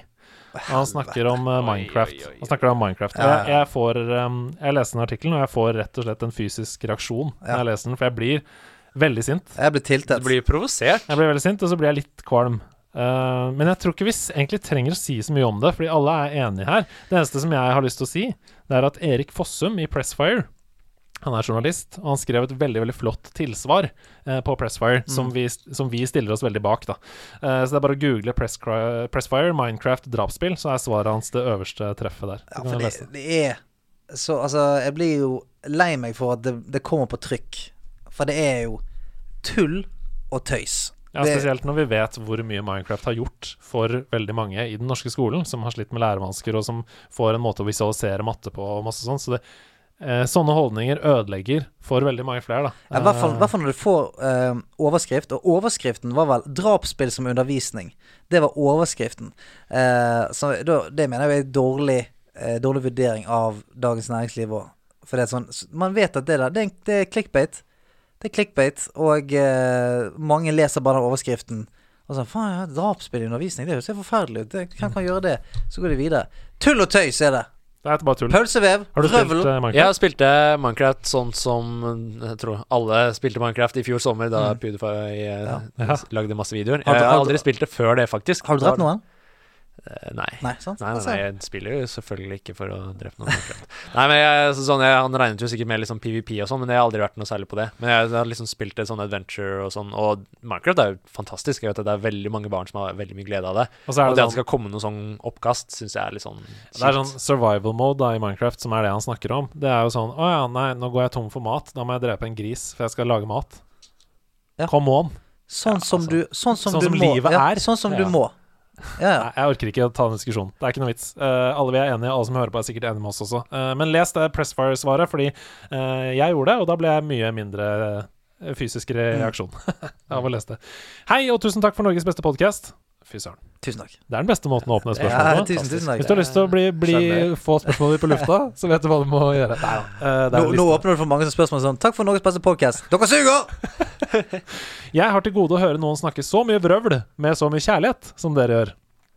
Og han snakker om eh, Minecraft. Han snakker om Minecraft. Og jeg, jeg får eh, Jeg leser den artikkelen, og jeg får rett og slett en fysisk reaksjon når jeg leser den, for jeg blir veldig sint. Jeg ble tiltet. Du blir provosert. Jeg blir veldig sint, og så blir jeg litt kvalm. Eh, men jeg tror ikke vi s- egentlig trenger å si så mye om det, fordi alle er enige her. Det eneste som jeg har lyst til å si, det er at Erik Fossum i Pressfire Han er journalist, og han skrev et veldig veldig flott tilsvar eh, på Mm. Pressfire, som, vi, som vi stiller oss veldig bak. da. Eh, så det er bare å google Presscri- Pressfire, Minecraft, drapsspill, så er svaret hans det øverste treffet der. Ja, Du kan for jo det, lese det. det er Så altså, jeg blir jo lei meg for at det, det kommer på trykk. For det er jo tull og tøys. Ja, det, Spesielt når vi vet hvor mye Minecraft har gjort for veldig mange i den norske skolen, som har slitt med lærevansker, og som får en måte å visualisere matte på, og masse sånt. Så det, eh, sånne holdninger ødelegger for veldig mange flere, da. Ja, I hvert fall, i hvert fall når du får eh, overskrift, og overskriften var vel 'drapsspill som undervisning'. Det var overskriften. Eh, så da, det mener jeg er en dårlig, eh, dårlig vurdering av Dagens Næringsliv òg. For det er sånn s- Man vet at det der, det er, en- det er clickbait. Det er clickbait, og eh, mange leser bare den overskriften. Og sånn 'Faen, ja, drapsspill i undervisning, det høres jo forferdelig ut. Det, hvem kan gjøre det?' Så går de videre. Tull og tøys er det. Det er bare tull. Pølsevev, Har du spilt røvel. eh, Minecraft? Jeg spilte Minecraft sånn som jeg tror alle spilte Minecraft i fjor sommer, da PewDiePie eh, lagde masse videoer. Mm. Har du- Jeg har har du- aldri spilt det før det, faktisk. Har du drept noen? Eh, Nei. Nei, sant? Nei, nei, Altså, nei, jeg spiller jo selvfølgelig ikke for å drepe noen. Minecraft. nei, men jeg, så sånn, jeg, Han regnet jo sikkert med liksom PVP og sånn, men jeg har aldri vært noe særlig på det. Men jeg, har liksom spilt et sånn adventure og sånn, og Minecraft er jo fantastisk. Jeg vet at Det er veldig mange barn som har veldig mye glede av det. Og så er det og det at sånn det skal komme noe sånn oppkast, syns jeg er litt sånn Det er sånn survival mode da i Minecraft, som er det han snakker om. Det er jo sånn Å ja, nei, nå går jeg tom for mat. Da må jeg drepe en gris, for jeg skal lage mat. Ja. Come on. Sånn som du Sånn som, sånn du som må. livet ja, er. Sånn som Ja. du må. Ja, ja. Nei, jeg orker ikke å ta den diskusjonen. Det er ikke noe vits. Eh, alle vi er enige, alle som hører på, er sikkert enige med oss også. Eh, men les det Pressfire-svaret, fordi eh, jeg gjorde det, og da ble jeg mye mindre eh, fysisk reaksjon Mm. av å lese det. Hei, og tusen takk for Norges beste podkast. Fy søren. Tusen takk. Det er den beste måten å åpne et spørsmål Ja, på. tusen, tusen Hvis du har takk. lyst til å bli, bli, Skjønner. få spørsmålet ditt på lufta, så vet du hva du må gjøre. Nei da. Eh, det er Nå, en nå liste. åpner du for mange som spørsmål sånn Takk for Norges beste podcast Dere suger! Jeg har til gode å høre noen snakke så mye vrøvl med så mye kjærlighet som dere gjør.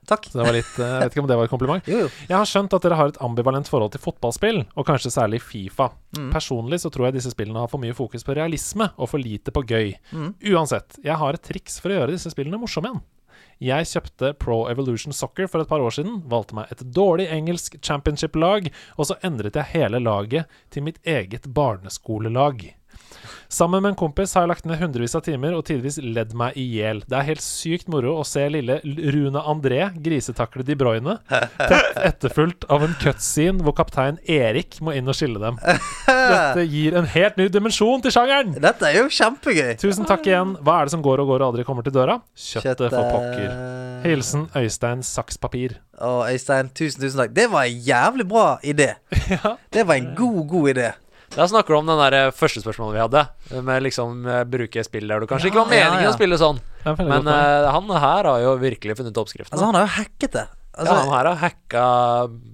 Takk. Så det var litt, eh, jeg vet ikke om det var et kompliment. Jo, jo. Jeg har skjønt at dere har et ambivalent forhold til fotballspill, og kanskje særlig Fifa. Personlig så tror jeg disse spillene har for mye fokus på realisme og for lite på gøy. Uansett, jeg har et triks for å gjøre disse spillene morsomme igjen. Jeg kjøpte Pro Evolution Soccer for et par år siden, valgte meg et dårlig engelsk championship-lag, og så endret jeg hele laget til mitt eget barneskolelag. Sammen med en kompis har jeg lagt ned hundrevis av timer og tidvis ledd meg i hjel. Det er helt sykt moro å se lille L- Rune André grisetakle De Bruyne, tett etterfulgt av en cutscene hvor kaptein Erik må inn og skille dem. Dette gir en helt ny dimensjon til sjangeren! Dette er jo kjempegøy. Tusen takk igjen. Hva er det som går og går og aldri kommer til døra? Kjøttet for pokker. Hilsen Øystein Sakspapir. Og eh, Øystein, tusen, tusen takk. Det var en jævlig bra idé. Det var en god, god idé. Da snakker du om den der eh, første spørsmålet vi hadde, med liksom eh, bruke spill der du kanskje ikke var Ja, ja, meningen ja. å spille sånn. Det er veldig Men godt navn. eh, han her har jo virkelig funnet oppskriften. Altså, han har jo hacket det. ja, han Altså, her har hacka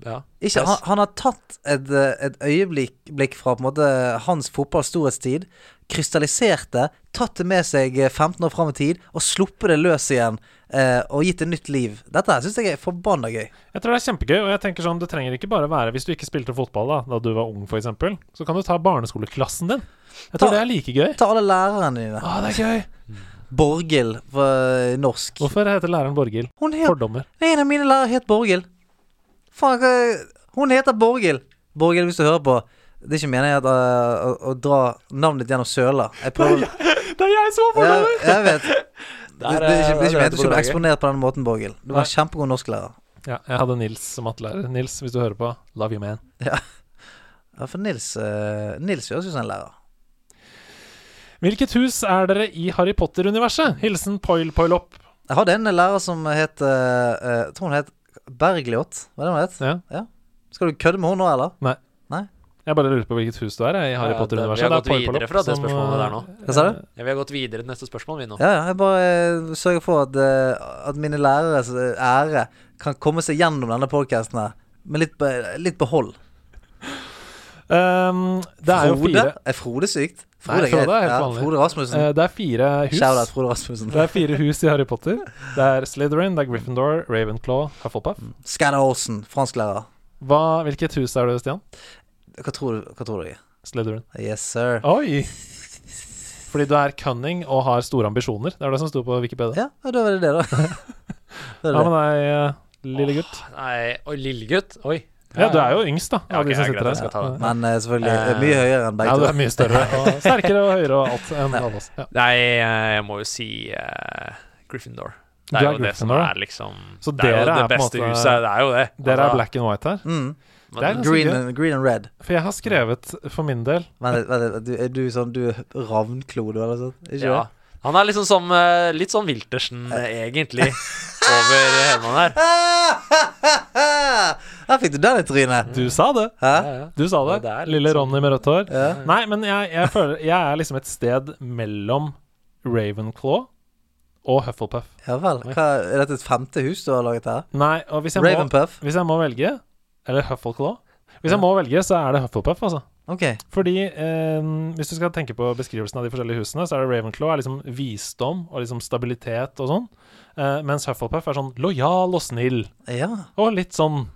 ja. ikke, han, han har tatt et, eh, et øyeblikk blikk fra på en måte hans fotballs storhetstid, krystallisert det, tatt det med seg eh, 15 år fram i tid, og sluppet det løs igjen, eh, og gitt det nytt liv. Dette her syns jeg er forbanna gøy. Jeg tror det er kjempegøy, og jeg tenker sånn, det trenger ikke bare være hvis du ikke spilte fotball da da du var ung, for eksempel Så kan du ta barneskoleklassen din. Jeg Ta- tror det er like gøy. Ta alle lærerne dine. Å, det er gøy! Borghild fra eh, norsk. Hvorfor heter læreren Borghild? Hun het, Fordommer. en av mine lærere het Borghild. Faen, hva- hun heter Borghild. Borghild, hvis du hører på. Det er ikke meningen at, øh, å, å dra navnet ditt gjennom søla. Jeg prøver Det er jeg som har Jeg, jeg vet. Det, det, Der, er ikke, det er der ikke meningen at du skulle bli drømte Borghild. eksponert på den måten, Borghild. Du var eh, Nei. en kjempegod norsklærer. Ja, jeg hadde Nils som mattelærer. Nils, hvis du hører på, love you, man. Ja, for Nils øh, Nils høres ut som en lærer. Hvilket hus er dere i Harry Potter-universet? Hilsen Poil Poilopp. Jeg hadde en lærer som het øh, øh, Jeg tror hun het Bergljot. Var det hun het? Ja. Skal du kødde med henne nå, eller? Jeg bare lurer på hvilket hus du er jeg, i Harry Ja, Potter-universet. det- vi har Det er gått Poil videre Poilopp fra det som, spørsmålet der eh, nå. Hva sa du? Ja, vi har gått videre til neste spørsmål, vi nå. Ja, ja, jeg bare eh, sørger for at, eh, at mine læreres eh, ære kan komme seg gjennom denne podkasten her med litt, be, litt behold. Um, det er jo Frode? fire Er Frode sykt? Nei, Frode er helt Ja, vanlig. Frode Rasmussen. eh, Det er fire Shout out hus. Frode Rasmussen. Det er fire hus i Harry Potter. Det er Slytherin, det er Gryffindor, Ravenclaw, Hufflepuff. Skadda Olsen, fransklærer. Hva, hvilket hus er du, Stian? Hva tror, du- hva tror du? jeg er? Slytherin. Yes, sir. Oi! Fordi du er cunning og har store ambisjoner. Det er det som sto på Wikipedia. Ja, ja, da var det det, da. da Hva var det. med deg, eh, lille gutt? Nei, oi, lillegutt. Oi. Ja, du er jo yngst, da. av ok, de som sitter ja, greit, jeg skal her. ta det. Men eh, selvfølgelig eh, mye høyere enn Ja, begge du to. er mye større og sterkere og høyere og alt enn alle oss. Ja. Nei, eh, jeg må jo si eh, Gryffindor. Det er, Du er jo det som Gryffindor, ja. er liksom Så Det er jo dere er det på en beste måte- huset. Det er jo det. Dere er Altså, black and white her. Mm. Det er ganske Green, gøy. and, green and red. For jeg har skrevet for min del Vent litt, vent litt. Du, er du sånn du er ravnklo, du, eller noe sånt? Ikke Ja. det? Han er liksom som eh, Litt sånn Wiltersen, eh, egentlig, over Helman her. Ah, Her fikk du den i trynet. Du sa det! Hæ? Du sa det. Det er litt Lille Ronny med rødt hår. Ja. Nei, men jeg, jeg føler Jeg er liksom et sted mellom Ravenclaw og Hufflepuff. Ja vel. Hva, er dette et femte hus du har laget her? Nei, og hvis jeg, må, Ravenpuff? hvis jeg må velge Eller Huffleclaw. Hvis jeg må velge, så er det Hufflepuff, altså. Ok. Fordi eh, hvis du skal tenke på beskrivelsen av de forskjellige husene, så er det Ravenclaw er liksom visdom og liksom stabilitet og sånn. Eh, mens Hufflepuff er sånn lojal og snill Ja. og litt sånn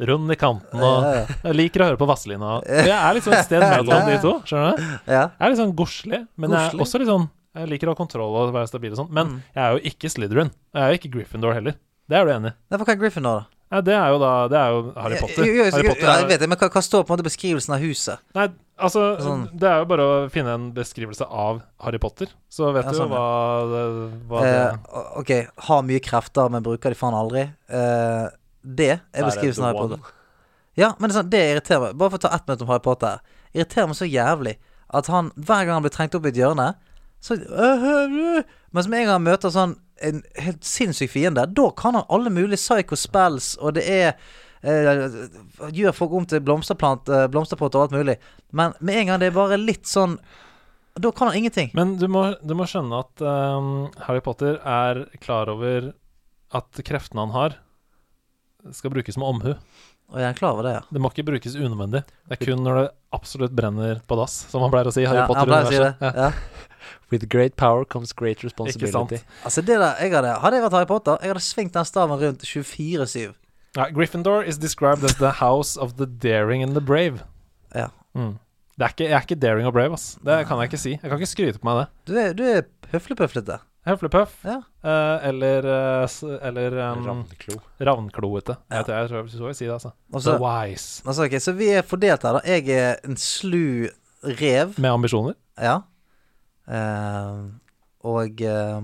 rund i kanten og Ja, jeg liker å høre på Vazelina. og- Jeg er liksom et sted mellom de to. skjønner du? ja. Jeg er litt sånn godslig, men jeg er Godslig? Mm. også litt sånn Jeg liker å ha kontroll og være stabil og sånn. Men jeg er jo ikke Slytherin. Jeg er jo ikke Gryffindor heller. Det er du enig i? Nei, for hva er Gryffindor, da? Ja, det er jo da Det er jo Harry Potter. Jo, jo, jo, Harry Potter ja, er, jeg vet det, men hva, hva står på en måte beskrivelsen av huset? Nei, altså Sånn. Det er jo bare å finne en beskrivelse av Harry Potter, så vet Ja, du sånn, jo hva, det- hva Eh, det ok, har mye krefter, men bruker de faen aldri. Eh, det er beskrivelsen av Harry Potter. Ja, men det, er sånn, det irriterer meg. Bare for å ta ett minutt om Harry Potter. her. Irriterer meg så jævlig at han, hver gang han blir trengt opp i et hjørne, så øh, øh, øh. Men som en gang han møter sånn en helt sinnssyk fiende, da kan han alle mulige psycho spells, og det er eh, Gjør folk om til blomsterplant, eh, blomsterpott og alt mulig. Men med en gang det er bare litt sånn Da kan han ingenting. Men du må, du må skjønne at ehm, Harry Potter er klar over at kreftene han har, skal brukes med omhu. Og jeg er klar over det, ja. Det må ikke brukes unødvendig. Det er kun når det absolutt brenner på dass, som han pleier å si i Harry ja han pleier å si det. Potter-universet. Ja. Ja. With great power comes great Ikke sant. responsibility. Altså det der, jeg hadde, hadde jeg vært Harry Potter, jeg hadde svingt den staven rundt 24-7. Ja, Gryffindor is described as the house of the daring and the brave. Ja. Mm. Det er ikke, jeg er ikke daring og brave, ass. Det kan jeg ikke si. Jeg kan ikke skryte på meg det. Du er, du er høflepøflete. Høflepuff Ja. eh, eller eh, s- eller um, ravnkloete. Jeg, tror- jeg tror jeg skal si det, altså. Og The så- wise. Altså, ok, så vi er fordelt her, da. Jeg er en slu rev. Med ambisjoner. Ja. Eh, og eh,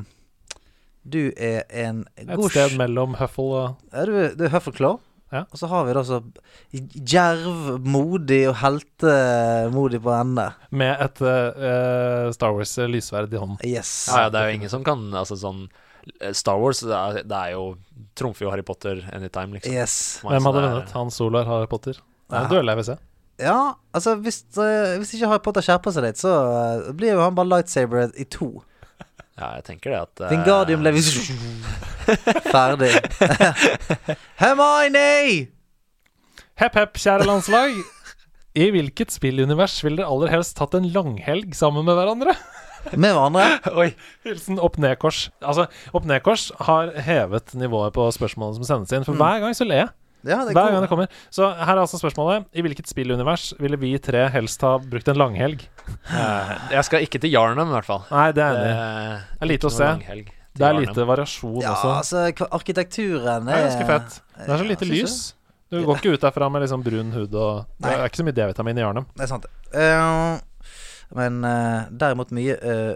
du er en Et gosj. sted mellom Huffle og Ja, du, er- du er høffelklå. Ja. Og så har vi da så djerv, modig og heltemodig på ende. Med et eh, eh, Star Wars-lysverd i hånden. Yes. Ja, ja, det er jo ingen som kan Altså sånn eh, Star Wars det er, det er jo trumfer jo Harry Potter anytime, liksom. Yes. For meg, Hvem så hadde det er- vunnet? Han Solar Harry Potter? Det er Ja. en duell jeg vil se. Ja, altså hvis, eh, hvis ikke Harry Potter skjerper seg litt, så eh, blir jo han bare lightsaber i to. Ja, jeg tenker det at eh, Wingardium Levis Ferdig. Hermione! Hepp, hepp, kjære landslag. I hvilket spillunivers ville dere aller helst tatt en langhelg sammen med hverandre? Med hverandre. Oi. Hilsen opp-ned-kors. Altså, opp-ned-kors har hevet nivået på spørsmålene som sendes inn. For hver gang så ler jeg. Ja, Mm. det Hver gang går. det kommer. Så her er altså spørsmålet. I hvilket spillunivers ville vi tre helst ha brukt en langhelg? eh, Jeg skal ikke til Yarnum, i hvert fall. Nei, det er jeg enig. i. Det er lite å se. Det er lite variasjon Ja, også. altså, hva- arkitekturen Det er er ganske fett. Det er så Ja, lite syns du? lys. Du går ikke ut derfra med liksom brun hud og Det er ikke så mye D-vitamin i Jarnum. Det er sant, det. Eh, men eh, derimot mye eh,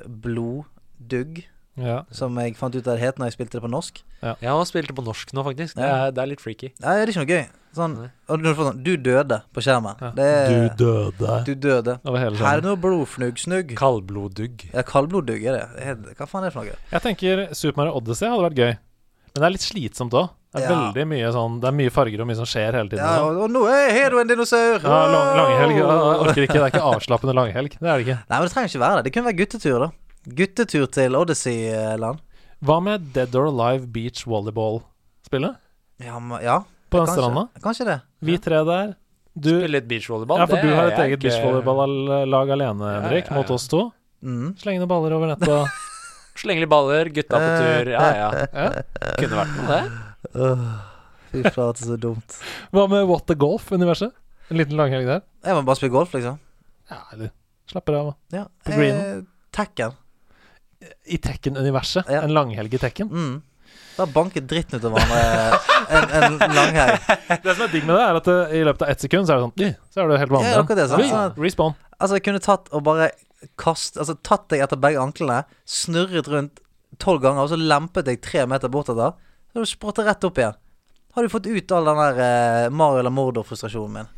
bloddugg, Ja. som jeg fant ut av det het når jeg spilte det på norsk. Jeg har spilt det på norsk nå, faktisk. Det Ja. er, det er litt freaky. Nei, det er ikke noe gøy. Sånn, Nei. og du, får sånn, du døde på skjermen. Det er, Du døde. du døde. Over hele Her skjermen. er noe blodfnuggsnugg. Kaldbloddugg. Ja, kaldbloddugg er det. det. er- Hva faen er det for noe? Jeg tenker Super Mario Odyssey hadde vært gøy. Men det er litt slitsomt òg. Det er Ja. veldig mye sånn Det er mye farger og mye som skjer hele tiden. Ja, og sånn. og, og nå er har du en dinosaur! Ja, lang, langhelg. Ja, jeg Åh! orker ikke. Det er ikke avslappende langhelg. Det er det ikke. Nei, men det trenger ikke være det. Det kunne være guttetur, da. Guttetur til Odyssey-land. Hva med Dead or Alive Beach Volleyball-spillet? Ja, men- ja, På den kanskje. stranda? Kanskje det. Vi tre der. Du Spille litt beachvolleyball. Ja, for det du har er et jeg eget ikke- beachvolleyballag alene, Henrik, ja, mot ja. oss to. Mm. Slenge noen baller over nettet. og- Slenge litt baller, gutta på Eh, tur. Ja, ja. Ja. Kunne vært noe, det. Øh, fy flate, så dumt. Hva med What the Golf-universet? En liten langhelg der? Jeg må bare spille golf, liksom. Ja, eller Slapper av. Ja. På greenen? Eh, Tekken. I Tekken-universet. Ja. En langhelg i Tekken. Mm. Da banket dritten ut av hverandre en, en langhelg. Det som er digg med det, er at eh, i løpet av ett sekund så er det sånn «Ih», Så er du helt vanlig. Ja, akkurat det, sant? Re- Sånn at- Respawn. Altså, jeg kunne tatt og bare kast, altså, tatt deg etter begge anklene, snurret rundt tolv ganger, og så lempet deg tre meter bortetter. Så du spurte rett opp igjen. Har du fått ut all den der eh, Mario eller Mordor-frustrasjonen min?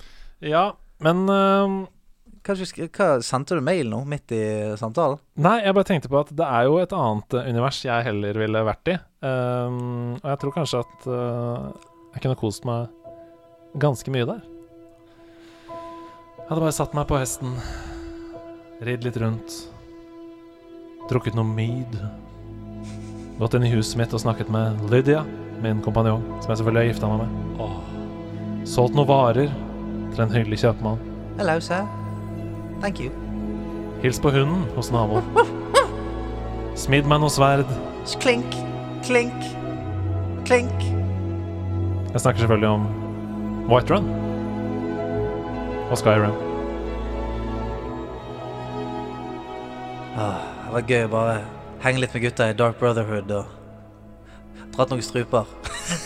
Ja, men eh, Kanskje, sk- hva, Sendte du mail nå, midt i samtalen? Nei, jeg bare tenkte på at det er jo et annet eh, univers jeg heller ville vært i. Ehm, og jeg tror kanskje at eh, jeg kunne kost meg ganske mye der. Jeg hadde bare satt meg på hesten, ridd litt rundt, drukket noe mead, gått inn i huset mitt og snakket med Lydia, min kompanjong, som jeg selvfølgelig har gifta meg med. Solgt noen varer til en hyggelig kjøpmann. Hello, sir. Thank you. Hils på hunden hos naboen. Smidd meg noe sverd. Klink, klink, klink. Jeg snakker selvfølgelig om Whiterun og Skyrim. Det var gøy å bare henge litt med gutta i Dark Brotherhood og dratt noen struper.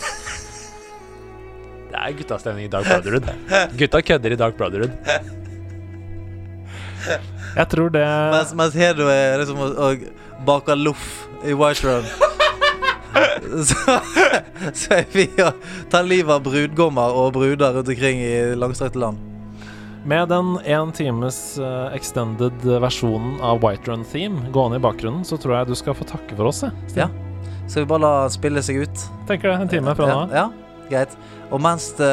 Det er guttastemning i Dark Brotherhood. Gutta kødder i Dark Brotherhood. Jeg tror det Mens, mens Hedo er liksom og, og baker loff i White Run. så, så er vi og tar livet av brudgommer og bruder rundt omkring i langstrakte land. Med den én times eh, extended versjonen av Whiterun-theme gående i bakgrunnen, så tror jeg du skal få takke for oss, jeg. Ja. Skal vi bare la den spille seg ut? Tenker det. En time fra nå av. Ja, ja, greit. Og mens det,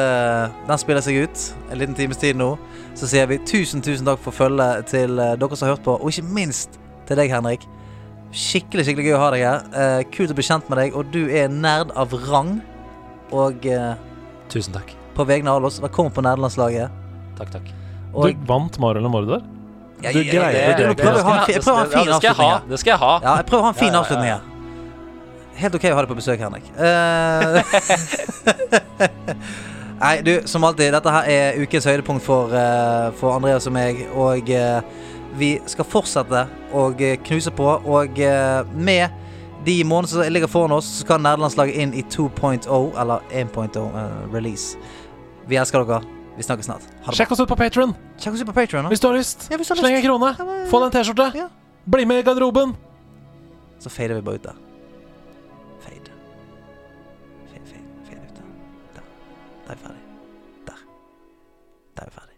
den spiller seg ut, en liten times tid nå, så sier vi tusen, tusen takk for følget til eh, dere som har hørt på, og ikke minst til deg, Henrik. Skikkelig, skikkelig gøy å ha deg her. Eh, kult å bli kjent med deg, og du er nerd av rang. Og eh, Tusen takk. på vegne av alle oss, velkommen på nerdelandslaget. Takk, takk. Og Du vant Mario eller Mordor. Ja, du ja, greier ja, det, ja, det- Jeg prøver å ha en fi- jeg prøver å ha en Ja, fin det skal jeg avslutning ha. her. Det skal jeg ha. Ja, jeg prøver å ha en fin Ja, ja, ja. avslutning her. Helt OK å ha deg på besøk, Henrik. Eh, Nei, du, som alltid, dette her er ukens høydepunkt for, eh, for Andreas og meg, og eh, vi skal fortsette å eh, knuse på, og eh, med de månedene som ligger foran oss, så skal nerdelandslaget inn i 2.0, eller 1.0 eh, release. Vi elsker dere. Vi snakkes snart. Ha det bra. Sjekk oss ut på Patron Sjekk oss ut på Patreon hvis du har lyst. Ja, hvis du har Sleng en lyst. krone. Ja, men- Få deg en T-skjorte. Ja. Bli med i garderoben. Så fader vi bare ut der. Fade. Fade, fade, fade ut der. Der. Da er vi ferdig. Der. Da er vi ferdig.